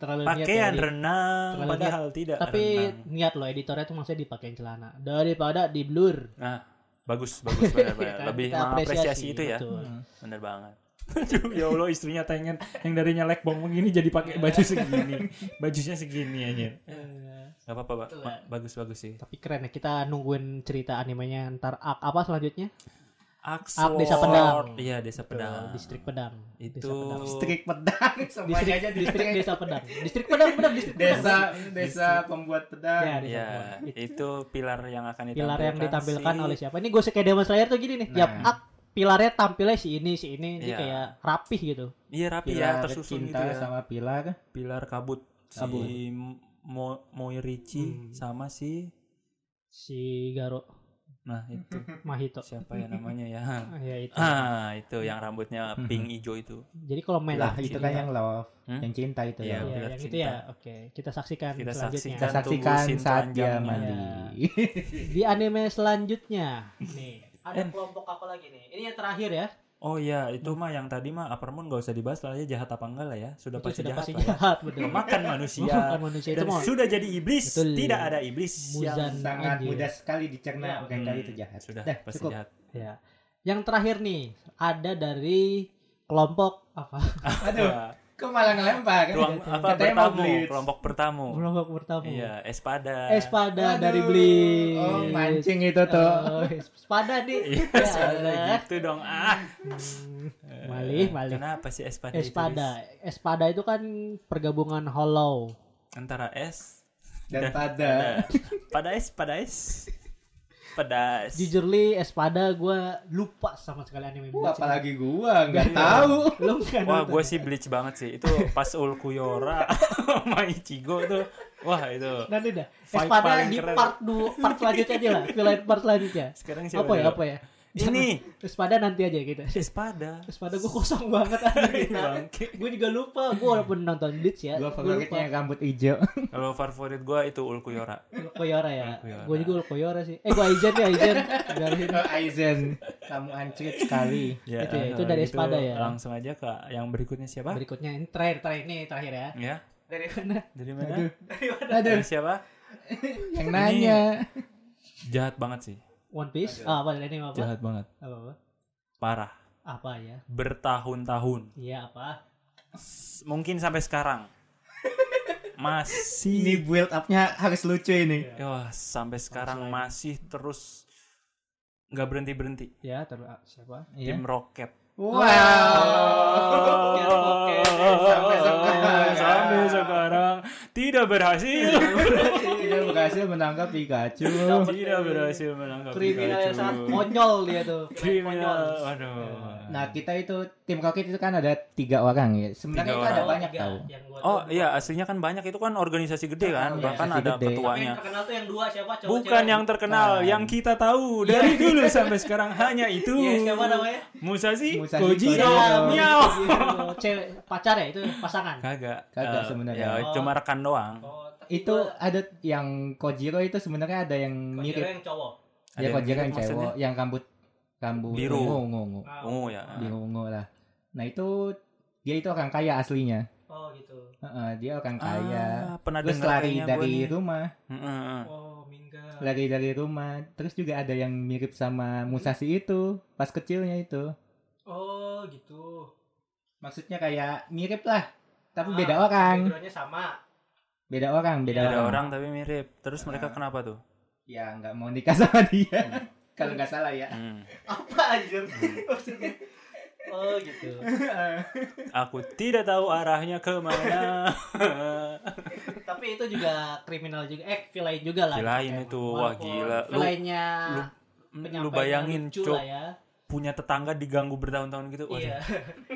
Speaker 2: Terlalu niat ya,
Speaker 3: pakaian
Speaker 2: Edi.
Speaker 3: renang
Speaker 2: Terlalu
Speaker 3: padahal tidak
Speaker 2: Tapi
Speaker 3: renang.
Speaker 2: niat loh editornya tuh maksudnya dipakein celana daripada di blur.
Speaker 3: Nah, bagus bagus
Speaker 2: <laughs>
Speaker 3: benar benar.
Speaker 2: Kan,
Speaker 3: Lebih
Speaker 2: kita
Speaker 3: mengapresiasi itu ya.
Speaker 2: betul.
Speaker 3: Bener banget.
Speaker 5: Aduh, ya Allah istrinya tengen yang darinya leg bong begini jadi
Speaker 2: Iya.
Speaker 5: pakai baju segini. Bajunya segini aja.
Speaker 2: Eh,
Speaker 3: Gak apa-apa, Pak.
Speaker 2: Betul,
Speaker 3: Ma-
Speaker 2: ya.
Speaker 3: bagus bagus sih.
Speaker 2: Tapi keren ya kita nungguin cerita animenya ntar ak- apa selanjutnya?
Speaker 3: Aksor.
Speaker 2: Desa Pedang.
Speaker 3: Iya, Desa Pedang.
Speaker 2: Distrik Pedang.
Speaker 3: Itu
Speaker 2: Desa Pedang.
Speaker 4: Strik pedang semuanya
Speaker 2: Distrik,
Speaker 4: aja di
Speaker 2: distrik Desa Pedang. Distrik Pedang benar distrik Pedang.
Speaker 4: desa desa pembuat
Speaker 2: Ya,
Speaker 4: pedang.
Speaker 2: desa Pedang.
Speaker 3: Ya, itu pilar yang akan ditampilkan.
Speaker 2: Pilar yang ditampilkan
Speaker 3: si-
Speaker 2: oleh siapa? Ini gue kayak Demon Slayer tuh gini nih.
Speaker 4: Nah.
Speaker 2: Tiap ak pilarnya tampilnya si ini si ini jadi
Speaker 3: Iya.
Speaker 2: kayak rapih gitu.
Speaker 3: Iya, rapi ya,
Speaker 4: Pilar
Speaker 3: tersusun gitu
Speaker 4: cinta
Speaker 3: ya.
Speaker 4: sama pilar
Speaker 3: Pilar kabut si
Speaker 4: Kabut.
Speaker 3: Mo
Speaker 5: Hmm.
Speaker 3: Moirichi sama si
Speaker 2: Si Garo
Speaker 3: nah itu
Speaker 2: Mahito.
Speaker 3: siapa ya namanya ya.
Speaker 2: <laughs> Ah, Ya itu.
Speaker 3: Ah, itu yang rambutnya pink hijau itu.
Speaker 2: Jadi kalau main
Speaker 4: lah
Speaker 2: Iya,
Speaker 4: itu kan yang love,
Speaker 3: Hmm?
Speaker 4: yang cinta itu
Speaker 3: Iya,
Speaker 4: ya.
Speaker 3: pilar
Speaker 2: yang itu
Speaker 3: cinta.
Speaker 2: ya. Oke, kita saksikan
Speaker 3: Kita
Speaker 2: selanjutnya.
Speaker 4: Kita
Speaker 3: Dan
Speaker 4: saksikan
Speaker 3: tunggu scene
Speaker 4: saat dia
Speaker 3: telanjangnya.
Speaker 4: mandi.
Speaker 2: Di anime selanjutnya nih
Speaker 3: Eh.
Speaker 2: ada kelompok apa lagi nih? Ini yang terakhir ya.
Speaker 3: Oh iya, itu mah yang tadi mah Upper Moon gak usah dibahas lah ya jahat apa enggak lah ya.
Speaker 2: Itu
Speaker 3: Sudah pasti
Speaker 2: sudah
Speaker 3: jahat.
Speaker 2: pasti
Speaker 3: lah ya.
Speaker 2: jahat betul.
Speaker 3: Memakan manusia.
Speaker 2: Bukan manusia itu
Speaker 3: Dan
Speaker 2: mau
Speaker 3: sudah jadi iblis,
Speaker 2: Betul.
Speaker 3: tidak ada iblis yang
Speaker 4: <laughs>
Speaker 2: Muzan
Speaker 4: Sangat
Speaker 2: anjir.
Speaker 4: mudah sekali
Speaker 2: Ya,
Speaker 4: dicerna bukan
Speaker 3: Hmm,
Speaker 4: kali itu jahat.
Speaker 3: Sudah
Speaker 4: Dah,
Speaker 3: pasti
Speaker 4: cukup.
Speaker 3: jahat.
Speaker 2: Ya. Yang terakhir nih ada dari kelompok apa?
Speaker 4: Aduh,
Speaker 3: Wah,
Speaker 4: kok malah ngelempar kan?
Speaker 3: Ruang apa
Speaker 4: Katanya mau
Speaker 3: bertamu,
Speaker 4: blitz.
Speaker 3: kelompok bertamu.
Speaker 2: Kelompok bertamu.
Speaker 3: Oh. Iya, Espada.
Speaker 2: Espada
Speaker 4: Aduh.
Speaker 2: dari Oh, eh, Bli.
Speaker 4: Oh, mancing itu tuh.
Speaker 2: Espada nih. <laughs>
Speaker 3: Iya, soalnya gitu dong. Ah.
Speaker 2: Hmm. Eh. Malih, malih. Eh,
Speaker 3: Kenapa sih Espada, itu, Riz?
Speaker 2: Espada. Espada itu kan pergabungan hollow.
Speaker 3: Antara es
Speaker 4: Dan pada
Speaker 3: pada pada es pada es pedas.
Speaker 2: Jujurly Espada gua lupa sama sekali anime Bleach.
Speaker 4: Wah, Uh,
Speaker 2: <laughs>
Speaker 4: apalagi gua nggak
Speaker 2: Iya.
Speaker 4: tahu.
Speaker 2: Lu nggak
Speaker 3: Wah,
Speaker 2: nonton
Speaker 3: gue
Speaker 2: ya?
Speaker 3: sih bleach banget sih. Itu pas <laughs> Ulkuyora sama Ichigo tuh. Wah, itu.
Speaker 2: Nanti Nah, dah.
Speaker 3: Fight
Speaker 2: Espada
Speaker 3: paling
Speaker 2: di
Speaker 3: keren.
Speaker 2: part dulu part selanjutnya aja
Speaker 3: <laughs>
Speaker 2: lah. Villain part selanjutnya.
Speaker 3: Sekarang siapa?
Speaker 2: Apa ya?
Speaker 3: dulu?
Speaker 2: Apa ya?
Speaker 3: Ini
Speaker 2: Espada nanti aja gitu.
Speaker 3: Espada.
Speaker 2: <laughs> Espada gue kosong
Speaker 3: <laughs>
Speaker 2: banget anime.
Speaker 3: Iya, Bangke.
Speaker 2: gue juga lupa. Gue walaupun nonton Bleach ya.
Speaker 4: Gua
Speaker 2: gua
Speaker 4: favoritnya yang rambut <laughs> hijau.
Speaker 3: Kalau favorit gue itu Ulkuyora.
Speaker 2: Koyora ya.
Speaker 3: Koyora.
Speaker 2: Gue juga Koyora sih. Eh gue Aizen ya Aizen. Biarin.
Speaker 4: Aizen, kamu hancur sekali.
Speaker 3: Ya,
Speaker 2: Itu ya, itu
Speaker 3: kalau
Speaker 2: dari
Speaker 3: gitu,
Speaker 2: Espada ya.
Speaker 3: Langsung aja ke yang berikutnya siapa?
Speaker 2: Berikutnya ini terakhir terakhir nih terakhir ya.
Speaker 3: Ya,
Speaker 2: Dari mana?
Speaker 3: dari mana?
Speaker 4: Aduh.
Speaker 2: Dari mana?
Speaker 4: Aduh,
Speaker 3: Dari siapa?
Speaker 4: yang nanya.
Speaker 3: Jahat banget sih.
Speaker 2: One Piece. Ah, apa dari ini apa?
Speaker 3: Jahat banget.
Speaker 2: Apa apa?
Speaker 3: Parah.
Speaker 2: Apa ya?
Speaker 3: Bertahun-tahun.
Speaker 2: Iya apa?
Speaker 3: S- Mungkin sampai sekarang.
Speaker 4: Ini
Speaker 3: Masih.
Speaker 4: build upnya harus lucu ini.
Speaker 3: Wah, sampai sekarang
Speaker 2: Langsung
Speaker 3: masih terus nggak berhenti berhenti.
Speaker 2: Ya terus ah, siapa?
Speaker 4: Iya.
Speaker 3: Tim Rocket.
Speaker 4: Wow.
Speaker 2: Tim Rocket.
Speaker 4: Sampai sekarang.
Speaker 3: Sampai sekarang tidak berhasil.
Speaker 4: Tidak berhasil menangkap Pikachu.
Speaker 3: tidak berhasil menangkap
Speaker 2: Kriminal yang
Speaker 3: Pikachu.
Speaker 2: sangat konyol dia tuh.
Speaker 3: <laughs> eh, Kriminal.
Speaker 2: Konyol.
Speaker 3: Aduh.
Speaker 4: Nah kita itu tim Rocket itu kan ada tiga orang ya. Sebenarnya
Speaker 3: Tiga
Speaker 4: itu ada
Speaker 3: orang.
Speaker 4: banyak
Speaker 2: Tiga.
Speaker 4: tahu.
Speaker 2: ya Yang gua
Speaker 3: Oh
Speaker 2: tahu.
Speaker 3: iya aslinya kan banyak itu kan organisasi gede Nah. kan
Speaker 2: Iya,
Speaker 3: bahkan
Speaker 4: organisasi
Speaker 3: ada
Speaker 4: gede.
Speaker 2: Tapi
Speaker 3: ketuanya.
Speaker 2: yang terkenal tuh yang dua siapa? Cowok
Speaker 3: Bukan yang terkenal,
Speaker 4: Bukan.
Speaker 3: yang kita tahu dari dulu sampai sekarang hanya itu.
Speaker 2: Iya, siapa namanya? Iya,
Speaker 3: Musashi,
Speaker 4: Musashi
Speaker 3: Kojiro,
Speaker 4: Kojiro.
Speaker 3: Miao. <laughs>
Speaker 2: Cewek pacar ya itu pasangan.
Speaker 3: Kagak.
Speaker 4: Kagak
Speaker 3: Eh,
Speaker 4: sebenarnya.
Speaker 3: Ya, cuma rekan doang.
Speaker 2: Oh, tapi
Speaker 4: Itu
Speaker 2: gua-
Speaker 4: ada yang Kojiro itu sebenarnya ada yang
Speaker 2: gua
Speaker 4: mirip.
Speaker 2: kira yang cowok.
Speaker 3: Ada
Speaker 4: Ya
Speaker 3: yang
Speaker 4: Kojiro
Speaker 3: mirip
Speaker 4: yang
Speaker 3: maksudnya?
Speaker 4: cewek, yang rambut rambut
Speaker 3: Biru.
Speaker 4: ungu ungu ungu.
Speaker 2: Ah,
Speaker 3: Ungu ya.
Speaker 4: Biru ungu lah. Nah itu dia itu orang kaya aslinya.
Speaker 2: Oh gitu.
Speaker 4: Heeh, dia orang kaya.
Speaker 3: Ah, pernah
Speaker 4: Terus
Speaker 3: dengar
Speaker 4: lari
Speaker 3: kayaknya
Speaker 4: dari
Speaker 3: gua nih.
Speaker 4: rumah,
Speaker 3: Heeh, heeh.
Speaker 2: Oh mingga.
Speaker 4: lari dari rumah. Terus juga ada yang mirip sama Musashi itu pas kecilnya itu.
Speaker 2: Oh gitu.
Speaker 4: Maksudnya kayak mirip lah,
Speaker 2: Ah,
Speaker 4: tapi beda orang,
Speaker 2: Backgroundnya sama. <laughs>
Speaker 4: beda orang, beda,
Speaker 3: Ada
Speaker 2: Iya.
Speaker 4: orang.
Speaker 3: orang tapi mirip. Terus mereka
Speaker 4: Ah.
Speaker 3: kenapa tuh?
Speaker 4: Ya nggak mau nikah sama dia. <laughs> Kalau nggak salah ya.
Speaker 3: Hmm.
Speaker 2: Apa anjir? <laughs> Maksudnya? Oh gitu.
Speaker 3: Aku tidak tahu arahnya
Speaker 2: <laughs>
Speaker 3: kemana.
Speaker 2: Tapi itu juga kriminal juga. Eh, villain juga lah. Eh,
Speaker 3: Kilain itu, wah
Speaker 2: Walaupun
Speaker 3: gila. Lu,
Speaker 2: Villainnya
Speaker 3: lu- lu
Speaker 2: penyampaiannya
Speaker 3: bayangin,
Speaker 2: lucu
Speaker 3: Cuk,
Speaker 2: lah ya.
Speaker 3: punya tetangga diganggu bertahun-tahun gitu. Waduh,
Speaker 2: Iya.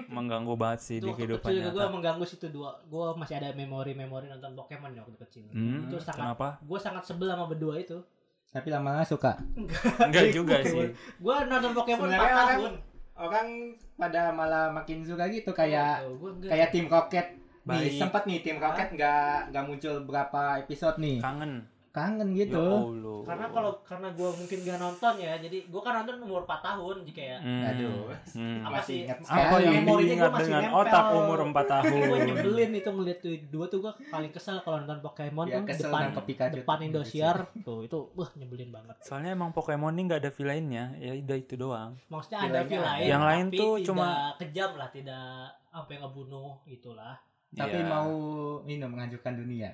Speaker 3: mengganggu banget sih
Speaker 2: Itu
Speaker 3: di
Speaker 2: waktu
Speaker 3: kehidupan
Speaker 2: kecil juga gue
Speaker 3: nyata.
Speaker 2: mengganggu situ dua. Gue masih ada memori-memori nonton Pokemon ya waktu kecil.
Speaker 3: Hmm,
Speaker 2: Itu sangat <laughs>
Speaker 3: kenapa?
Speaker 2: gue sangat sebel sama berdua itu.
Speaker 4: Tapi lama-lama suka.
Speaker 3: Enggak juga
Speaker 2: Gitu.
Speaker 3: sih.
Speaker 2: Gue nonton Pokemon
Speaker 4: Sebenarnya kan
Speaker 2: 4
Speaker 4: orang-
Speaker 2: tahun.
Speaker 4: Orang pada malah makin suka gitu kayak
Speaker 2: Oh, gua enggak.
Speaker 4: kayak tim Rocket.
Speaker 3: Baik.
Speaker 4: Nih, sempat nih tim Rocket nggak nggak muncul berapa episode nih.
Speaker 3: Kangen.
Speaker 4: Kangen
Speaker 3: Ya
Speaker 4: gitu.
Speaker 3: Allah.
Speaker 2: karena kalau karena gue mungkin gak nonton ya jadi gue kan nonton umur 4 tahun jadi kayak
Speaker 3: Hmm.
Speaker 4: Aduh.
Speaker 3: Hmm.
Speaker 2: apa
Speaker 4: Masih
Speaker 2: sih
Speaker 4: ingat
Speaker 3: Apa
Speaker 4: sekali.
Speaker 2: memorinya
Speaker 3: yang
Speaker 2: gua
Speaker 3: diingat
Speaker 2: masih
Speaker 3: dengan
Speaker 2: nempel.
Speaker 3: otak umur 4 tahun?
Speaker 2: gue nyebelin itu ngeliat tuh dua tuh gue paling kesel kalau nonton Pokemon
Speaker 4: Ya,
Speaker 2: tuh
Speaker 4: kesel Iya,
Speaker 2: depan
Speaker 4: nangkep Pikachu.
Speaker 2: depan Indosiar tuh itu wah nyebelin banget
Speaker 3: Soalnya emang Pokemon ini nggak ada villainnya, ya udah itu doang.
Speaker 2: maksudnya ada
Speaker 4: Villainnya
Speaker 2: feel
Speaker 4: ada.
Speaker 2: lain
Speaker 3: Yang lain
Speaker 2: tapi
Speaker 3: tuh
Speaker 2: tidak
Speaker 3: cuma-
Speaker 2: kejam lah tidak apa yang ngebunuh gitulah
Speaker 3: Ya.
Speaker 4: Tapi mau ini menghancurkan dunia.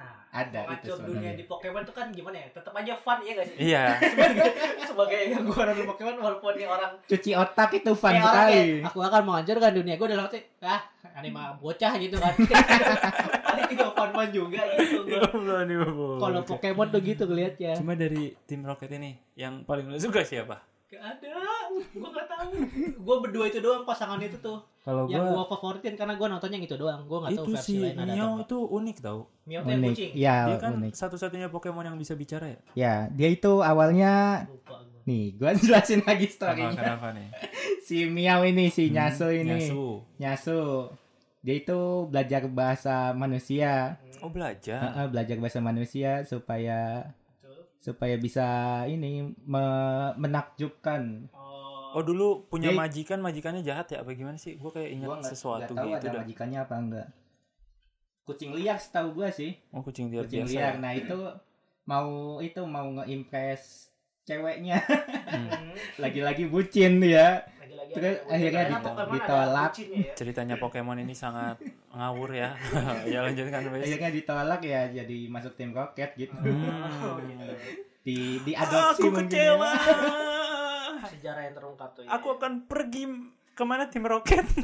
Speaker 2: nah
Speaker 4: Ada Ya,
Speaker 2: mengacur
Speaker 4: itu
Speaker 2: dunia
Speaker 4: sebenarnya.
Speaker 2: di Pokemon tuh kan gimana ya tetap aja fun ya gak sih
Speaker 3: Iya.
Speaker 2: <laughs>
Speaker 3: <laughs>
Speaker 2: sebagai yang gue nonton Pokemon walaupun nih orang
Speaker 4: Cuci otak itu fun
Speaker 2: Kayak orang
Speaker 4: sekali.
Speaker 2: kayak, aku akan menghancurkan dunia gue dalam hati ah anime bocah gitu kan <laughs> paling juga fun juga gitu gua. kalau Pokemon tuh gitu ya
Speaker 3: Cuma dari tim Rocket ini yang paling lu suka siapa?
Speaker 2: gak ada gue gak tahu gue berdua itu doang pasangan itu tuh
Speaker 3: Kalau
Speaker 4: Oh,
Speaker 2: yang gue favoritin karena gue nontonnya yang itu doang gue gak tahu
Speaker 3: itu
Speaker 2: versi
Speaker 3: si
Speaker 2: lain ada atau
Speaker 3: Mio
Speaker 2: enggak.
Speaker 3: itu unik tau.
Speaker 2: Mio tuh yang
Speaker 4: Unik.
Speaker 2: kucing
Speaker 4: Ya,
Speaker 3: Dia kan
Speaker 4: unik.
Speaker 3: satu-satunya Pokemon yang bisa bicara ya.
Speaker 4: Ya, dia itu awalnya
Speaker 2: lupa gue
Speaker 4: nih, gua <laughs> jelasin lagi
Speaker 3: Kenapa,
Speaker 4: story-nya.
Speaker 3: kenapa nih?
Speaker 4: Si Miao ini, si
Speaker 3: Hmm,
Speaker 4: <laughs> Nyasu ini.
Speaker 3: Nyasu.
Speaker 4: Nyasu. Dia itu belajar bahasa manusia.
Speaker 3: Oh belajar.
Speaker 4: Heeh, belajar bahasa manusia supaya
Speaker 2: Tuh.
Speaker 4: supaya bisa ini me- menakjubkan.
Speaker 2: oh,
Speaker 3: Oh dulu punya
Speaker 4: Dia-
Speaker 3: majikan, majikannya jahat ya apa gimana sih? Gue kayak ingat
Speaker 4: Gua nggak-
Speaker 3: sesuatu
Speaker 4: nggak tahu
Speaker 3: gitu
Speaker 4: ada
Speaker 3: dah.
Speaker 4: majikannya apa enggak. Kucing liar setahu gua sih.
Speaker 3: Oh kucing liar
Speaker 4: Kucing
Speaker 3: biasa.
Speaker 4: liar.
Speaker 3: ya?
Speaker 4: Nah, itu mau itu mau ngeimpress ceweknya.
Speaker 2: Hmm.
Speaker 4: <laughs> Lagi-lagi bucin ya. dia.
Speaker 2: lagi-lagi
Speaker 4: Terus
Speaker 2: ada-
Speaker 4: akhirnya
Speaker 2: Karena
Speaker 4: di-
Speaker 2: Pokemon ada
Speaker 4: ditolak.
Speaker 2: kucingnya ya.
Speaker 3: Ceritanya Pokemon ini sangat ngawur ya. <laughs> ya lanjutkan Wes.
Speaker 4: akhirnya ditolak ya jadi masuk tim roket gitu
Speaker 3: Hmm.
Speaker 2: Oh, gitu.
Speaker 4: di diadopsi
Speaker 3: Ah, Aku
Speaker 4: mungkin ya.
Speaker 3: kecewa.
Speaker 4: <laughs>
Speaker 2: sejarah yang terungkap tuh ya.
Speaker 3: Aku akan pergi kemana tim roket <laughs>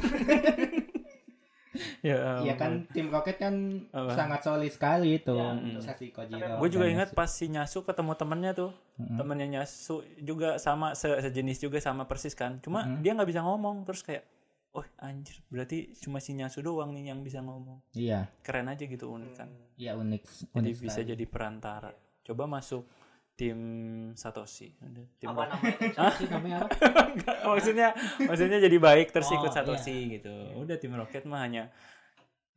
Speaker 3: ya
Speaker 4: Iya kan tim Rocket kan
Speaker 3: Apa?
Speaker 4: sangat solid sekali itu.
Speaker 5: Iya,
Speaker 3: betul.
Speaker 4: Saksi Kojiro.
Speaker 3: gue juga
Speaker 4: dan
Speaker 3: ingat
Speaker 4: Yasuo.
Speaker 3: pas si Nyasu ketemu temennya tuh
Speaker 4: Mm-mm.
Speaker 3: temennya Nyasu juga sama se- sejenis juga sama persis kan cuma
Speaker 4: Mm-mm.
Speaker 3: dia nggak bisa ngomong terus kayak oh anjir berarti cuma si Nyasu doang nih yang bisa ngomong
Speaker 4: Iya,
Speaker 3: keren aja gitu unik kan
Speaker 2: Hmm,
Speaker 4: iya unik.
Speaker 3: jadi
Speaker 4: unik
Speaker 3: bisa
Speaker 4: sekali.
Speaker 3: jadi perantara coba masuk tim Satoshi Udah, tim
Speaker 2: Apa
Speaker 3: Rocket. <laughs>
Speaker 2: namanya? Sih, namanya apa?
Speaker 3: Nggak, maksudnya maksudnya jadi baik terus
Speaker 2: Oh,
Speaker 3: ikut
Speaker 2: iya.
Speaker 3: Satoshi gitu udah tim Rocket mah hanya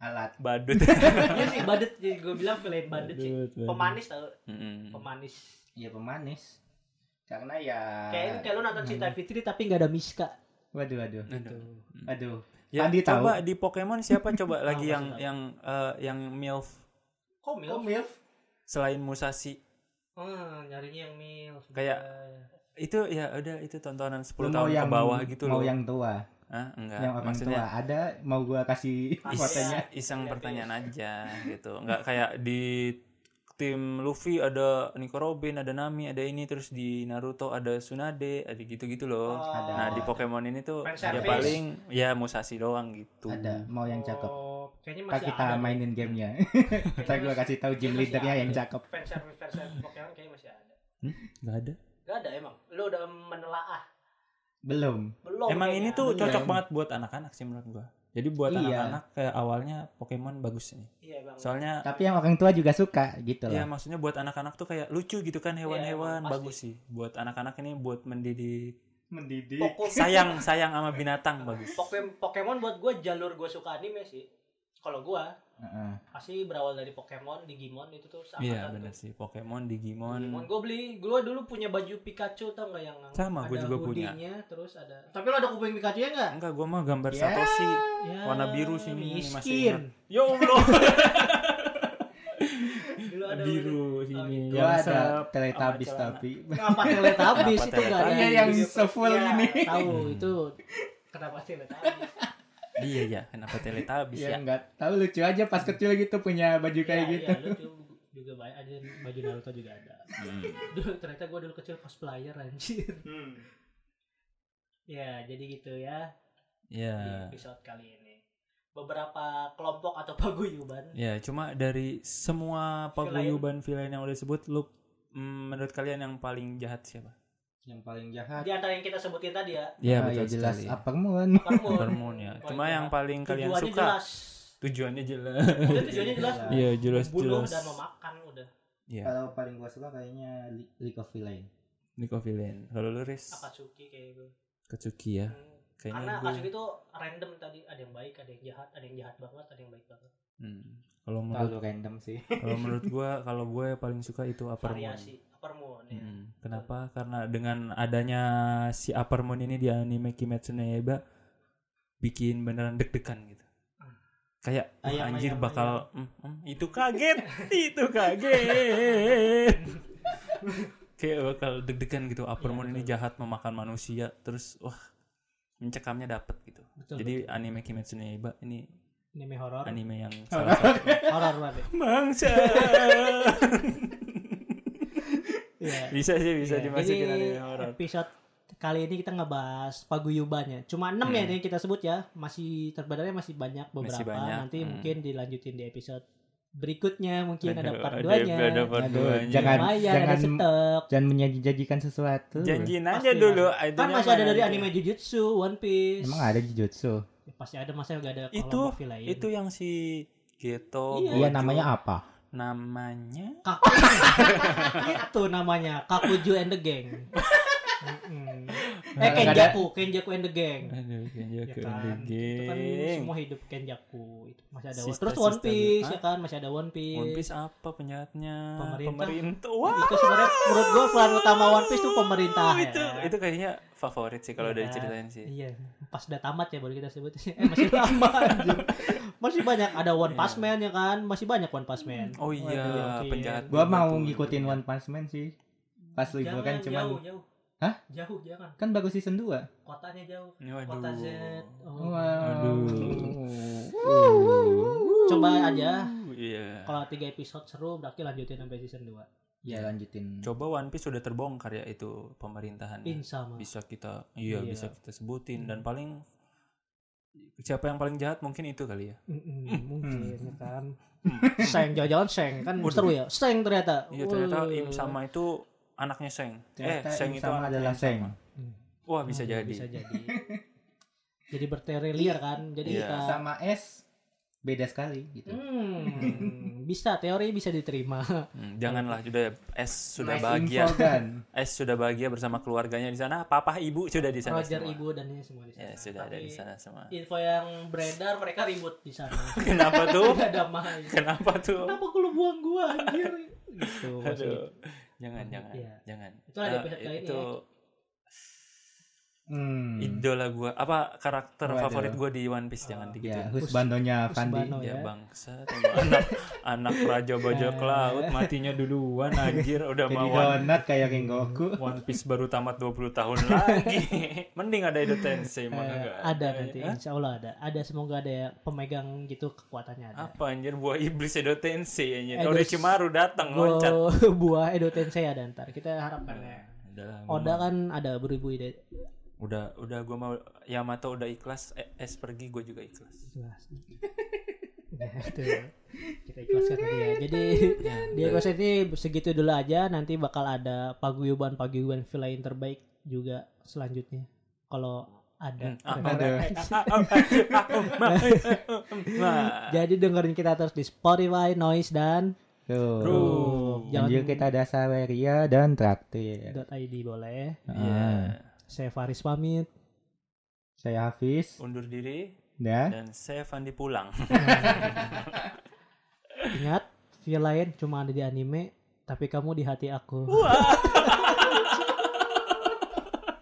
Speaker 4: alat.
Speaker 3: badut <laughs>
Speaker 2: Iya sih badet jadi gue bilang villain badet sih.
Speaker 4: Badut, badut.
Speaker 2: Pemanis tau
Speaker 3: Mm-mm.
Speaker 2: pemanis.
Speaker 4: Iya pemanis. Karena ya
Speaker 2: Kayaknya kayak lu
Speaker 4: Hmm.
Speaker 2: nonton Cinta Fitri tapi nggak ada Miska.
Speaker 4: Waduh, waduh.
Speaker 3: Aduh.
Speaker 4: Waduh.
Speaker 3: Ya,
Speaker 4: gitu. Andi tahu.
Speaker 3: coba di Pokemon siapa
Speaker 4: <laughs>
Speaker 3: coba lagi
Speaker 2: pasti
Speaker 3: yang
Speaker 2: tahu.
Speaker 3: yang eh, yang milf
Speaker 2: Kok Mil?
Speaker 4: milf?
Speaker 3: selain Musashi
Speaker 2: Hmm, nyarinya yang Mil.
Speaker 3: Kayak- itu ya udah itu tontonan 10
Speaker 4: Lu
Speaker 3: tahun ke bawah gitu loh.
Speaker 4: mau yang tua,
Speaker 3: Hah? enggak.
Speaker 4: yang orang
Speaker 3: Maksudnya
Speaker 4: tua. Ada mau gua kasih
Speaker 2: Is-
Speaker 4: fotonya.
Speaker 2: Iya,
Speaker 3: iseng pertanyaan aja gitu. Enggak kayak di tim Luffy ada Nico Robin, ada Nami, ada ini terus di Naruto ada Tsunade, ada gitu-gitu
Speaker 2: Oh,
Speaker 3: loh.
Speaker 4: Ada.
Speaker 3: Nah, di Pokemon ini tuh
Speaker 2: Fan
Speaker 3: ya
Speaker 2: service.
Speaker 3: paling ya Musashi doang gitu.
Speaker 4: Ada mau yang cakep.
Speaker 2: Oh, kayaknya
Speaker 4: Ntar
Speaker 2: masih
Speaker 4: kita
Speaker 2: ada.
Speaker 4: mainin <laughs> gamenya. Ntar gua kasih tahu gym
Speaker 2: Kayaknya
Speaker 4: leadernya
Speaker 2: masih
Speaker 4: yang
Speaker 2: ada.
Speaker 4: cakep.
Speaker 2: Fans service fans service Pokemon kayaknya masih ada.
Speaker 3: Enggak ada.
Speaker 2: Gak ada emang. Lu udah menelaah.
Speaker 4: Belum.
Speaker 2: Belum.
Speaker 3: Emang ini
Speaker 2: kayaknya.
Speaker 3: tuh
Speaker 4: Belum.
Speaker 3: cocok banget buat anak-anak sih menurut gua. Jadi buat
Speaker 4: Iya.
Speaker 3: anak-anak kayak awalnya Pokemon bagus nih.
Speaker 2: Iya, Bang.
Speaker 3: Soalnya
Speaker 4: Tapi yang orang tua juga suka gitu
Speaker 3: Ya
Speaker 4: loh.
Speaker 3: maksudnya buat anak-anak tuh kayak lucu gitu kan hewan-hewan
Speaker 2: Iya, pasti.
Speaker 3: bagus sih buat anak-anak ini buat mendidik
Speaker 4: Mendidik.
Speaker 2: Pokemon
Speaker 3: sayang sayang sama binatang bagus.
Speaker 2: Pokemon, Pokemon buat gue jalur gue suka anime sih. Kalau gue
Speaker 4: Heeh.
Speaker 2: pasti berawal dari Pokemon, Digimon itu tuh sama
Speaker 3: Iya benar sih Pokemon Digimon.
Speaker 2: gue beli, gue dulu punya baju Pikachu tau nggak yang
Speaker 3: Sama, gua
Speaker 2: ada
Speaker 3: juga punya.
Speaker 2: hoodie-nya, Terus ada. Tapi lo ada kuping Pikachu nya nggak?
Speaker 3: Enggak gua mah gambar
Speaker 4: Ya.
Speaker 3: Satoshi.
Speaker 2: Ya,
Speaker 3: Iya. Warna biru sih ini, masih
Speaker 2: miskin.
Speaker 3: Ya Allah
Speaker 2: Dulu ada
Speaker 3: biru
Speaker 2: Oh,
Speaker 3: sini.
Speaker 4: Gua
Speaker 3: Yang
Speaker 4: ada
Speaker 3: se-
Speaker 4: teletabis
Speaker 3: sama celana.
Speaker 4: tapi. <laughs>
Speaker 2: Kenapa teletabis
Speaker 3: Kenapa
Speaker 2: itu nggak ada?
Speaker 4: Iya, yang sefull
Speaker 2: Iya,
Speaker 4: ini.
Speaker 2: Tahu itu kenapa teletabis?
Speaker 3: Iya ya kenapa teletabis
Speaker 4: Ya
Speaker 3: ya?
Speaker 4: enggak tahu lucu aja pas kecil gitu punya baju kayak
Speaker 2: Iya,
Speaker 4: gitu.
Speaker 2: Iya, lucu juga banyak ada baju Naruto juga ada.
Speaker 3: Hmm.
Speaker 2: Duh, ternyata gue dulu kecil cosplayer anjir.
Speaker 4: Hmm.
Speaker 2: Ya, jadi gitu ya
Speaker 3: Ya.
Speaker 2: di episode kali ini. Beberapa kelompok atau <laughs> paguyuban.
Speaker 3: Ya cuma dari semua paguyuban villain yang udah disebut lu mm, menurut kalian yang paling jahat siapa?
Speaker 4: Yang paling jahat.
Speaker 2: Di antara yang kita sebutin tadi
Speaker 3: <laughs>
Speaker 2: ya,
Speaker 3: Iya
Speaker 4: Ah, ya Iya, jelas Upper Moon.
Speaker 2: Purmoon.
Speaker 3: Peppermint ya.
Speaker 2: Paling
Speaker 3: Cuma yang
Speaker 2: jahat.
Speaker 3: paling kalian
Speaker 2: Tujuannya
Speaker 3: suka.
Speaker 2: jelas.
Speaker 3: Tujuannya jelas. <laughs>
Speaker 2: Maksudnya tujuannya jelas.
Speaker 4: Jelas.
Speaker 3: Iya, jelas
Speaker 2: Bunuh
Speaker 3: jelas.
Speaker 2: dan memakan udah.
Speaker 3: Iya,
Speaker 4: Kalau paling gua suka kayaknya Li- League of Villain.
Speaker 3: Nico Villain. Kalau lu Riz,
Speaker 2: Akatsuki kayak gitu.
Speaker 3: Katsuki ya.
Speaker 2: Hmm. Karena
Speaker 3: Kayaknya
Speaker 2: Akatsuki
Speaker 3: gue.
Speaker 2: itu random tadi, ada yang baik, ada yang jahat, ada yang jahat banget, ada yang baik banget.
Speaker 3: Hmm. Kalau menurut
Speaker 4: Terlalu random sih.
Speaker 3: kalau menurut gua, kalau gue paling suka itu Upper Moon.
Speaker 2: Variasi, upper moon ya.
Speaker 3: Hmm. Kenapa? Karena dengan adanya si Upper Moon ini di anime Kimetsu no Yaiba bikin beneran deg-degan gitu.
Speaker 2: Hmm.
Speaker 3: Kayak wah,
Speaker 4: Ayam,
Speaker 3: anjir
Speaker 4: ayam,
Speaker 3: bakal mm, mm, itu kaget, <laughs> itu
Speaker 2: <laughs>
Speaker 3: kaget. Kayak bakal deg-degan gitu. Upper
Speaker 2: Iya,
Speaker 3: Moon ini jahat memakan manusia terus wah mencekamnya dapet gitu.
Speaker 2: Betul.
Speaker 3: Jadi anime Kimetsu no Yaiba ini
Speaker 2: anime horor.
Speaker 3: anime
Speaker 2: <laughs>
Speaker 3: yang salah satu
Speaker 2: Horor banget.
Speaker 3: bangsa. <laughs>
Speaker 2: Iya.
Speaker 3: <laughs> bisa sih bisa
Speaker 2: Iya,
Speaker 3: dimasukin
Speaker 2: jadi
Speaker 3: anime horor.
Speaker 2: Episode kali ini kita ngebahas paguyubannya. Cuma 6 ya yang kita sebut ya. Masih terbadarnya masih banyak beberapa.
Speaker 3: Hmm. Masih banyak,
Speaker 2: Nanti
Speaker 3: hmm.
Speaker 2: mungkin dilanjutin di episode berikutnya mungkin ada
Speaker 3: Aduh,
Speaker 2: part
Speaker 3: ada-
Speaker 2: 2-nya.
Speaker 3: ada part
Speaker 4: Aduh,
Speaker 3: duanya.
Speaker 4: jangan-
Speaker 2: Lumayan iya, ada
Speaker 4: jangan-
Speaker 2: stok.
Speaker 4: Jangan menjanjikan sesuatu.
Speaker 3: janjiin
Speaker 2: Pasti
Speaker 3: aja dulu.
Speaker 2: ada.
Speaker 3: idenya
Speaker 2: Kan masih ada
Speaker 3: mana
Speaker 2: dari
Speaker 3: gitu.
Speaker 2: anime Jujutsu, One Piece.
Speaker 4: Emang ada Jujutsu.
Speaker 2: Ya, pasti ada masa gak ada
Speaker 3: Itu-
Speaker 2: kelompok lain.
Speaker 3: Itu yang si Geto.
Speaker 2: Iya.
Speaker 3: Gojo.
Speaker 4: Iya namanya apa?
Speaker 3: Namanya
Speaker 2: Kaku. <laughs> itu namanya Kakuju and the
Speaker 4: <laughs>
Speaker 2: Gang. Mm-mm. eh
Speaker 4: Nggak ada-
Speaker 2: Kenjaku, Kenjaku and the Gang.
Speaker 3: Aduh, Genjo
Speaker 2: ya
Speaker 3: ke
Speaker 2: kan itu kan
Speaker 3: Ending.
Speaker 2: semua hidup Kenjaku itu masih ada
Speaker 3: Sister-
Speaker 2: terus One
Speaker 3: sister
Speaker 2: Piece
Speaker 3: dulu.
Speaker 2: ya kan masih ada One Piece,
Speaker 3: One Piece iya. apa penjahatnya?
Speaker 2: Pemerintah.
Speaker 3: Pemerintah. Wah.
Speaker 2: itu sebenarnya menurut gua peran utama One Piece tuh pemerintah ya.
Speaker 3: itu itu kayaknya favorit sih kalau
Speaker 2: Iya
Speaker 3: udah
Speaker 2: kan?
Speaker 3: diceritain sih.
Speaker 2: iya pas udah tamat ya baru kita sebut <laughs> eh masih lama anjir. masih banyak ada One Punch Man ya kan masih banyak One Punch Man
Speaker 3: Iya. Oh
Speaker 2: Waduh,
Speaker 3: iya,
Speaker 2: yakin.
Speaker 3: penjahat.
Speaker 4: Gua
Speaker 3: dulu
Speaker 4: mau
Speaker 3: tuh.
Speaker 4: ngikutin One Punch Man sih. Pas
Speaker 3: kan
Speaker 4: liburan cuman
Speaker 2: jauh jauh
Speaker 4: Hah?
Speaker 2: jauh jangan
Speaker 4: kan baru season 2.
Speaker 2: kotanya jauh kota Z
Speaker 3: Waduh.
Speaker 2: Oh.
Speaker 4: Wow.
Speaker 2: coba aja
Speaker 3: Iya.
Speaker 2: kalau tiga episode seru berarti lanjutin sampai season 2
Speaker 4: Ya lanjutin.
Speaker 3: Coba One Piece sudah terbongkar ya itu pemerintahan.
Speaker 2: pin sama
Speaker 3: Bisa kita iya
Speaker 2: Iya.
Speaker 3: bisa kita sebutin dan paling siapa yang paling jahat mungkin itu kali ya
Speaker 2: Mm-mm, mungkin ya kan
Speaker 3: <laughs>
Speaker 2: seng jalan-jalan seng kan seru ya seng ternyata
Speaker 3: iya ternyata
Speaker 2: Wuh.
Speaker 3: im sama itu anaknya seng
Speaker 4: Ternyata
Speaker 3: eh seng
Speaker 4: Im
Speaker 3: itu
Speaker 4: sama
Speaker 3: anaknya
Speaker 4: adalah
Speaker 3: Im sama.
Speaker 4: Seng.
Speaker 3: wah Oh, bisa
Speaker 2: Hmm,
Speaker 3: jadi
Speaker 2: bisa
Speaker 3: <laughs>
Speaker 2: jadi jadi berterelir kan jadi
Speaker 3: Iya.
Speaker 2: kita
Speaker 4: sama S beda sekali gitu.
Speaker 2: Hmm, bisa teori bisa
Speaker 3: <laughs>
Speaker 2: diterima
Speaker 3: Hmm, janganlah
Speaker 2: Iya.
Speaker 3: sudah S sudah
Speaker 4: Nice
Speaker 3: bahagia
Speaker 4: info, kan?
Speaker 3: S sudah bahagia bersama keluarganya di sana papa ibu sudah di sana
Speaker 2: Roger
Speaker 3: semua.
Speaker 2: ibu dan ini semua di sana
Speaker 3: ya sudah ada
Speaker 2: Tapi Iya.
Speaker 3: di sana semua
Speaker 2: info yang beredar mereka ribut di sana
Speaker 3: <laughs> kenapa tuh
Speaker 2: Gak damai
Speaker 3: kenapa tuh
Speaker 2: kenapa kalau buang gua anjir gitu maksudnya.
Speaker 3: Aduh. Jangan, jangan,
Speaker 2: Iya.
Speaker 3: jangan.
Speaker 2: Itulah di
Speaker 3: Eh,
Speaker 2: episode kali ini ya.
Speaker 3: itu
Speaker 4: Hmm.
Speaker 3: idola gua apa karakter
Speaker 4: Waduh.
Speaker 3: favorit gua di One
Speaker 2: Iya.
Speaker 3: Piece jangan
Speaker 4: Ya,
Speaker 3: digituin.
Speaker 4: husbandonya
Speaker 2: Us-
Speaker 4: Fandi.
Speaker 2: husbando.
Speaker 3: Ya
Speaker 2: ya.
Speaker 3: bangsa emang anak anak raja bajak
Speaker 2: Eh.
Speaker 3: laut matinya duluan anjir udah
Speaker 4: Jadi
Speaker 3: mau One,
Speaker 4: donat kayak Kengoku.
Speaker 3: One Piece baru tamat 20 tahun lagi. <laughs> Mending ada Edo
Speaker 2: Eh,
Speaker 3: Tensei mana eh? enggak.
Speaker 2: ada nanti
Speaker 3: Hah?
Speaker 2: insya Allah ada ada semoga ada ya pemegang gitu kekuatannya ada
Speaker 3: Apa anjir buah iblis Edo Tensei anjir.
Speaker 2: Edo-
Speaker 3: Orochimaru datang
Speaker 2: Gua- <laughs>
Speaker 3: loncat.
Speaker 2: buah Edo Tensei ada ntar kita harapkan ya
Speaker 3: Udah lah, gua
Speaker 2: Oda
Speaker 3: mau-
Speaker 2: kan ada beribu ide
Speaker 3: udah udah gua mau Yamato udah ikhlas, eh, S pergi gua juga ikhlas.
Speaker 2: jelas Nah, itu. kita ikhlaskan tadi ya jadi
Speaker 3: Gitu. Iya.
Speaker 2: di episode ini segitu dulu aja nanti bakal ada paguyuban paguyuban villa yang terbaik juga selanjutnya kalau
Speaker 4: Hmm,
Speaker 2: ada
Speaker 4: Aduh.
Speaker 3: Ah, um,
Speaker 2: <laughs> jadi dengerin kita terus di Spotify, Noise dan
Speaker 4: Tuh.
Speaker 3: Ruh.
Speaker 4: Jangan Anjir kita ada Saweria dan Traktir.
Speaker 2: .id boleh.
Speaker 3: Iya.
Speaker 4: Ah.
Speaker 2: Saya Faris pamit.
Speaker 4: Saya Hafiz.
Speaker 3: Undur diri
Speaker 4: Dah.
Speaker 3: dan saya Fandi pulang.
Speaker 2: Ingat, villa lain cuma ada di anime, tapi kamu di hati aku.